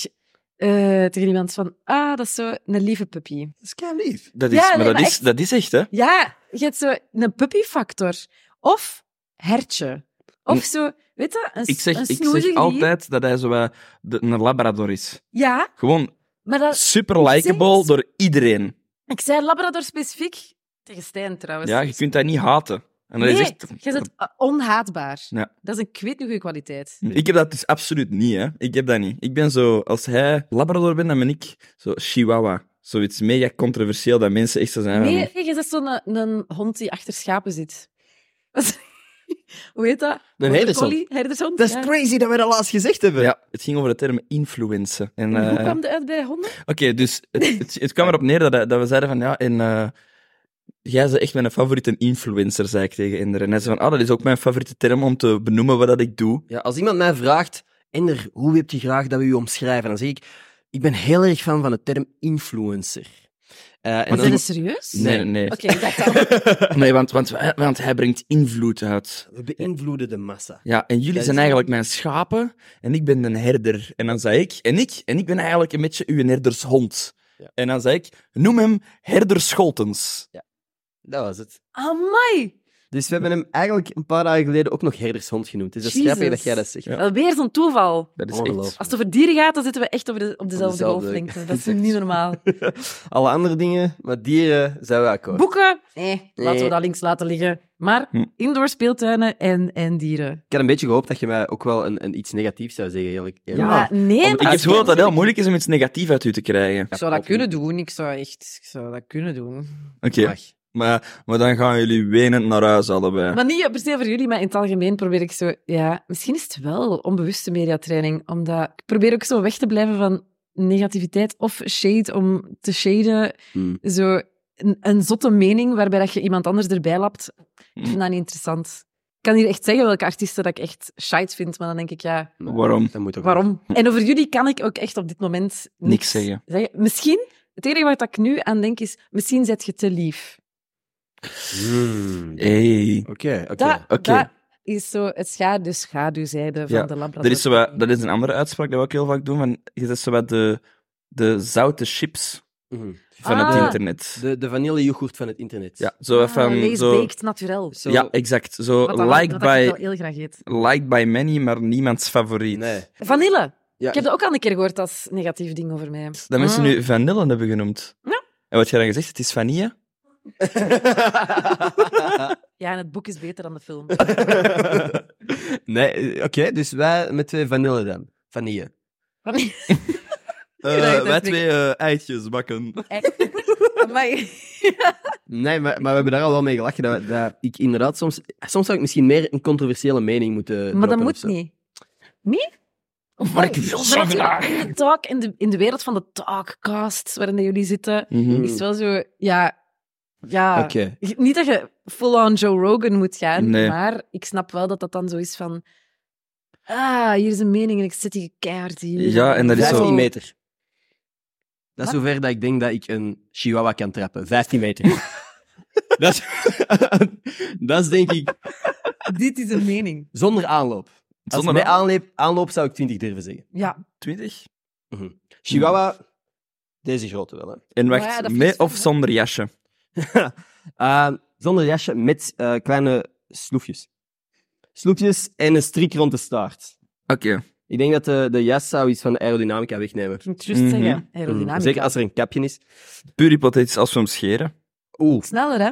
Speaker 2: eh, tegen iemand van, ah, dat is zo een lieve puppy.
Speaker 1: is kei lief.
Speaker 3: Dat
Speaker 2: Ja,
Speaker 3: is,
Speaker 2: nee,
Speaker 3: maar dat,
Speaker 2: maar
Speaker 3: is,
Speaker 2: echt.
Speaker 3: dat is echt, hè?
Speaker 2: Ja, je hebt zo een puppyfactor. Of hertje. Of zo, weet je, een, s-
Speaker 3: Hm. Ik zeg,
Speaker 2: een
Speaker 3: ik
Speaker 2: snoezig
Speaker 3: zeg
Speaker 2: dier.
Speaker 3: altijd dat hij zo wat de, een labrador is.
Speaker 2: Ja,
Speaker 3: Gewoon
Speaker 2: maar dat,
Speaker 3: super likable
Speaker 2: Precies.
Speaker 3: door iedereen.
Speaker 2: ik zei labrador specifiek. Tegen Stijn trouwens.
Speaker 3: Ja, je kunt dat niet haten. En dat is
Speaker 2: Oh, Nee,
Speaker 3: echt...
Speaker 2: jij bent eh, onhaatbaar.
Speaker 3: Ja.
Speaker 2: Dat is een ik weet niet goede kwaliteit.
Speaker 3: Ik heb dat dus absoluut niet, hè. Ik heb dat niet. Ik ben zo... Als hij Labrador ben, dan ben ik zo Chihuahua. Zoiets mega controversieel dat mensen echt zo zijn van-
Speaker 2: Nee, nee, jij bent zo'n eh, een, hond die achter schapen zit. Dat is- *laughs* Hoe heet dat?
Speaker 1: Een herdershond.
Speaker 2: Collie, herdershond,
Speaker 1: Dat is
Speaker 2: ja.
Speaker 1: crazy dat we dat laatst gezegd hebben.
Speaker 3: Ja, het ging over de term influencer. En,
Speaker 2: En Hoe
Speaker 3: eh,
Speaker 2: kwam dat uit bij honden?
Speaker 3: Oké,
Speaker 1: *laughs*
Speaker 3: dus het, het, het kwam erop neer dat, dat we zeiden van ja, en eh, jij bent echt mijn favoriete influencer, zei ik tegen Ender. En hij zei van, ah, dat is ook mijn favoriete term om te benoemen wat dat ik doe.
Speaker 1: Ja, als iemand mij vraagt, Ender, hoe wipt je graag dat we u omschrijven? Dan zeg ik, ik ben heel erg fan van de term influencer. Eh, en
Speaker 3: Want
Speaker 1: dan,
Speaker 2: Zijn
Speaker 3: die-
Speaker 2: dat serieus?
Speaker 3: Nee, nee. nee.
Speaker 2: Oké, ik dacht al.
Speaker 3: *laughs*
Speaker 2: *laughs*
Speaker 3: Nee, want, want, want hij brengt invloed uit.
Speaker 1: we beïnvloeden de massa.
Speaker 3: Ja, en jullie
Speaker 1: Dat is-
Speaker 3: zijn eigenlijk mijn schapen en ik ben een herder. En dan zei ik, en ik, en ik ben eigenlijk een beetje uw herdershond.
Speaker 1: Ja.
Speaker 3: En dan zei ik, noem hem herder Scholtens.
Speaker 1: Dat was het.
Speaker 2: Amai!
Speaker 1: Dus we hebben hem eigenlijk een paar dagen geleden ook nog herdershond genoemd. Dus dat is
Speaker 2: Jezus.
Speaker 1: grappig dat jij dat zegt.
Speaker 3: Ja.
Speaker 2: Dat is Weer zo'n toeval.
Speaker 3: Dat is
Speaker 1: Ongelooflijk.
Speaker 3: echt...
Speaker 2: Als het over dieren gaat, dan zitten we echt op, de, op dezelfde
Speaker 1: dezelfde-
Speaker 3: *laughs*
Speaker 2: golflengte. Dat is niet normaal.
Speaker 1: *laughs* Alle andere dingen, maar dieren zijn we akkoord.
Speaker 2: Boeken? Nee, laten
Speaker 1: Nee.
Speaker 2: we dat links laten liggen. Maar
Speaker 3: Hm.
Speaker 2: indoor speeltuinen en, en dieren.
Speaker 1: Ik had een beetje gehoopt dat je mij ook wel een, een iets negatiefs zou zeggen, eerlijk. eerlijk.
Speaker 2: Maar nee,
Speaker 1: Om-
Speaker 3: Ik heb
Speaker 2: maar-
Speaker 3: gehoord dat het heel moeilijk is om iets negatiefs uit u te krijgen.
Speaker 2: Ik zou dat kunnen doen. Ik zou echt ik zou dat kunnen doen.
Speaker 3: Oké,
Speaker 1: Mag.
Speaker 3: maar, maar dan gaan jullie wenend naar huis allebei.
Speaker 2: Maar niet per se voor jullie, maar in het algemeen probeer ik zo... Ja, misschien is het wel onbewuste mediatraining, omdat ik probeer ook zo weg te blijven van negativiteit of shade, om te shaden.
Speaker 1: Hmm.
Speaker 2: Zo een, een zotte mening waarbij dat je iemand anders erbij lapt. Ik
Speaker 3: Hmm.
Speaker 2: vind dat niet interessant. Ik kan hier echt zeggen welke artiesten dat ik echt shite vind, maar dan denk ik, ja,
Speaker 1: Nee,
Speaker 3: Waarom?
Speaker 1: Dat moet ook
Speaker 2: Waarom? En over jullie kan ik ook echt op dit moment niks,
Speaker 3: Niks zeggen.
Speaker 2: Misschien, het enige waar ik nu aan denk is, misschien zet je te lief.
Speaker 1: Hmm.
Speaker 3: Hey.
Speaker 1: Oké, oké.
Speaker 2: Dat,
Speaker 3: oké.
Speaker 2: dat is zo het scha de schaduwzijde van
Speaker 3: Ja,
Speaker 2: de labrador.
Speaker 3: Dat is, zowat, dat is een andere uitspraak die we ook heel vaak doen. Van, je zegt zowat de, de zoute chips
Speaker 1: Mhm.
Speaker 3: van
Speaker 2: Ah.
Speaker 3: het internet.
Speaker 1: De, de vanillejoghurt van het internet.
Speaker 3: Ja, zo wat
Speaker 2: Ah,
Speaker 3: van...
Speaker 2: lees
Speaker 3: Zo,
Speaker 2: baked naturel.
Speaker 1: Zo-
Speaker 3: ja, exact. Zo
Speaker 2: Wat dan-
Speaker 3: liked
Speaker 2: wat dat ik wel
Speaker 3: by,
Speaker 2: heel graag eet.
Speaker 3: liked by many, maar niemands favoriet.
Speaker 1: Nee.
Speaker 2: Vanille.
Speaker 1: Ja,
Speaker 2: Ik heb dat ook al een keer gehoord als negatief ding over mij.
Speaker 3: Dat mensen
Speaker 2: Mm.
Speaker 3: nu vanille hebben genoemd.
Speaker 2: Ja.
Speaker 3: En wat jij dan gezegd? Het is
Speaker 2: *laughs*
Speaker 3: vanille?
Speaker 2: Ja, en het boek is beter dan de
Speaker 1: *laughs*
Speaker 2: film. *laughs*
Speaker 1: nee, eh, oké, dus wij met twee vanille dan. Vanille.
Speaker 3: *laughs*
Speaker 2: Vanille.
Speaker 3: Eh,
Speaker 2: dacht dat
Speaker 3: wij
Speaker 2: ik-
Speaker 3: twee eh, eitjes bakken.
Speaker 2: Amai.
Speaker 1: Nee, maar, maar we hebben daar al wel mee gelachen. Dat, dat ik inderdaad soms... Soms zou ik misschien meer een controversiële mening moeten
Speaker 3: eh,
Speaker 2: Maar
Speaker 1: droppen
Speaker 2: dat
Speaker 1: of
Speaker 2: moet
Speaker 1: zo.
Speaker 2: niet. Nee? Of
Speaker 3: Maar ik wil zo graag.
Speaker 2: In de, talk, in, de, in de wereld van de talkcasts waarin jullie zitten, *laughs*
Speaker 3: Mhm.
Speaker 2: is wel zo... Ja, ja
Speaker 1: Oké.
Speaker 2: je- niet dat je full-on Joe Rogan moet gaan,
Speaker 3: Nee.
Speaker 2: maar ik snap wel dat dat dan zo is van... Ah, hier is een mening en ik zit hier keihard hier.
Speaker 3: Ja, en dat is zo-
Speaker 1: 15
Speaker 3: 15
Speaker 1: meter. Dat is
Speaker 2: Wat?
Speaker 1: zover dat ik denk dat ik een chihuahua kan trappen. 15
Speaker 2: *laughs*
Speaker 1: meter. dat, is, *laughs* dat is denk ik
Speaker 2: Dit is een mening.
Speaker 1: zonder aanloop. Als
Speaker 3: Zonder
Speaker 1: Zonder bij aanloop, aanloop zou ik 20 durven zeggen.
Speaker 2: Ja.
Speaker 3: 20?
Speaker 1: Chihuahua, deze grote wel. Hè.
Speaker 3: En
Speaker 2: Maar
Speaker 3: wacht,
Speaker 2: ja, dat
Speaker 3: met
Speaker 2: vind ik
Speaker 3: of
Speaker 2: wel-
Speaker 3: zonder jasje?
Speaker 1: *laughs* Eh, zonder jasje met eh, kleine sloefjes. Sloefjes en een strik rond de staart.
Speaker 3: Oké.
Speaker 1: Ik denk dat de, de jas zou iets van de aerodynamica wegnemen. Mm,
Speaker 2: Ik moet juist
Speaker 3: Mhm.
Speaker 2: zeggen, aerodynamica.
Speaker 1: Zeker als er een kapje is.
Speaker 3: Puur hypothetisch als we hem scheren.
Speaker 1: Oeh.
Speaker 2: Sneller, hè?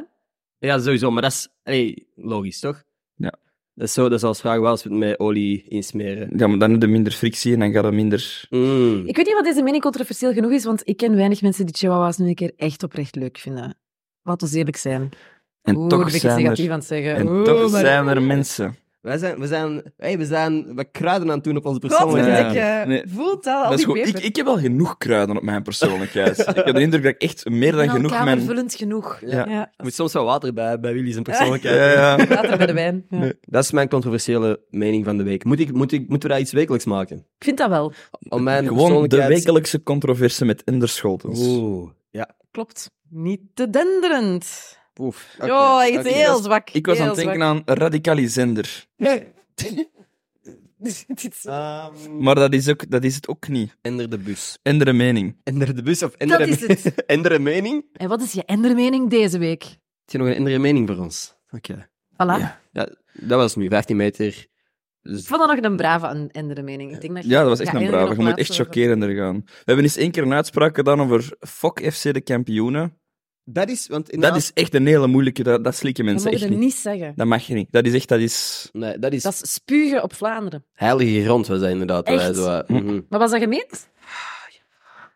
Speaker 1: Ja, sowieso, maar dat is allee, logisch, toch?
Speaker 3: Ja.
Speaker 1: Dat is, zo, dat is als vragen wel als we het met olie insmeren.
Speaker 3: Ja, maar dan heb je minder frictie en dan gaat het minder...
Speaker 1: Mm.
Speaker 2: Ik weet niet wat deze mening controversieel genoeg is, want ik ken weinig mensen die chihuahuas nu een keer echt oprecht leuk vinden. Laten we eerlijk zijn.
Speaker 3: En
Speaker 2: Oeh,
Speaker 3: toch
Speaker 2: ben ik iets
Speaker 3: zijn
Speaker 2: negatief
Speaker 3: er...
Speaker 2: aan het zeggen.
Speaker 3: En
Speaker 2: Oeh,
Speaker 3: toch
Speaker 2: maar-
Speaker 3: zijn er mensen.
Speaker 1: Wij zijn, we zijn, hey, we zijn we kruiden aan het doen op onze persoonlijkheid.
Speaker 2: Godverdikke.
Speaker 3: Ja. Nee.
Speaker 2: Voelt al, al
Speaker 3: eh, Dat
Speaker 2: die
Speaker 3: is goed. Ik,
Speaker 2: peper.
Speaker 3: ik heb al genoeg kruiden op mijn persoonlijkheid. ik heb de indruk dat ik echt meer dan
Speaker 2: Nou,
Speaker 3: genoeg mijn...
Speaker 2: kamervullend genoeg.
Speaker 3: Ja.
Speaker 2: Ja.
Speaker 1: Er moet soms wel water bij, bij Willy zijn
Speaker 3: Ja,
Speaker 1: persoonlijkheid.
Speaker 3: *laughs* ja. ja.
Speaker 2: Later bij de
Speaker 3: *laughs*
Speaker 2: wijn. Ja.
Speaker 1: Dat is mijn controversiële mening van de week. Moet ik, moet ik, moeten we daar iets wekelijks maken?
Speaker 2: Ik vind dat wel.
Speaker 1: Om mijn
Speaker 3: Gewoon de
Speaker 1: persoonlijkheid-
Speaker 3: wekelijkse controverse met Ender Scholtens.
Speaker 1: Oeh, ja.
Speaker 2: Klopt. Niet te denderend.
Speaker 1: Oef.
Speaker 2: Ja,
Speaker 1: Oké,
Speaker 2: iets
Speaker 1: oké.
Speaker 2: heel zwak.
Speaker 3: Ik was aan
Speaker 2: heel
Speaker 3: het denken aan radicalisender.
Speaker 2: zwak. *laughs* Dit
Speaker 1: *laughs*
Speaker 2: is-
Speaker 1: Ehm,
Speaker 3: Maar dat is, ook, dat is het ook niet.
Speaker 1: Ender de bus.
Speaker 3: Ender de mening.
Speaker 1: Ender de bus of
Speaker 2: Dat
Speaker 1: ender,
Speaker 2: is
Speaker 1: *laughs*
Speaker 2: het.
Speaker 1: ender de mening? Heb
Speaker 2: En wat is je endermening deze week?
Speaker 1: je nog een andere mening voor ons? Oké.
Speaker 2: Voilà.
Speaker 3: Ja.
Speaker 1: Dat was nu 15 meter. Dus
Speaker 2: Ik vond dat nog een brave endermening. Ik denk dat je-
Speaker 3: Ja, dat was echt een
Speaker 2: eender
Speaker 3: brave.
Speaker 2: op
Speaker 3: Je moet
Speaker 2: plaats
Speaker 3: echt
Speaker 2: over-
Speaker 3: chockerender gaan. We hebben eens één keer een uitspraak gedaan over fuck FC de kampioenen.
Speaker 1: Dat is, want
Speaker 3: Dat is echt een hele moeilijke, dat, dat slikken
Speaker 2: Dat
Speaker 3: mensen
Speaker 2: mogen
Speaker 3: echt
Speaker 2: we
Speaker 3: niet.
Speaker 2: niet zeggen.
Speaker 3: Dat mag je niet. Dat is echt, dat is...
Speaker 1: Nee, dat is
Speaker 2: Dat is spugen op Vlaanderen.
Speaker 1: heilige grond, was dat inderdaad. waar
Speaker 2: Echt?
Speaker 1: wij zo, eh,
Speaker 3: Mm.
Speaker 1: mhm.
Speaker 2: Maar was dat gemeend?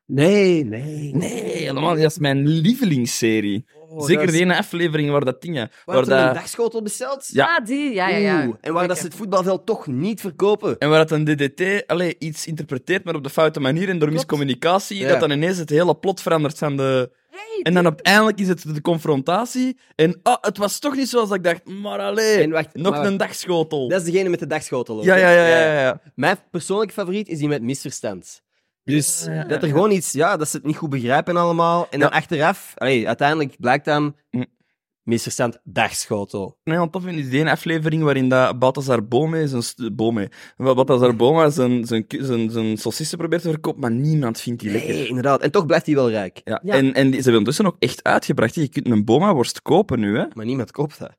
Speaker 1: Nee, nee,
Speaker 3: Nee, helemaal niet. Dat is mijn lievelingsserie. Zeker die ene aflevering waar dat ding... Waar
Speaker 1: Oh, Waar dat... een
Speaker 3: dat,
Speaker 1: dagschotel besteld?
Speaker 3: Ja.
Speaker 2: Ah, die. Ja, ja, ja.
Speaker 1: Oeh, en waar dat ze het voetbalveld toch niet verkopen.
Speaker 3: en waar dat een DDT allee, iets interpreteert, maar op de foute manier en door
Speaker 1: Klopt.
Speaker 3: miscommunicatie,
Speaker 1: Ja.
Speaker 3: dat dan ineens het hele plot verandert van de... En dan uiteindelijk is het de confrontatie. En ah, het was toch niet zoals ik dacht. Maar allee,
Speaker 1: En wacht,
Speaker 3: nog
Speaker 1: maar-
Speaker 3: een dagschotel.
Speaker 1: Dat is degene met de dagschotel. ook,
Speaker 3: Ja,
Speaker 1: hè?
Speaker 3: ja, ja, ja, ja.
Speaker 1: Mijn persoonlijke favoriet is die met misverstand. Dus dat er gewoon iets, ja, dat ze het niet goed begrijpen allemaal. En dan achteraf, allee, uiteindelijk blijkt dan
Speaker 3: Hm.
Speaker 1: misverstand dagschotel.
Speaker 3: Een heel tof vind is die ene aflevering waarin dat Balthazar Bome zijn, st- Bome, Wel, Balthazar Boma zijn, zijn, ku- zijn, zijn saucissen probeert te verkopen, maar niemand vindt die lekker.
Speaker 1: Nee, inderdaad. En toch blijft hij wel rijk.
Speaker 3: Ja.
Speaker 2: Ja.
Speaker 3: En, en die, ze hebben ondertussen ook echt uitgebracht. hè. Je kunt een Boma-worst kopen nu, hè?
Speaker 1: Maar niemand koopt dat.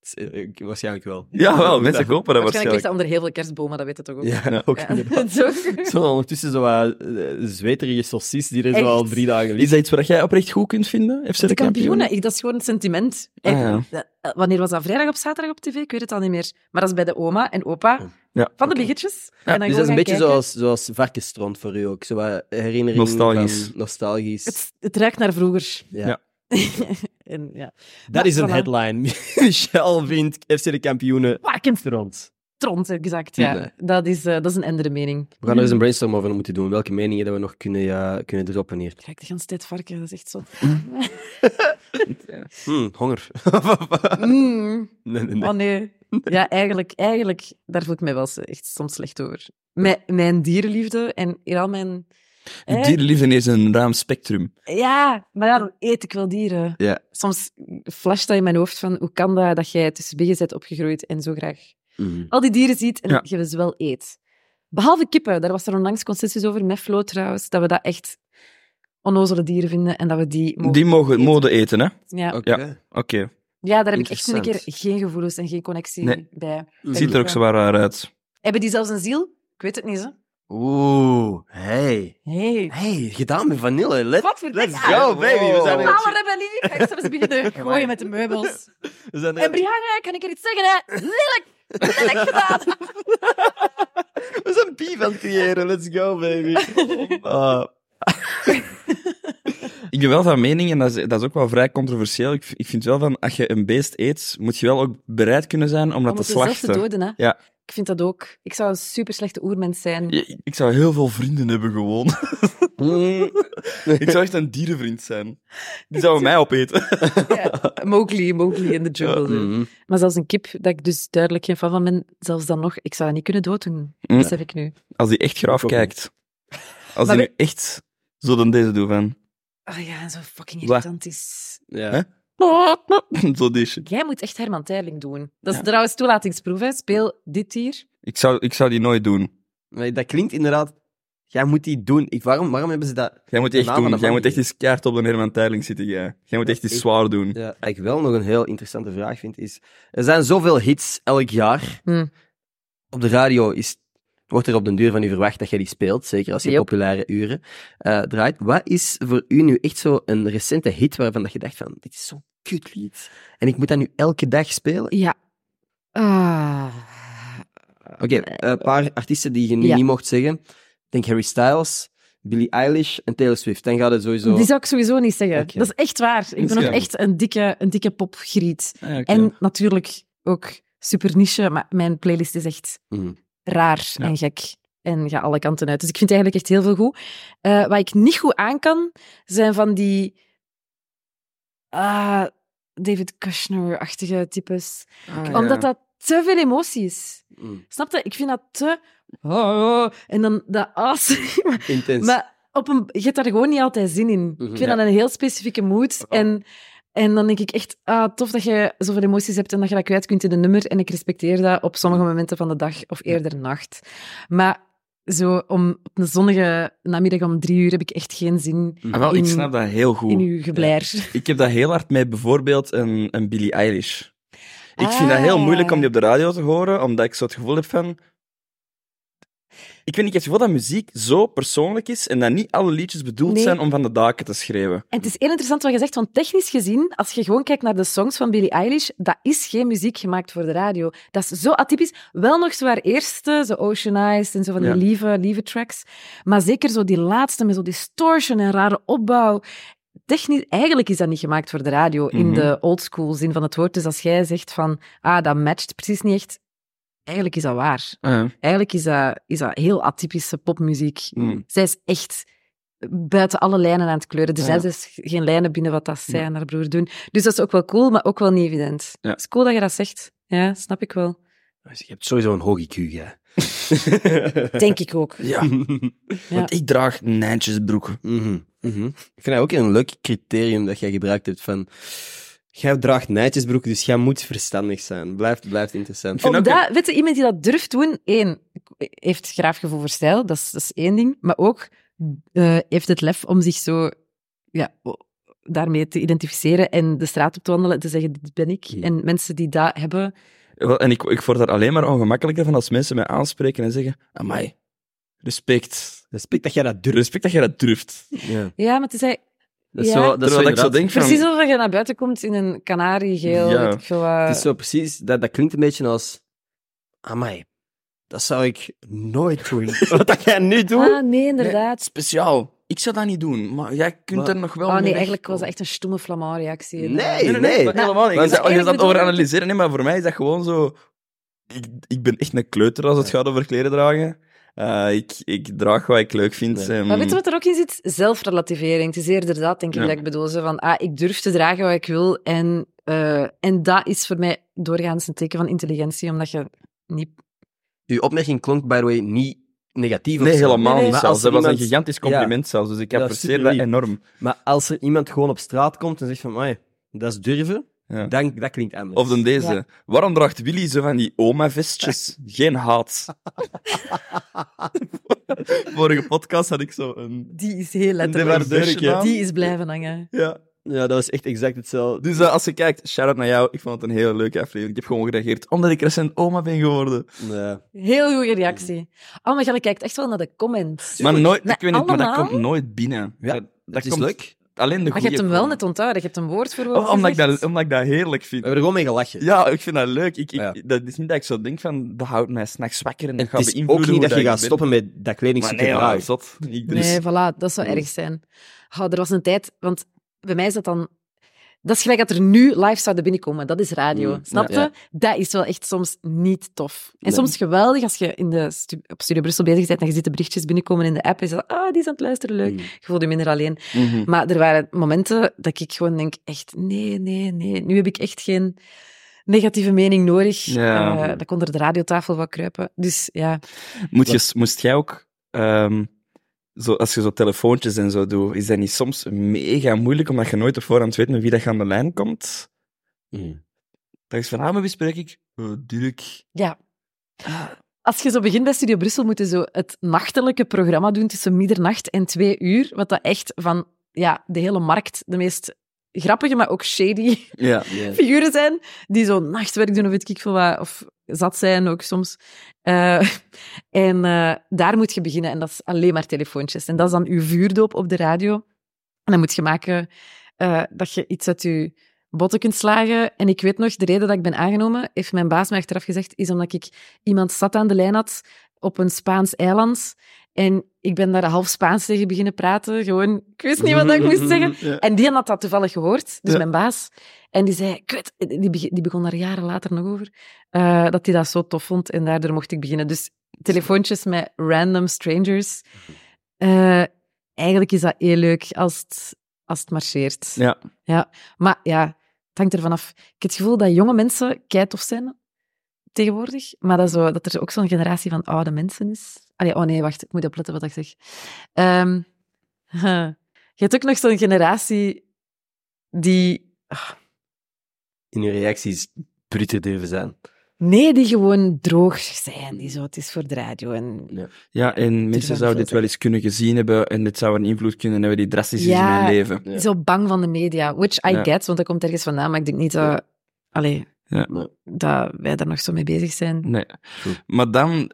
Speaker 1: Dus, eh, ik- Waarschijnlijk wel. *laughs*
Speaker 3: Ja, wel, mensen kopen dat
Speaker 2: Waarschijnlijk ligt
Speaker 3: waarschijnlijk.
Speaker 2: dat onder heel veel kerstbomen, dat weten we toch ook.
Speaker 1: Ja, ook
Speaker 2: Ja.
Speaker 1: inderdaad.
Speaker 2: Zo.
Speaker 1: Zo ondertussen zo wat eh, zweterige saucies die er zo
Speaker 2: Echt?
Speaker 1: al drie dagen
Speaker 3: Is
Speaker 1: liggen.
Speaker 3: dat iets wat jij oprecht goed kunt vinden? FC de
Speaker 2: De kampioenen,
Speaker 3: kampioenen?
Speaker 2: ik, dat is gewoon een sentiment.
Speaker 3: Ah, ja.
Speaker 2: Eh, eh, Wanneer was dat? Vrijdag op zaterdag op tv? Ik weet het al niet meer. Maar dat is bij de oma en opa
Speaker 3: Ja.
Speaker 2: van de biggetjes.
Speaker 3: Ja,
Speaker 2: en
Speaker 1: Dus
Speaker 2: dan
Speaker 1: dat
Speaker 2: gewoon
Speaker 1: is een
Speaker 2: gaan
Speaker 1: beetje
Speaker 2: kijken.
Speaker 1: zoals, zoals varkensstront voor u ook. Zo wat herinnering
Speaker 3: Nostalgisch.
Speaker 1: van- nostalgisch.
Speaker 2: Het, het ruikt naar vroeger.
Speaker 1: Ja.
Speaker 3: Ja.
Speaker 2: en, ja.
Speaker 1: Dat
Speaker 2: Maar,
Speaker 1: is een
Speaker 2: voilà.
Speaker 1: headline. *laughs* Michel vindt FC de kampioenen varkensstront.
Speaker 2: Tront, exact. Ja.
Speaker 1: Nee.
Speaker 2: Dat, is, eh, dat is een andere mening. Mm.
Speaker 1: We gaan er eens een brainstorm over moeten doen. Welke meningen dat we nog kunnen, ja, kunnen droppen hier.
Speaker 2: Ik ruik de hele tijd varken, dat is
Speaker 1: *laughs*
Speaker 2: echt zo.
Speaker 1: Hmm, honger.
Speaker 2: Mm.
Speaker 1: nee, nee, nee.
Speaker 2: Oh nee. Ja, eigenlijk, eigenlijk, daar voel ik mij wel s- echt soms slecht over. Mijn, mijn dierenliefde en in al mijn...
Speaker 3: Die
Speaker 2: Eh,
Speaker 3: dierenliefde is een ruim spectrum.
Speaker 2: Ja, maar ja, dan eet ik wel dieren.
Speaker 1: Ja.
Speaker 2: Soms flasht dat in mijn hoofd van hoe kan dat dat jij tussen biggen bent opgegroeid en zo graag
Speaker 1: Mhm.
Speaker 2: al die dieren ziet en
Speaker 3: Ja.
Speaker 2: je ze wel eet. Behalve kippen, daar was er onlangs consensus over met Flo trouwens, dat we dat echt onnozele dieren vinden en dat we die mogen
Speaker 3: Die mogen
Speaker 2: eten.
Speaker 3: mode eten, hè? Oké.
Speaker 2: Ja.
Speaker 1: Oké.
Speaker 2: ja, daar heb ik echt een keer
Speaker 1: Oh, Interessant.
Speaker 2: geen gevoelens en geen connectie
Speaker 3: Nee.
Speaker 2: bij.
Speaker 3: Ziet er ook zo waar raar uit.
Speaker 2: Hebben die zelfs een ziel? Ik weet het niet, hè.
Speaker 1: Oeh, hey.
Speaker 2: Hey.
Speaker 1: Hey, gedaan met vanille. Let,
Speaker 2: Wat voor
Speaker 1: let's
Speaker 2: dingen?
Speaker 1: go, baby. We zijn,
Speaker 2: Alle rebellie! Ik ga eens even beginnen gooien met de meubels.
Speaker 1: we zijn
Speaker 2: En Brianna, kan ik er iets zeggen, hè? Lelijk! Lelijk gedaan!
Speaker 1: We zijn beef aan het creëren. Let's go, baby. Ah,
Speaker 3: Ik ben wel van mening, en dat is, dat is ook wel vrij controversieel. Ik, v- ik vind wel van, als je een beest eet, moet je wel ook bereid kunnen zijn om dat
Speaker 2: Om
Speaker 3: te
Speaker 2: zelf te
Speaker 3: slachten.
Speaker 2: doden, hè?
Speaker 3: Ja.
Speaker 2: Ik vind dat ook. Ik zou een super slechte oermens zijn.
Speaker 3: Ja, ik zou heel veel vrienden hebben *laughs* gewoon.
Speaker 1: mm,
Speaker 3: ik zou echt een dierenvriend zijn. Die zouden mij opeten.
Speaker 2: Ja. Mowgli, Mowgli in de jungle.
Speaker 3: Mm.
Speaker 1: mhm.
Speaker 2: Maar zelfs een kip, dat ik dus duidelijk geen fan van ben, zelfs dan nog, ik zou dat niet kunnen dooddoen.
Speaker 3: Mm.
Speaker 2: Dat zeg ik nu.
Speaker 3: Als die echt graaf
Speaker 1: Ik ook
Speaker 3: kijkt. Als
Speaker 2: Maar
Speaker 3: die nu echt zo dan deze doet van. *laughs*
Speaker 2: Oh ja, en zo fucking
Speaker 3: Wat?
Speaker 2: irritant is.
Speaker 1: Ja.
Speaker 3: Hè? zo die shit.
Speaker 2: Jij moet echt Herman Teiling doen. Dat is
Speaker 3: Ja.
Speaker 2: trouwens toelatingsproef, hè. Speel dit hier.
Speaker 3: Ik zou, ik zou die nooit doen.
Speaker 1: Nee, dat klinkt inderdaad... Jij moet die doen. Ik, waarom, waarom hebben ze dat...
Speaker 3: Jij moet
Speaker 1: De
Speaker 3: die
Speaker 1: naam
Speaker 3: echt
Speaker 1: van
Speaker 3: doen.
Speaker 1: de
Speaker 3: Jij
Speaker 1: man
Speaker 3: moet echt
Speaker 1: die-
Speaker 3: eens kaart op de Herman Teiling zitten. Jij, jij moet echt
Speaker 1: Ik-
Speaker 3: eens zwaar doen.
Speaker 1: Ja, wat ik wel nog een heel interessante vraag vind, is... Er zijn zoveel hits elk jaar.
Speaker 2: Hmm.
Speaker 1: Op de radio is, wordt er op den duur van u verwacht dat jij die speelt, zeker als je
Speaker 2: Yep.
Speaker 1: populaire uren eh, draait. Wat is voor u nu echt zo een recente hit waarvan dat je dacht van, dit is zo'n kutlied. En ik moet dat nu elke dag spelen?
Speaker 2: Ja. Ah.
Speaker 1: Oké, eh, een paar artiesten die je nu
Speaker 2: Ja.
Speaker 1: niet mocht zeggen. Ik denk Harry Styles, Billie Eilish en Taylor Swift. Dan gaat het sowieso...
Speaker 2: Die zou ik sowieso niet zeggen.
Speaker 1: Oké.
Speaker 2: Dat is echt waar. Ik ben ook
Speaker 3: Ja.
Speaker 2: echt een dikke, een dikke popgriet.
Speaker 3: Ah, ja, oké.
Speaker 2: En natuurlijk ook super niche, maar mijn playlist is echt
Speaker 1: Mhm.
Speaker 2: raar
Speaker 3: Ja.
Speaker 2: en gek. En ga alle kanten uit. Dus ik vind eigenlijk echt heel veel goed. Eh, wat ik niet goed aan kan, zijn van die ah, David Kushner-achtige types.
Speaker 3: Ah, ja.
Speaker 2: Omdat dat te veel emotie is.
Speaker 1: Mm,
Speaker 2: Snap je? Ik vind dat te... oh, oh, en dan dat as. *laughs*
Speaker 1: intens.
Speaker 2: Maar op een, je hebt daar gewoon niet altijd zin in.
Speaker 1: Mhm.
Speaker 2: ik vind
Speaker 1: Ja.
Speaker 2: dat een heel specifieke mood.
Speaker 3: Oh.
Speaker 2: En, en dan denk ik echt, ah, tof dat je zoveel emoties hebt en dat je dat kwijt kunt in een nummer. En ik respecteer dat op sommige momenten van de dag of eerder nacht. Maar zo om op een zonnige namiddag om drie uur heb ik echt geen zin
Speaker 3: Ah, wel, ik
Speaker 2: in-
Speaker 3: snap dat heel
Speaker 2: in
Speaker 3: goed.
Speaker 2: uw geblair.
Speaker 3: Ik heb dat heel hard met bijvoorbeeld een, een Billie Eilish. Ik vind dat
Speaker 2: Ah.
Speaker 3: heel moeilijk om die op de radio te horen, omdat ik zo het gevoel heb van... Ik weet niet, ik heb het gevoel dat muziek zo persoonlijk is en dat niet alle liedjes bedoeld
Speaker 2: Nee.
Speaker 3: zijn om van de daken te schreeuwen.
Speaker 2: En het is heel interessant wat je zegt, want technisch gezien, als je gewoon kijkt naar de songs van Billie Eilish, dat is geen muziek gemaakt voor de radio. Dat is zo atypisch. Wel nog zo haar eerste, zo Ocean Eyes en zo van die
Speaker 3: Ja.
Speaker 2: lieve, lieve tracks. Maar zeker zo die laatste met zo distortion en rare opbouw. Technisch, eigenlijk is dat niet gemaakt voor de radio in
Speaker 3: Mhm.
Speaker 2: de oldschool zin van het woord. Dus als jij zegt van, ah, dat matcht precies niet echt. Eigenlijk is dat waar.
Speaker 3: Ah,
Speaker 2: Eigenlijk is dat, is dat heel atypische popmuziek.
Speaker 3: Mm.
Speaker 2: Zij is echt buiten alle lijnen aan het kleuren. Er
Speaker 3: Ah, Ja.
Speaker 2: zijn dus geen lijnen binnen wat dat zij en haar broer doen. Dus dat is ook wel cool, maar ook wel niet evident.
Speaker 3: Ja.
Speaker 2: Het is cool dat je dat zegt. Ja, snap ik
Speaker 3: *laughs*
Speaker 2: wel.
Speaker 1: Je hebt sowieso een hoog IQ, hè.
Speaker 2: Denk ik ook.
Speaker 3: *laughs* Ja, want ik draag Nijntjesbroeken.
Speaker 1: Mhm, mhm. Ik vind dat ook een leuk criterium dat jij gebruikt hebt van... Jij draagt nijtjesbroeken, dus jij moet verstandig zijn. Blijft, blijft interessant.
Speaker 3: vind ook
Speaker 2: Omdat, weet je, iemand die dat durft doen, één, heeft graafgevoel voor stijl, dat is, dat is één ding. Maar ook eh, heeft het lef om zich zo ja, o- daarmee te identificeren en de straat op te wandelen en te zeggen, dit ben ik.
Speaker 3: Hmm.
Speaker 1: Ja.
Speaker 2: En mensen die dat hebben,
Speaker 3: Wel, En ik, ik word daar alleen maar ongemakkelijker van als mensen mij aanspreken en zeggen: Amai, respect.
Speaker 1: Respect dat jij dat durft.
Speaker 3: Respect dat jij dat durft.
Speaker 1: Ja.
Speaker 2: ja, maar het is eigenlijk
Speaker 1: Dat is
Speaker 2: Ja.
Speaker 1: zo, dat is zo
Speaker 3: Terwijl ik zo
Speaker 1: inderdaad-
Speaker 3: denk van...
Speaker 2: Precies alsof je naar buiten komt in een kanariegeel.
Speaker 3: Ja.
Speaker 2: weet ik veel wat.
Speaker 1: Het is zo precies... Dat, dat klinkt een beetje als... Amai, dat zou ik nooit
Speaker 3: *laughs*
Speaker 1: doen. Wat dat jij nu doet...
Speaker 2: Ah, nee, inderdaad.
Speaker 3: speciaal. Ik zou dat niet doen, maar jij kunt
Speaker 1: Maar-
Speaker 3: er nog wel
Speaker 2: Oh
Speaker 3: mee
Speaker 2: nee,
Speaker 3: weg.
Speaker 2: eigenlijk was dat echt een stomme flamand-reactie.
Speaker 1: Nee,
Speaker 3: Nee, nee, nee,
Speaker 1: nee.
Speaker 3: maar helemaal niet.
Speaker 1: maar
Speaker 3: Je zou-
Speaker 2: eerlijk
Speaker 3: Je dat
Speaker 2: bedoeld-
Speaker 3: over analyseren, nee, maar voor mij is dat gewoon zo... Ik, ik ben echt een kleuter als het gaat over kleren dragen. Eh, ik, ik draag wat ik leuk vind. ehm,
Speaker 1: Nee.
Speaker 3: en-
Speaker 2: Maar weet je wat er ook in zit? Zelfrelativering. Het is eerder dat, denk ik,
Speaker 3: Hmm. Ja.
Speaker 2: dat ik bedoel. Zo van, ah, ik durf te dragen wat ik wil. En, eh, en dat is voor mij doorgaans een teken van intelligentie, omdat je niet...
Speaker 1: Uw opmerking klonk, by the way, niet negatief. of
Speaker 3: Nee,
Speaker 1: zo.
Speaker 3: helemaal
Speaker 1: Maar
Speaker 3: niet
Speaker 1: als
Speaker 3: zelfs.
Speaker 1: er
Speaker 3: Dat was een
Speaker 1: iemand-
Speaker 3: gigantisch compliment zelfs, dus ik
Speaker 1: Ja,
Speaker 3: apprecieer dat
Speaker 1: superlief.
Speaker 3: enorm.
Speaker 1: Maar als er iemand gewoon op straat komt en zegt van... Amai, dat is durven,
Speaker 3: Ja.
Speaker 1: dan, dat klinkt anders.
Speaker 3: Of dan deze. Waarom draagt Willy zo van die oma-vestjes? *laughs* Geen haat. Vorige podcast had ik zo een...
Speaker 2: Die is heel
Speaker 3: Een
Speaker 2: letterlijk.
Speaker 3: devadeurkje.
Speaker 2: Die is blijven hangen.
Speaker 3: Ja.
Speaker 1: Ja, dat was echt exact hetzelfde.
Speaker 3: Dus eh, als je kijkt, shout-out naar jou. Ik vond het een hele leuke aflevering. Ik heb gewoon gereageerd omdat ik recent oma ben geworden.
Speaker 1: Ja.
Speaker 2: Heel goede reactie. Oh, maar je kijkt echt wel naar de comments.
Speaker 3: Maar nooit,
Speaker 2: Nee,
Speaker 3: ik weet niet, maar dat
Speaker 2: allemaal?
Speaker 3: komt nooit binnen.
Speaker 1: Ja,
Speaker 3: dat, dat
Speaker 1: het is
Speaker 3: komt
Speaker 1: leuk.
Speaker 3: Alleen de
Speaker 2: Maar je hebt hem wel
Speaker 3: goeie
Speaker 2: net onthouden. Je hebt hem woord voor woord
Speaker 3: komen. Oh, omdat, ik
Speaker 2: gezegd.
Speaker 3: dat, omdat ik dat heerlijk
Speaker 1: We
Speaker 3: vind.
Speaker 1: hebben er gewoon mee gelachen.
Speaker 3: Ja, ik vind dat leuk. Ik, ik,
Speaker 1: Ja.
Speaker 3: Dat is niet dat ik zo denk van, dat houdt mij s'nachts wakker en
Speaker 1: En
Speaker 3: dat
Speaker 1: het
Speaker 3: gaat
Speaker 1: is
Speaker 3: beïnvloeden
Speaker 1: ook niet
Speaker 3: hoe
Speaker 1: dat je
Speaker 3: ik
Speaker 1: gaat
Speaker 3: ben.
Speaker 1: stoppen met dat
Speaker 3: Maar
Speaker 1: kledingstuk
Speaker 3: nee,
Speaker 1: te
Speaker 3: ja,
Speaker 1: dragen.
Speaker 3: zot. Ik, dus- er
Speaker 1: Dus
Speaker 3: is-
Speaker 2: Nee, voilà, dat zou erg zijn. Oh, er was een tijd, want bij mij is dat dan. Dat is gelijk dat er nu live zouden binnenkomen. Dat is radio.
Speaker 1: Mm,
Speaker 2: snap je?
Speaker 1: ja.
Speaker 2: Dat is wel echt soms niet tof. En soms geweldig als je in de stu- op Studio Brussel bezig bent en je ziet de berichtjes binnenkomen in de app. En je zegt, ah, die is aan het luisteren, leuk.
Speaker 1: Mm.
Speaker 2: Je voelt je minder alleen.
Speaker 3: Mhm.
Speaker 2: Maar er waren momenten dat ik gewoon denk, echt, nee, nee, nee. Nu heb ik echt geen negatieve mening nodig.
Speaker 3: Ja.
Speaker 2: Eh, dat kon onder de radiotafel wat kruipen. Dus ja,
Speaker 3: Moet je, moest jij ook, ehm, zo, als je zo telefoontjes en zo doet, is dat niet soms mega moeilijk omdat je nooit op voorhand weet met wie dat je aan de lijn komt?
Speaker 1: Mm.
Speaker 3: Dan is van, ah, maar wie spreek ik? Eh, Dirk.
Speaker 2: ja, Als je zo begint bij Studio Brussel, moeten zo het nachtelijke programma doen tussen middernacht en twee uur. Wat dat echt van ja, de hele markt de meest grappige, maar ook shady
Speaker 3: Ja.
Speaker 1: Ja.
Speaker 2: figuren zijn. Die zo nachtwerk doen of weet ik veel wat. Of zat zijn ook soms. Eh, *laughs* en eh, daar moet je beginnen. En dat is alleen maar telefoontjes. En dat is dan uw vuurdoop op de radio. En dan moet je maken eh, dat je iets uit je botten kunt slagen. En ik weet nog, de reden dat ik ben aangenomen, heeft mijn baas mij achteraf gezegd, is omdat ik iemand zat aan de lijn had op een Spaans eiland. En ik ben daar half Spaans tegen beginnen praten. Gewoon, ik wist niet wat ik moest zeggen.
Speaker 3: *laughs* Ja.
Speaker 2: En die had dat toevallig gehoord, dus
Speaker 3: Ja.
Speaker 2: mijn baas. En die zei, ik weet- die, beg- die begon daar jaren later nog over, eh, dat hij dat zo tof vond en daardoor mocht ik beginnen. Dus telefoontjes met random strangers. Eh, eigenlijk is dat heel leuk als het, als het marcheert.
Speaker 3: Ja.
Speaker 2: ja. Maar ja, het hangt ervan af. Ik heb het gevoel dat jonge mensen keitof zijn tegenwoordig, maar dat, zo, dat er ook zo'n generatie van oude mensen is. Allee, oh nee, wacht, ik moet opletten wat ik zeg. Ehm, *laughs* huh. Je hebt ook nog zo'n generatie die... ah,
Speaker 1: In je reacties bruter durven zijn.
Speaker 2: Nee, die gewoon droog zijn. Die zo, het is voor de radio. En...
Speaker 3: Ja, en
Speaker 2: wel
Speaker 3: mensen
Speaker 2: veel
Speaker 3: zouden dit wel eens kunnen gezien hebben en dit zou een invloed kunnen hebben die drastisch is
Speaker 2: Ja.
Speaker 3: in mijn leven.
Speaker 1: Ja.
Speaker 2: Zo bang van de media. Which I
Speaker 3: Ja.
Speaker 2: get, want dat komt ergens vandaan. Maar ik denk niet dat... Allee,
Speaker 3: Ja.
Speaker 1: Nee.
Speaker 2: dat wij daar nog zo mee bezig zijn.
Speaker 3: Nee.
Speaker 1: Goed.
Speaker 3: Maar dan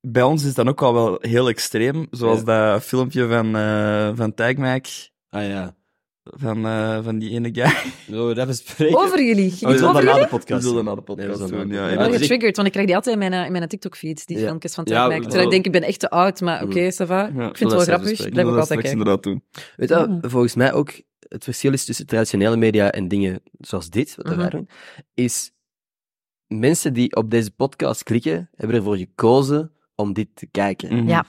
Speaker 3: bij ons is dat ook al wel heel extreem. Zoals dat filmpje van, eh van Tijgmijk,
Speaker 1: Ah ja.
Speaker 3: van, eh, van die ene guy.
Speaker 1: Oh, dat bespreken.
Speaker 2: Over jullie. Ging
Speaker 1: Oh, we
Speaker 2: het
Speaker 1: zullen
Speaker 2: over Oh,
Speaker 1: dat
Speaker 2: jullie?
Speaker 1: na de podcast.
Speaker 3: We zullen
Speaker 1: doen.
Speaker 3: na de podcast
Speaker 1: Nee, we zullen
Speaker 3: doen,
Speaker 1: na de
Speaker 3: ja,
Speaker 1: podcast.
Speaker 2: Ik ben
Speaker 3: ik ben
Speaker 1: dus ik-
Speaker 2: getriggerd, want ik krijg die altijd in mijn, eh, in mijn TikTok-feed, die
Speaker 1: Ja.
Speaker 2: filmpjes van
Speaker 1: Ja,
Speaker 2: Tijgmijk.
Speaker 1: we-
Speaker 2: Terwijl ik denk, ik ben echt te oud, maar
Speaker 1: Mm.
Speaker 2: oké, ça va. Ik vind het wel
Speaker 3: Dat
Speaker 2: grappig,
Speaker 3: bespreken.
Speaker 2: blijf
Speaker 3: We
Speaker 2: ook altijd
Speaker 3: zullen straks
Speaker 2: kijken.
Speaker 3: inderdaad doen.
Speaker 1: Weet je, wat
Speaker 2: Mm.
Speaker 1: volgens mij ook het verschil is tussen traditionele media en dingen zoals dit, wat wij
Speaker 2: Mhm.
Speaker 1: doen, is mensen die op deze podcast klikken, hebben ervoor gekozen om dit te kijken.
Speaker 3: Mhm.
Speaker 2: Ja.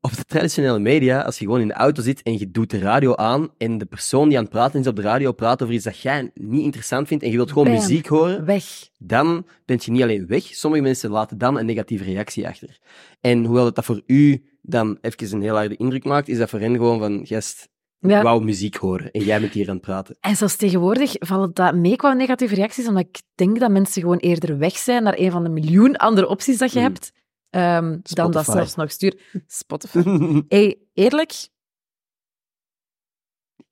Speaker 1: Op de traditionele media, als je gewoon in de auto zit en je doet de radio aan en de persoon die aan het praten is op de radio praat over iets dat jij niet interessant vindt en je wilt gewoon
Speaker 2: Bam.
Speaker 1: muziek horen,
Speaker 2: Weg.
Speaker 1: dan ben je niet alleen weg. Sommige mensen laten dan een negatieve reactie achter. En hoewel dat, dat voor u dan even een heel harde indruk maakt, is dat voor hen gewoon van, gest,
Speaker 2: Ja.
Speaker 1: ik wou muziek horen en jij bent hier aan het praten. *laughs*
Speaker 2: En zelfs tegenwoordig vallen dat mee qua negatieve reacties, omdat ik denk dat mensen gewoon eerder weg zijn naar een van de miljoen andere opties dat je
Speaker 1: Mm.
Speaker 2: hebt, ehm, dan dat
Speaker 1: Spotify.
Speaker 2: zelfs nog stuur. Spotify. Hey, eerlijk,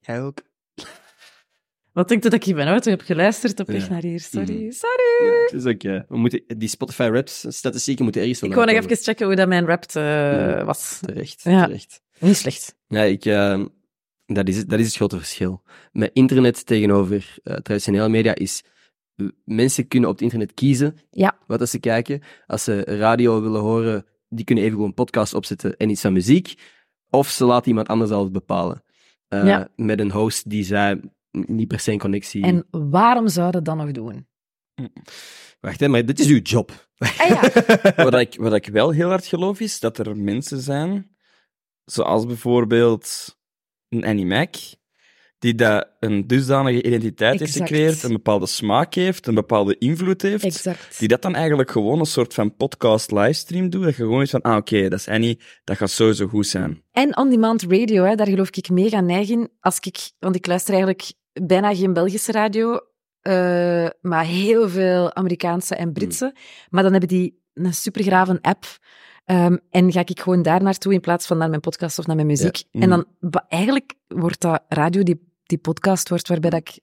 Speaker 1: jij ook.
Speaker 2: wat denk je dat ik hier ben? hoor? Toen heb ik geluisterd op weg
Speaker 1: Ja.
Speaker 2: naar hier. Sorry,
Speaker 1: Mhm.
Speaker 2: sorry.
Speaker 1: Dat is ook, ja. We moeten, die Spotify raps statistieken moeten ergens
Speaker 2: Ik
Speaker 1: vandaan
Speaker 2: wou nog
Speaker 1: komen.
Speaker 2: even checken hoe dat mijn rap eh,
Speaker 1: Mm.
Speaker 2: was.
Speaker 1: Terecht,
Speaker 2: Ja.
Speaker 1: terecht.
Speaker 2: Niet slecht.
Speaker 1: Ja, ik, eh, dat, is, het- dat is het grote verschil. Met internet tegenover eh, traditionele media is... eh, Mensen kunnen op het internet kiezen
Speaker 2: Ja.
Speaker 1: wat dat ze kijken. Als ze radio willen horen, die kunnen even gewoon een podcast opzetten en iets van muziek. Of ze laten iemand anders al bepalen. Eh,
Speaker 2: Ja.
Speaker 1: Met een host die zij niet per se een connectie...
Speaker 2: En waarom zou dat dan nog doen?
Speaker 1: Wacht, hè, maar dit is uw job.
Speaker 2: Ah ja,
Speaker 3: wat, ik, wat ik wel heel hard geloof is dat er mensen zijn, zoals bijvoorbeeld een Annie Mac, die dat een dusdanige identiteit heeft
Speaker 2: Exact.
Speaker 3: gecreëerd, een bepaalde smaak heeft, een bepaalde invloed heeft,
Speaker 2: exact.
Speaker 3: die dat dan eigenlijk gewoon een soort van podcast livestream doet. Dat je gewoon is van, ah oké, dat is Annie, dat gaat sowieso goed zijn.
Speaker 2: En on-demand radio, hè, daar geloof ik mega neig in. Als ik, want ik luister eigenlijk bijna geen Belgische radio, eh, maar heel veel Amerikaanse en Britse. Maar dan hebben die een supergraven app. ehm, en ga ik gewoon daar naartoe in plaats van naar mijn podcast of naar mijn muziek.
Speaker 3: Mm.
Speaker 2: En dan ba- eigenlijk wordt dat radio, die, die podcast wordt, waarbij dat ik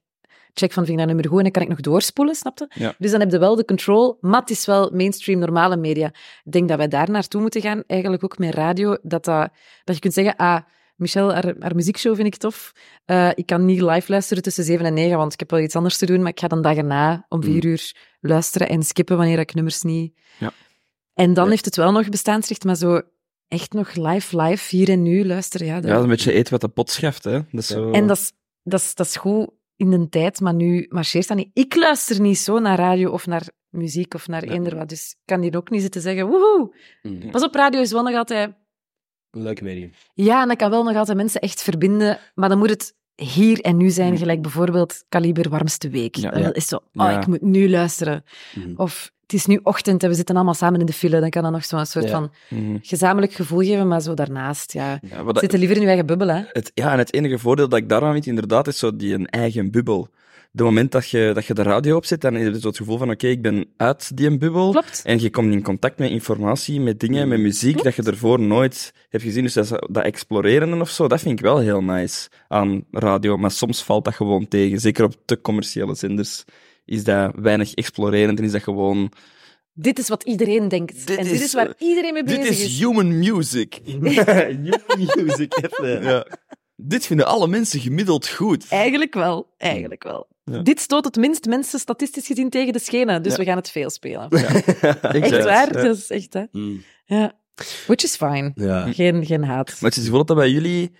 Speaker 2: check van vind ik dat nummer goed en dan kan ik nog doorspoelen, snapte?
Speaker 3: Ja.
Speaker 2: Dus dan heb je wel de control, maar het is wel mainstream normale media. Ik denk dat wij daar naartoe moeten gaan, eigenlijk ook met radio, dat, dat, dat je kunt zeggen, ah, Michelle, haar, haar muziekshow vind ik tof. Eh, ik kan niet live luisteren tussen 7 en 9, want ik heb wel iets anders te doen, maar ik ga dan dagen na om 4 uur luisteren en skippen wanneer ik nummers niet...
Speaker 3: Mm. Ja.
Speaker 2: En dan
Speaker 1: Ja.
Speaker 2: heeft het wel nog bestaansrecht, maar zo echt nog live, live, hier en nu luisteren, ja.
Speaker 3: Ja,
Speaker 2: dat-
Speaker 3: dat is een beetje eten wat de pot schaft, hè. Dat is zo...
Speaker 2: en dat is, dat, is, dat is goed in de tijd, maar nu marcheert dat niet. Ik luister niet zo naar radio of naar muziek of naar
Speaker 1: Ja.
Speaker 2: eender wat, dus ik kan hier ook niet zitten zeggen, woehoe.
Speaker 1: Mm.
Speaker 2: Pas op, radio is wel nog altijd...
Speaker 1: Leuk medium.
Speaker 2: Ja, en dat kan wel nog altijd mensen echt verbinden, maar dan moet het hier en nu zijn,
Speaker 3: Mm.
Speaker 2: gelijk bijvoorbeeld kaliber warmste week.
Speaker 3: Ja,
Speaker 2: dat
Speaker 1: ja.
Speaker 2: is zo, oh,
Speaker 3: Ja.
Speaker 2: ik moet nu luisteren.
Speaker 1: Mhm.
Speaker 2: Of het is nu ochtend en we zitten allemaal samen in de file, dan kan dat nog zo'n soort
Speaker 1: Ja.
Speaker 2: van
Speaker 3: Mhm.
Speaker 2: gezamenlijk gevoel geven, maar zo daarnaast, ja.
Speaker 3: Ja, wat dat-
Speaker 2: Zitten liever in je eigen bubbel, hè.
Speaker 3: Het, ja, en het enige voordeel dat ik daarvan vind, inderdaad, is zo die een eigen bubbel. De moment dat je, dat je de radio opzet, dan heb je zo het gevoel van, oké, ik ben uit die een bubbel.
Speaker 2: Klopt.
Speaker 3: En je komt in contact met informatie, met dingen, met muziek, dat je ervoor nooit hebt gezien. Dus dat, is- dat exploreren of zo, dat vind ik wel heel nice aan radio. Maar soms valt dat gewoon tegen. Zeker op te commerciële zenders is dat weinig explorerend en is dat gewoon...
Speaker 2: Dit is wat iedereen denkt.
Speaker 3: Dit
Speaker 2: en dit
Speaker 3: is- eh,
Speaker 2: is waar iedereen mee bezig
Speaker 3: Dit
Speaker 2: is.
Speaker 3: is *laughs* human music.
Speaker 1: music, even.
Speaker 3: Ja. Dit vinden alle mensen gemiddeld goed.
Speaker 2: Eigenlijk wel, eigenlijk wel.
Speaker 3: Ja.
Speaker 2: Dit stoot het minst mensen statistisch gezien tegen de schenen, dus
Speaker 3: Ja.
Speaker 2: we gaan het veel spelen.
Speaker 3: *laughs* Exact.
Speaker 2: *laughs* Echt waar,
Speaker 3: Ja.
Speaker 2: dat is echt, hè.
Speaker 1: Mm.
Speaker 2: Ja. Which is fine.
Speaker 1: Ja.
Speaker 2: Geen, geen haat.
Speaker 3: Maar het is het gevoel dat dat bij jullie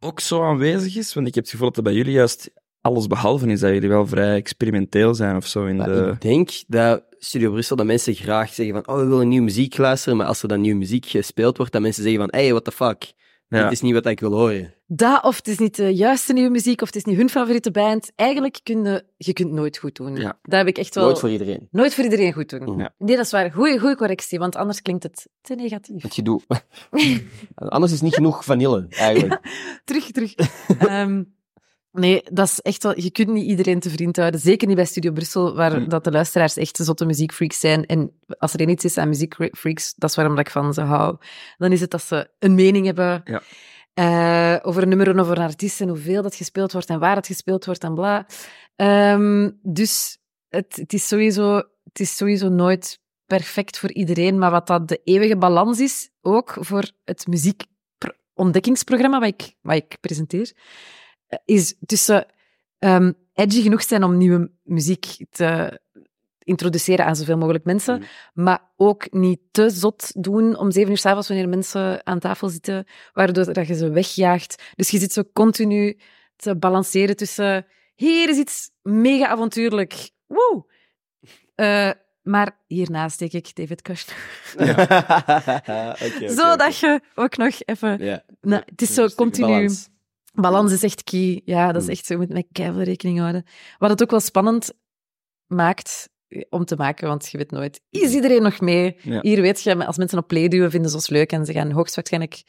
Speaker 3: ook zo aanwezig is? Want ik heb het gevoel dat dat bij jullie juist alles behalve is. Dat jullie wel vrij experimenteel zijn of zo. In
Speaker 1: Maar
Speaker 3: de...
Speaker 1: ik denk dat Studio Brussel, dat mensen graag zeggen van, oh, we willen nieuwe muziek luisteren, maar als er dan nieuwe muziek gespeeld wordt, dat mensen zeggen van, hey, what the fuck?
Speaker 3: Ja.
Speaker 1: Dit is niet wat ik wil horen.
Speaker 2: Dat, of het is niet de juiste nieuwe muziek, of het is niet hun favoriete band. Eigenlijk kun je, je kunt nooit goed doen.
Speaker 3: Ja.
Speaker 2: Dat heb ik echt wel...
Speaker 1: Nooit voor iedereen.
Speaker 2: Nooit voor iedereen goed doen.
Speaker 3: Ja.
Speaker 2: Nee, dat is waar. Goeie, goeie correctie, want anders klinkt het te negatief.
Speaker 1: Wat je
Speaker 2: *laughs*
Speaker 1: doet. Anders is niet genoeg vanille, eigenlijk.
Speaker 2: Terug, terug. *laughs* Ehm, nee, dat is echt wel... Je kunt niet iedereen te vriend houden. Zeker niet bij Studio Brussel, waar
Speaker 3: Hm.
Speaker 2: dat de luisteraars echt zotte muziekfreaks zijn. En als er iets is aan muziekfreaks, dat is waarom dat ik van ze hou. Dan is het dat ze een mening hebben
Speaker 3: Ja.
Speaker 2: eh, over een nummer en over een artiest en hoeveel dat gespeeld wordt en waar het gespeeld wordt en bla. Ehm, dus het, het, is sowieso, het is sowieso nooit perfect voor iedereen. Maar wat dat de eeuwige balans is, ook voor het muziekontdekkingsprogramma wat ik, wat ik presenteer, eh, is tussen ehm, edgy genoeg zijn om nieuwe muziek te introduceren aan zoveel mogelijk mensen, maar ook niet te zot doen om zeven uur s'avonds wanneer mensen aan tafel zitten, waardoor dat je ze wegjaagt. Dus je zit zo continu te balanceren tussen hier is iets mega avontuurlijk, woe! Eh, maar hierna steek ik David Kushner. Zodat je ook nog even...
Speaker 1: Ja.
Speaker 2: Nou, het is zo
Speaker 1: Rustige
Speaker 2: continu...
Speaker 1: balans.
Speaker 2: Balans is echt key. Ja, dat is
Speaker 1: Mm.
Speaker 2: echt zo. Je moet met keihard rekening houden. Wat het ook wel spannend maakt eh, om te maken, want je weet nooit,
Speaker 1: Mm.
Speaker 2: is iedereen nog mee?
Speaker 3: Ja.
Speaker 2: Hier weet je, als mensen op play duwen, vinden ze ons leuk en ze gaan hoogstwaarschijnlijk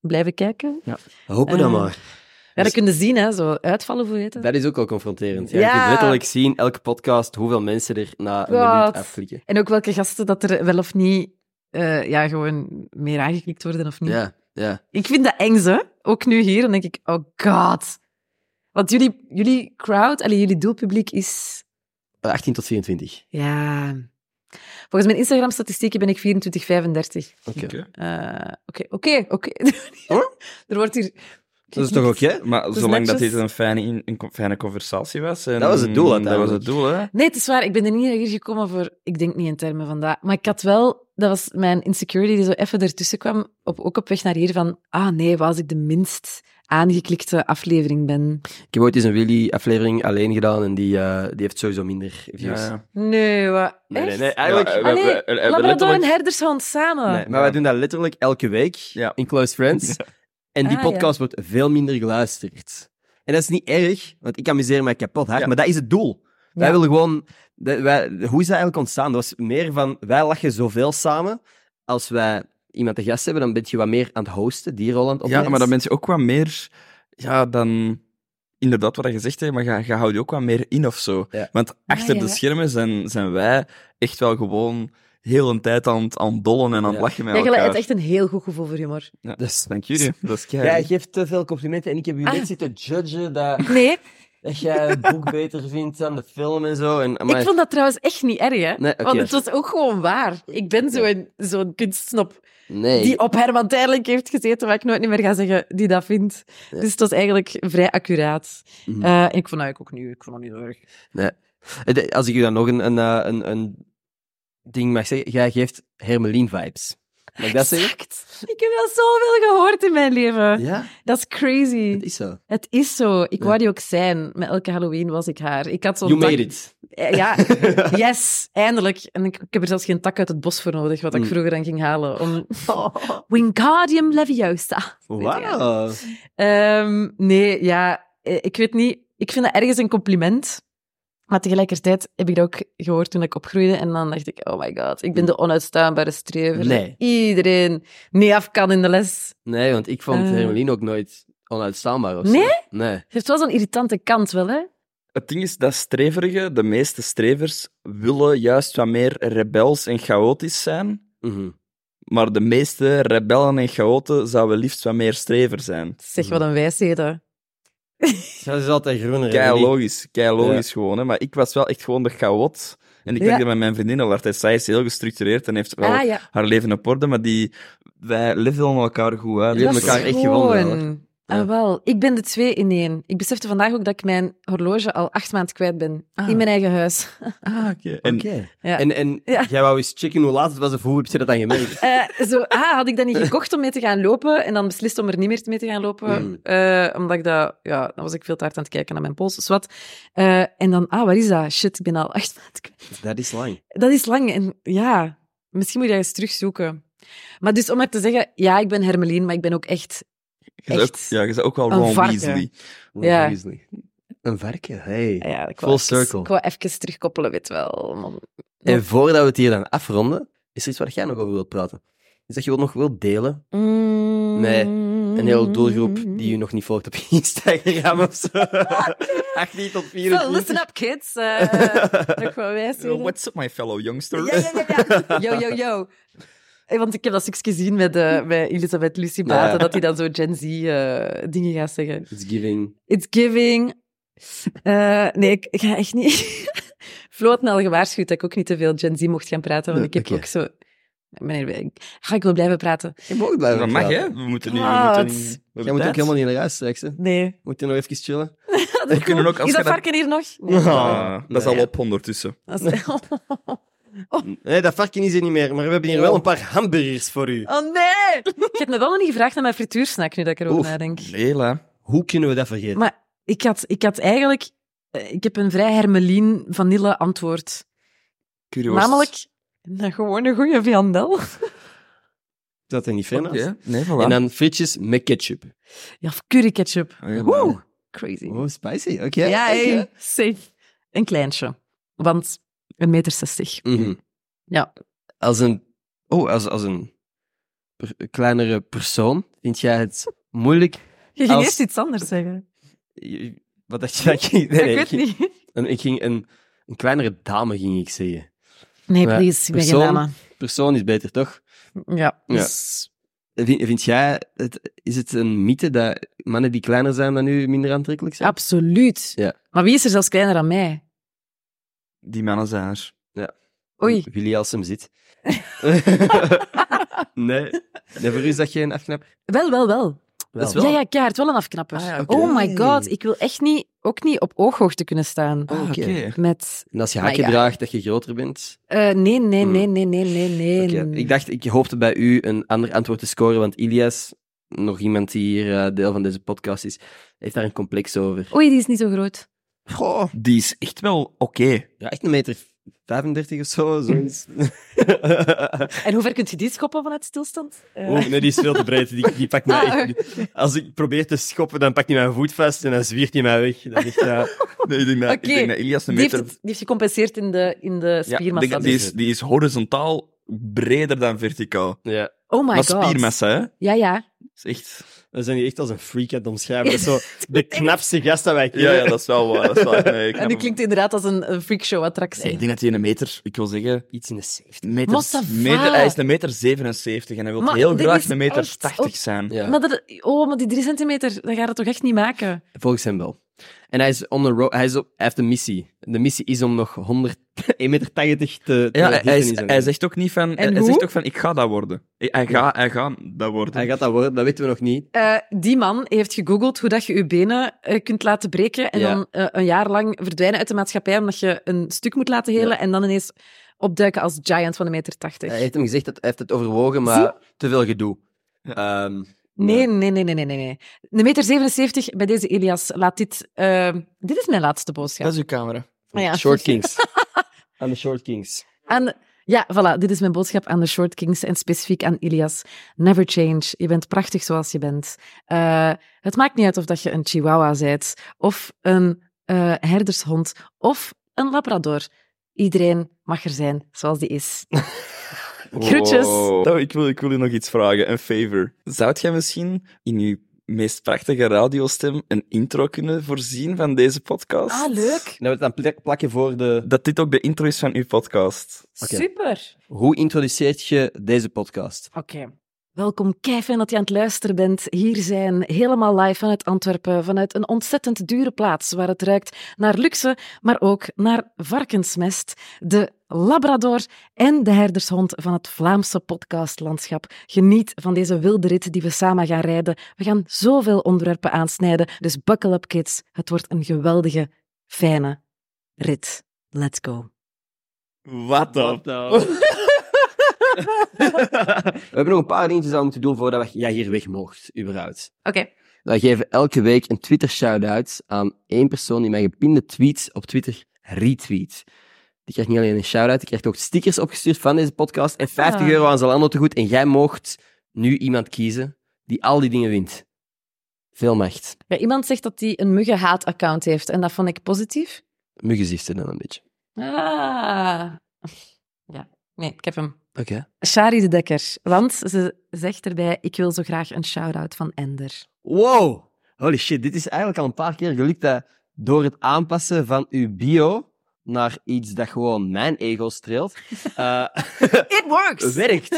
Speaker 2: blijven kijken.
Speaker 1: *laughs* Hopen dan
Speaker 2: Eh,
Speaker 1: maar.
Speaker 2: Ja,
Speaker 1: Dus-
Speaker 2: dat kunnen zien, hè, zo uitvallen, hoe heet dat?
Speaker 1: Dat is ook al confronterend. Ja. Je
Speaker 2: Ja.
Speaker 1: kunt letterlijk zien, elke podcast, hoeveel mensen er na een
Speaker 2: Wat?
Speaker 1: minuut afklikken.
Speaker 2: En ook welke gasten dat er wel of niet eh, ja, gewoon meer aangeklikt worden of niet.
Speaker 1: Ja, ja.
Speaker 2: Ik vind dat eng, hè. Ook nu hier, dan denk ik, oh god. Want jullie, jullie crowd, allee, jullie doelpubliek is...
Speaker 1: 18 Eh, tot 24.
Speaker 2: Ja... Volgens mijn Instagram-statistieken ben ik 24, 35.
Speaker 1: Oké.
Speaker 2: Eh, Oké, oké, oké.
Speaker 3: Hoor?
Speaker 2: *laughs* Er wordt hier...
Speaker 1: Oh? Dat is toch oké?
Speaker 3: Maar
Speaker 2: is
Speaker 3: zolang dat
Speaker 2: netjes.
Speaker 3: dit een fijne, in- een co- fijne conversatie was... en-
Speaker 1: Dat was het doel
Speaker 3: Dat was
Speaker 1: uiteindelijk.
Speaker 3: het doel, hè.
Speaker 2: Nee, het is waar. Ik ben er niet naar hier gekomen voor... Ik denk niet in termen van dat. Maar ik had wel... Dat was mijn insecurity die zo even ertussen kwam. Op, ook op weg naar hier van... Ah nee, wat als ik de minst aangeklikte aflevering ben?
Speaker 1: Ik heb ooit eens een Willy-aflevering alleen gedaan en die, eh, die heeft sowieso minder views.
Speaker 2: Nee, wat?
Speaker 1: Nee, nee,
Speaker 2: Echt? Ah,
Speaker 1: nee. Eigenlijk,
Speaker 3: Ja, we-
Speaker 2: Allee,
Speaker 3: we- we- we-
Speaker 2: Labrador
Speaker 3: letterlijk-
Speaker 2: en herdershond samen.
Speaker 1: Nee, maar wij doen dat letterlijk elke week
Speaker 3: Ja.
Speaker 1: in Close Friends. En die
Speaker 2: Ah,
Speaker 1: podcast wordt veel minder geluisterd. En dat is niet erg, want ik amuseer mij kapot hard,
Speaker 3: Ja.
Speaker 1: maar dat is het doel. Wij
Speaker 2: Ja.
Speaker 1: willen gewoon... dat- wij, hoe is dat eigenlijk ontstaan? Dat was meer van, wij lachen zoveel samen. Als wij iemand te gast hebben, dan ben je wat meer aan het hosten, die rol aan het
Speaker 3: Ja,
Speaker 1: opnemen.
Speaker 3: maar dan ben je ook wat meer... Ja, dan... Inderdaad, wat je gezegd hebt, maar je, je houdt je ook wat meer in of zo.
Speaker 1: Ja.
Speaker 3: Want achter
Speaker 2: Ah, ja.
Speaker 3: de schermen zijn, zijn wij echt wel gewoon heel een tijd aan het, aan het dollen en aan het
Speaker 1: Ja.
Speaker 3: lachen met
Speaker 2: Ja, je
Speaker 3: elkaar.
Speaker 2: hebt echt een heel goed gevoel voor humor.
Speaker 1: Dus,
Speaker 3: Dank jullie. Dat is keihard.
Speaker 1: Jij geeft te veel complimenten en ik heb u
Speaker 2: Ah.
Speaker 1: net zitten judgen dat,
Speaker 2: Nee,
Speaker 1: dat jij het
Speaker 2: *laughs*
Speaker 1: boek beter vindt dan de film en zo. En, amai.
Speaker 2: ik vond dat trouwens echt niet erg, hè.
Speaker 1: Nee, oké.
Speaker 2: Want het was ook gewoon waar. Ik ben zo'n zo'n kunstsnop
Speaker 1: Nee.
Speaker 2: die op Herman Tijdelijk heeft gezeten, wat ik nooit meer ga zeggen, die dat vindt. Dus het was eigenlijk vrij accuraat.
Speaker 1: Mhm.
Speaker 2: Eh, en ik vond dat ook nu, ik vond dat niet erg.
Speaker 1: Het- Als ik u dan nog een, een, eh, een, een ding mag zeggen, jij geeft Hermelien-vibes. Mag ik dat zeggen?
Speaker 2: Exact. Ik heb wel zoveel gehoord in mijn leven.
Speaker 1: Ja,
Speaker 2: Dat is
Speaker 1: dat
Speaker 2: crazy.
Speaker 1: is zo.
Speaker 2: Het is zo. Ik
Speaker 1: Ja.
Speaker 2: wou die ook zijn. Met elke Halloween was ik haar. Ik had zo'n
Speaker 1: You
Speaker 2: tak-
Speaker 1: made it.
Speaker 2: Eh,
Speaker 1: *laughs*
Speaker 2: Ja, yes, eindelijk. En ik, ik heb er zelfs geen tak uit het bos voor nodig, wat ik
Speaker 1: Mm. Oh.
Speaker 2: vroeger dan ging
Speaker 1: *laughs*
Speaker 2: halen. Om... Wingardium leviosa.
Speaker 1: Wauw.
Speaker 2: Ehm, nee, ja, eh, ik weet niet. Ik vind dat ergens een compliment. Maar tegelijkertijd heb ik dat ook gehoord toen ik opgroeide. En dan dacht ik, oh my god, ik ben de onuitstaanbare strever.
Speaker 1: Nee.
Speaker 2: Iedereen niet af kan in de les.
Speaker 1: Nee, want ik vond
Speaker 2: Eh.
Speaker 1: Hermelien ook nooit onuitstaanbaar of zo.
Speaker 2: Nee?
Speaker 1: Nee.
Speaker 2: Het heeft wel zo'n irritante kant wel, hè?
Speaker 3: Het ding is dat streverige, de meeste strevers, willen juist wat meer rebels en chaotisch zijn.
Speaker 1: Mhm.
Speaker 3: Maar de meeste rebellen en chaoten zouden liefst wat meer strever zijn.
Speaker 2: Zeg, wat een wijsheid, hè.
Speaker 1: Zij is altijd groener.
Speaker 3: Kei
Speaker 1: Hermelien.
Speaker 3: logisch, kei logisch gewoon. Hè? Maar ik was wel echt gewoon de chaot. En ik
Speaker 2: Ja.
Speaker 3: denk dat met mijn vriendin al altijd, zij is heel gestructureerd en heeft wel
Speaker 2: Ah, ja.
Speaker 3: haar leven op orde, maar die, wij levelen elkaar goed uit.
Speaker 1: Jullie
Speaker 3: Dat
Speaker 1: hebben
Speaker 3: is-
Speaker 1: elkaar echt gewonnen,
Speaker 2: schoon.
Speaker 1: Ja.
Speaker 2: Ah, wel. Ik ben de twee in één. Ik besefte vandaag ook dat ik mijn horloge al acht maanden kwijt ben.
Speaker 1: Ah.
Speaker 2: In mijn eigen huis.
Speaker 3: Ah, oké. En
Speaker 1: Oké.
Speaker 2: Ja.
Speaker 1: En, en
Speaker 2: Ja.
Speaker 1: jij wou eens checken hoe laat het was of hoe heb je dat dan gemerkt?
Speaker 2: Eh, zo, ah, had ik dat niet gekocht om mee te gaan lopen en dan beslist om er niet meer mee te gaan lopen.
Speaker 1: Mm.
Speaker 2: eh, omdat ik dat... Ja, dan was ik veel te hard aan het kijken naar mijn pols. Dus wat. Eh, en dan, ah, waar is dat? Shit, ik ben al acht maanden
Speaker 1: *laughs*
Speaker 2: kwijt.
Speaker 1: Dat is lang.
Speaker 2: Dat is lang. En ja, misschien moet je dat eens terugzoeken. Maar dus om maar te zeggen, ja, ik ben Hermelien, maar ik ben ook echt...
Speaker 3: je bent ook-
Speaker 2: Echt.
Speaker 3: ja, je bent ook wel
Speaker 2: Een
Speaker 3: Ron
Speaker 2: varken.
Speaker 3: Weasley.
Speaker 2: Ja.
Speaker 1: Een varken, hey.
Speaker 2: ah Ja, ik
Speaker 1: Full
Speaker 2: wou even-
Speaker 1: circle.
Speaker 2: Ik wou even terugkoppelen, weet wel. man.
Speaker 1: En voordat we het hier dan afronden, is er iets waar jij nog over wilt praten? Is dat je wel nog wilt delen?
Speaker 2: Mm.
Speaker 1: Nee, Een
Speaker 2: Mm-hmm.
Speaker 1: hele doelgroep die u nog niet volgt op *laughs* Instagram of
Speaker 2: *laughs*
Speaker 1: zo. 18 tot
Speaker 2: So,
Speaker 1: 24.
Speaker 2: listen up, kids.
Speaker 1: *laughs*
Speaker 2: Eh nog wel wijsheden.
Speaker 3: Oh, What's up, my fellow youngster?
Speaker 2: Ja, ja, ja, ja. Yo, yo, yo. Eh, Want ik heb dat stukje gezien met, eh met Elisabeth Lucie Baten,
Speaker 1: Ja.
Speaker 2: dat hij dan zo Gen Z eh, dingen gaat zeggen.
Speaker 1: It's giving.
Speaker 2: It's giving. Eh, nee, ik, ik ga echt niet. *laughs* Flo had me al gewaarschuwd dat ik ook niet te veel Gen Z mocht gaan praten, want
Speaker 1: Nee,
Speaker 2: ik heb
Speaker 1: oké.
Speaker 2: ook zo... Meneer, ik- ga ik wel blijven praten?
Speaker 1: Je mag blijven.
Speaker 3: Dat mag,
Speaker 1: praten.
Speaker 3: hè? We moeten nu... We
Speaker 2: Wat?
Speaker 3: moeten niet- we hebben
Speaker 1: Jij moet ook
Speaker 3: tijd.
Speaker 1: helemaal niet naar huis straks, hè?
Speaker 2: Nee.
Speaker 1: Moet je nog even *laughs* chillen?
Speaker 3: We kunnen ook... als
Speaker 2: Is
Speaker 3: je
Speaker 2: dat varken hier nog?
Speaker 1: *laughs*
Speaker 2: Nee.
Speaker 3: Ah, dat is
Speaker 1: Nee.
Speaker 3: al op ondertussen.
Speaker 2: Dat is-
Speaker 1: Nee, dat varken is er niet meer, maar we hebben hier wel een paar hamburgers voor u.
Speaker 2: *laughs* Oh nee! Je hebt me wel nog niet gevraagd naar mijn frituursnack, nu dat ik erover
Speaker 1: Oef.
Speaker 2: nadenk.
Speaker 3: Hela.
Speaker 1: Hoe kunnen we dat vergeten?
Speaker 2: Maar ik had, ik had eigenlijk... eh, Ik heb een vrij hermelien vanille antwoord.
Speaker 3: Curioos.
Speaker 2: Namelijk, nou, gewoon een goede viandel.
Speaker 1: Dat er niet veel
Speaker 3: Oké,
Speaker 1: naast.
Speaker 3: nee, voilà.
Speaker 1: En dan frietjes met ketchup.
Speaker 2: Ja, of curry ketchup.
Speaker 3: Oh, ja,
Speaker 2: Woe! Crazy.
Speaker 1: Oh, spicy. Oké.
Speaker 2: ja,
Speaker 1: oké.
Speaker 2: hey, safe. Een kleintje. Want een meter zestig.
Speaker 1: Mhm.
Speaker 2: Ja.
Speaker 1: Als een... Oh, als, als een per- kleinere persoon vind jij het moeilijk...
Speaker 2: Je ging
Speaker 1: Als-
Speaker 2: eerst iets anders zeggen.
Speaker 1: Je- Wat dacht je dat ik ging... *laughs* Nee, nee,
Speaker 2: *laughs* ik weet
Speaker 1: ik ging-
Speaker 2: niet.
Speaker 1: Een, ik ging een, een kleinere dame, ging ik zeggen.
Speaker 2: Nee,
Speaker 1: Maar
Speaker 2: please. Ik ben geen
Speaker 1: persoon-
Speaker 2: dame.
Speaker 1: Persoon is beter, toch?
Speaker 2: Ja.
Speaker 1: Ja.
Speaker 2: Dus,
Speaker 1: Vind, vind jij... Het, is het een mythe dat mannen die kleiner zijn dan u minder aantrekkelijk zijn?
Speaker 2: Absoluut.
Speaker 1: Ja.
Speaker 2: Maar wie is er zelfs kleiner dan mij?
Speaker 3: Die mannen zijn er.
Speaker 2: Oei.
Speaker 1: Willy als hem
Speaker 2: *laughs*
Speaker 1: zit. *laughs* nee. nee. Voor u is dat geen afknapper?
Speaker 2: Wel, wel, wel.
Speaker 1: Dat is
Speaker 2: Ja, ja, keihard. Wel een afknapper.
Speaker 3: Ah, ja, oké.
Speaker 2: Oh my god. Ik wil echt niet, ook niet op ooghoogte kunnen staan.
Speaker 1: Ah, oké.
Speaker 2: Met...
Speaker 1: En als je
Speaker 2: Maar
Speaker 1: hakken
Speaker 2: ja.
Speaker 1: draagt, dat je groter bent.
Speaker 2: eh, nee, nee,
Speaker 1: Hmm.
Speaker 2: nee, nee, nee, nee, nee.
Speaker 1: Oké. Ik dacht, ik hoopte bij u een ander antwoord te scoren, want Ilias, nog iemand die hier eh, deel van deze podcast is, heeft daar een complex over.
Speaker 2: Oei, die is niet zo groot.
Speaker 3: Goh, die is echt wel oké.
Speaker 1: Ja, echt een meter 35 of zo, *laughs* zoiets.
Speaker 2: En hoe ver kunt je die schoppen vanuit stilstand? Eh,
Speaker 1: Oeh, nee, die Oh, is veel te breed. Die, die pakt mij
Speaker 2: Ah,
Speaker 1: echt- Als ik probeer te schoppen, dan pakt hij mijn voet vast en dan zwiert hij mij weg. Dat is echt, ja.
Speaker 3: Nee, ik denk dat,
Speaker 2: Oké.
Speaker 3: ik denk dat Ilias een
Speaker 2: die, heeft
Speaker 3: meter...
Speaker 2: het, die heeft gecompenseerd in de, in de
Speaker 3: Ja, ik
Speaker 2: spiermassa.
Speaker 3: denk dat die,
Speaker 2: dus.
Speaker 3: is, die is horizontaal breder dan verticaal.
Speaker 1: ja.
Speaker 2: Oh my
Speaker 3: Maar
Speaker 2: god.
Speaker 3: spiermassa, hè?
Speaker 2: Ja, ja.
Speaker 3: is echt...
Speaker 1: We zijn hier echt als een freak aan het omschrijven. Dat is zo de knapste gast dat wij
Speaker 3: Ja,
Speaker 1: kennen.
Speaker 3: ja, dat is wel waar. Dat is wel, nee, ik
Speaker 2: En
Speaker 3: heb
Speaker 2: die
Speaker 3: hem-
Speaker 2: klinkt inderdaad als een, een freakshow-attractie.
Speaker 3: Nee, ik denk dat hij een meter, ik wil zeggen,
Speaker 1: Iets in de 70.
Speaker 3: meter,
Speaker 2: Mostafa.
Speaker 3: meter, hij is een meter 77 en hij wil
Speaker 2: Maar
Speaker 3: heel
Speaker 2: dit
Speaker 3: graag
Speaker 2: is
Speaker 3: een meter
Speaker 2: echt
Speaker 3: 80
Speaker 2: op-
Speaker 3: zijn.
Speaker 1: Ja.
Speaker 2: Maar dat, oh, maar die drie centimeter, dat gaat het toch echt niet maken?
Speaker 1: Volgens hem wel. En hij is on the road, hij, is op, hij heeft een missie. De missie is om nog *laughs* 100, 1,80 meter te, te
Speaker 3: Ja, hij,
Speaker 1: hitten
Speaker 3: hij
Speaker 1: in
Speaker 3: is,
Speaker 1: zijn
Speaker 3: hij
Speaker 1: leven.
Speaker 3: zegt ook niet van, hij,
Speaker 2: En
Speaker 3: hij
Speaker 2: hoe?
Speaker 3: zegt ook van, ik ga dat worden. Hij, hij ga, hij gaat dat worden.
Speaker 1: Hij gaat dat worden, dat weten we nog niet.
Speaker 2: Eh, die man heeft gegoogeld hoe dat je je benen eh, kunt laten breken en
Speaker 1: Ja.
Speaker 2: dan eh, een jaar lang verdwijnen uit de maatschappij omdat je een stuk moet laten helen en dan ineens opduiken als giant van een meter tachtig.
Speaker 1: Hij heeft hem gezegd, dat hij heeft het overwogen, maar te veel gedoe. Ehm,
Speaker 2: Nee, nee, nee, nee, nee, nee. nee. Een meter 77 bij deze Elias. Laat dit... eh, dit is mijn laatste boodschap.
Speaker 3: is uw camera.
Speaker 2: Ah, ja.
Speaker 1: Short Kings.
Speaker 2: *laughs*
Speaker 1: Aan de Short Kings.
Speaker 2: Aan, ja, voilà. Dit is mijn boodschap aan de Short Kings en specifiek aan Ilias. Never change. Je bent prachtig zoals je bent. Eh, het maakt niet uit of dat je een chihuahua bent, of een eh, herdershond, of een labrador. Iedereen mag er zijn zoals die is. Groetjes.
Speaker 3: Nou, ik, wil, ik wil u nog iets vragen, een favor. Zou jij misschien in uw meest prachtige radiostem een intro kunnen voorzien van deze podcast?
Speaker 2: Ah, leuk.
Speaker 1: Nou, we het dan plak- plakken voor de...
Speaker 3: Dat dit ook de intro is van uw podcast.
Speaker 1: Oké.
Speaker 2: Super.
Speaker 1: Hoe introduceert je deze podcast?
Speaker 2: Oké. Welkom, Kevin, dat je aan het luisteren bent. Hier zijn helemaal live vanuit Antwerpen, vanuit een ontzettend dure plaats waar het ruikt naar luxe, maar ook naar varkensmest, de Labrador en de herdershond van het Vlaamse podcastlandschap. Geniet van deze wilde rit die we samen gaan rijden. We gaan zoveel onderwerpen aansnijden, dus buckle up kids. Het wordt een geweldige, fijne rit. Let's go.
Speaker 3: Wat dan?
Speaker 2: nou?
Speaker 1: *laughs* We hebben nog een paar dingetjes aan moeten doen voordat jij hier weg mocht, überhaupt.
Speaker 2: Oké.
Speaker 1: Wij geven elke week een Twitter shout-out aan één persoon die mijn gepinde tweets op Twitter retweet. Die krijgt niet alleen een shout-out, die krijgt ook stickers opgestuurd van deze podcast en 50
Speaker 2: Ah.
Speaker 1: euro aan Zalando te goed. En jij mocht nu iemand kiezen die al die dingen wint. Veel macht.
Speaker 2: Ja, iemand zegt dat hij een muggenhaat-account heeft en dat vond ik positief.
Speaker 1: Muggenzichten dan een beetje.
Speaker 2: Ah. Ja, nee, ik heb hem.
Speaker 1: Oké.
Speaker 2: Shari de Dekker. Want ze zegt erbij, ik wil zo graag een shout-out van Ender.
Speaker 1: Wow! Holy shit, dit is eigenlijk al een paar keer gelukt dat door het aanpassen van uw bio naar iets dat gewoon mijn ego streelt, eh,
Speaker 2: It works!
Speaker 1: werkt.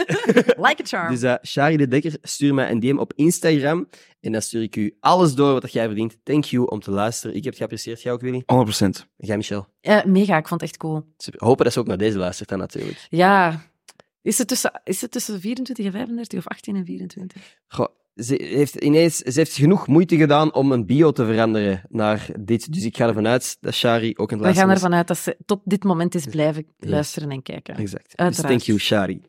Speaker 2: Like a charm.
Speaker 1: Dus eh Shari de Dekker, stuur mij een DM op Instagram. En dan stuur ik u alles door wat dat jij verdient. Thank you om te luisteren. Ik heb het geapprecieerd. Jij ook, Willy?
Speaker 3: 100%.
Speaker 1: En jij, Michel?
Speaker 2: Eh, mega, ik vond het echt cool.
Speaker 1: Super. Hopen dat ze ook naar deze luistert dan natuurlijk.
Speaker 2: Ja. Is het, tussen, is het tussen 24 en 35 of 18 en 24?
Speaker 1: Goh, ze heeft ineens ze heeft genoeg moeite gedaan om een bio te veranderen naar dit. Dus ik ga ervan uit dat Shari ook een
Speaker 2: We
Speaker 1: luisteraar
Speaker 2: gaan
Speaker 1: is.
Speaker 2: ervan uit dat ze tot dit moment is blijven luisteren en kijken.
Speaker 1: Exact. Dus
Speaker 2: Uiteraard.
Speaker 1: thank you, Shari.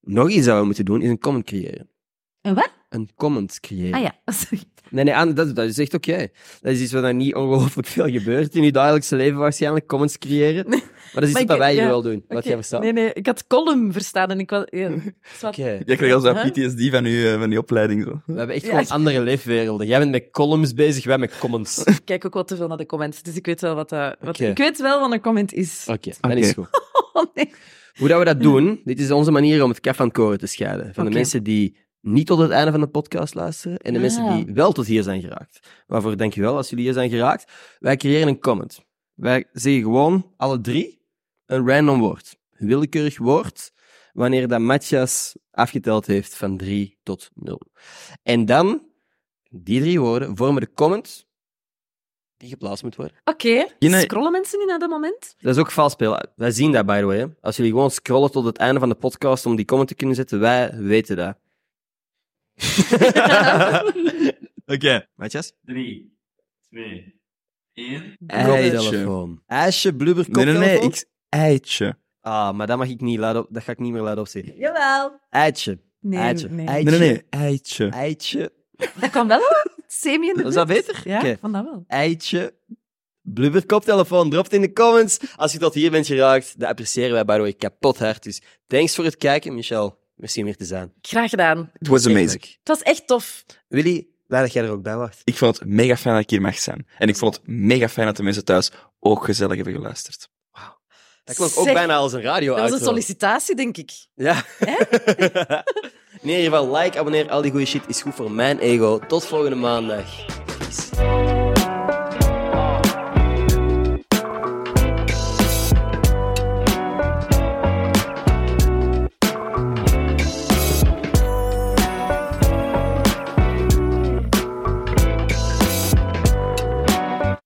Speaker 1: Nog iets dat we moeten doen, is een comment creëren.
Speaker 2: Een wat?
Speaker 1: Een comment creëren.
Speaker 2: Ah ja, *laughs* sorry.
Speaker 1: Nee, nee, Anne, dat, dat is echt oké. Dat is iets wat er niet ongelooflijk veel gebeurt in je dagelijkse leven waarschijnlijk, comments creëren.
Speaker 2: Nee.
Speaker 1: Maar dat is
Speaker 2: Maar
Speaker 1: iets
Speaker 2: ik-
Speaker 1: wat wij hier
Speaker 2: ja,
Speaker 1: wel doen, wat
Speaker 2: Oké.
Speaker 1: jij verstaat.
Speaker 2: Nee, nee, ik had column verstaan en ik was...
Speaker 1: *laughs*
Speaker 2: Ja, zwart.
Speaker 1: Oké.
Speaker 3: Jij krijgt al zo'n
Speaker 2: Huh?
Speaker 3: PTSD van, uw, eh, van die opleiding. Zo.
Speaker 1: We hebben echt
Speaker 2: Ja.
Speaker 1: gewoon andere leefwerelden. Jij bent met columns bezig, wij met comments. Oké,
Speaker 2: Ik kijk ook wel te veel naar de comments, dus ik weet wel wat, dat- wat,
Speaker 1: Oké.
Speaker 2: ik weet wel wat een comment is.
Speaker 1: dan
Speaker 3: Oké.
Speaker 1: is het goed.
Speaker 2: Oh, nee.
Speaker 1: Hoe dat we dat doen, dit is onze manier om het kaf van het koren te scheiden. Van de
Speaker 2: Oké.
Speaker 1: mensen die niet tot het einde van de podcast luisteren en de mensen
Speaker 2: Ah.
Speaker 1: die wel tot hier zijn geraakt. Waarvoor dank je wel als jullie hier zijn geraakt. Wij creëren een comment. Wij zeggen gewoon, alle drie, een random woord. Een willekeurig woord, wanneer dat Matthias afgeteld heeft van 3 tot 0. En dan, die drie woorden vormen de comment die geplaatst moet worden.
Speaker 2: Oké,
Speaker 3: Jine-
Speaker 2: scrollen mensen nu naar dat moment?
Speaker 1: Dat is ook vals spelen. Wij zien dat, by the way. hè. Als jullie gewoon scrollen tot het einde van de podcast om die comment te kunnen zetten, wij weten dat.
Speaker 3: *laughs* Oké.
Speaker 1: Matthias?
Speaker 5: 3, 2, 1.
Speaker 2: Eh,
Speaker 1: Eidelefoon. IJsje, blubber,
Speaker 3: Nee, nee,
Speaker 1: koptelefoon.
Speaker 3: nee. Ik... Eitje.
Speaker 1: Ah, maar dat mag ik niet luid op... Dat ga ik niet meer luid opzeggen.
Speaker 2: Jawel.
Speaker 1: Eitje.
Speaker 2: Nee,
Speaker 1: Eitje.
Speaker 2: nee.
Speaker 1: Eitje.
Speaker 3: Nee, nee, nee. Eitje.
Speaker 1: Eitje.
Speaker 2: Dat kan wel. Semi in de
Speaker 1: Is dat
Speaker 2: buurt.
Speaker 1: beter?
Speaker 2: Ja,
Speaker 1: Oké.
Speaker 2: ik vond dat wel.
Speaker 1: Eitje. Blubber, koptelefoon. Drop het in de comments. Als je tot hier bent geraakt, dat appreciëren wij, by the way, kapot hard. Dus thanks voor het kijken, Michel. Misschien weer te zijn.
Speaker 2: Graag gedaan.
Speaker 3: It was amazing.
Speaker 2: Het was echt tof.
Speaker 1: Willy, blij dat jij er ook bij was.
Speaker 3: Ik vond het mega fijn dat ik hier mag zijn. En ik vond het mega fijn dat de mensen thuis ook gezellig hebben geluisterd.
Speaker 1: Dat klonk ook
Speaker 2: Zeg,
Speaker 1: bijna als een radio
Speaker 2: Dat was een
Speaker 1: outro.
Speaker 2: sollicitatie, denk ik.
Speaker 1: Ja. *laughs* In ieder geval, like, abonneer, al die goede shit is goed voor mijn ego. Tot volgende maandag. Peace.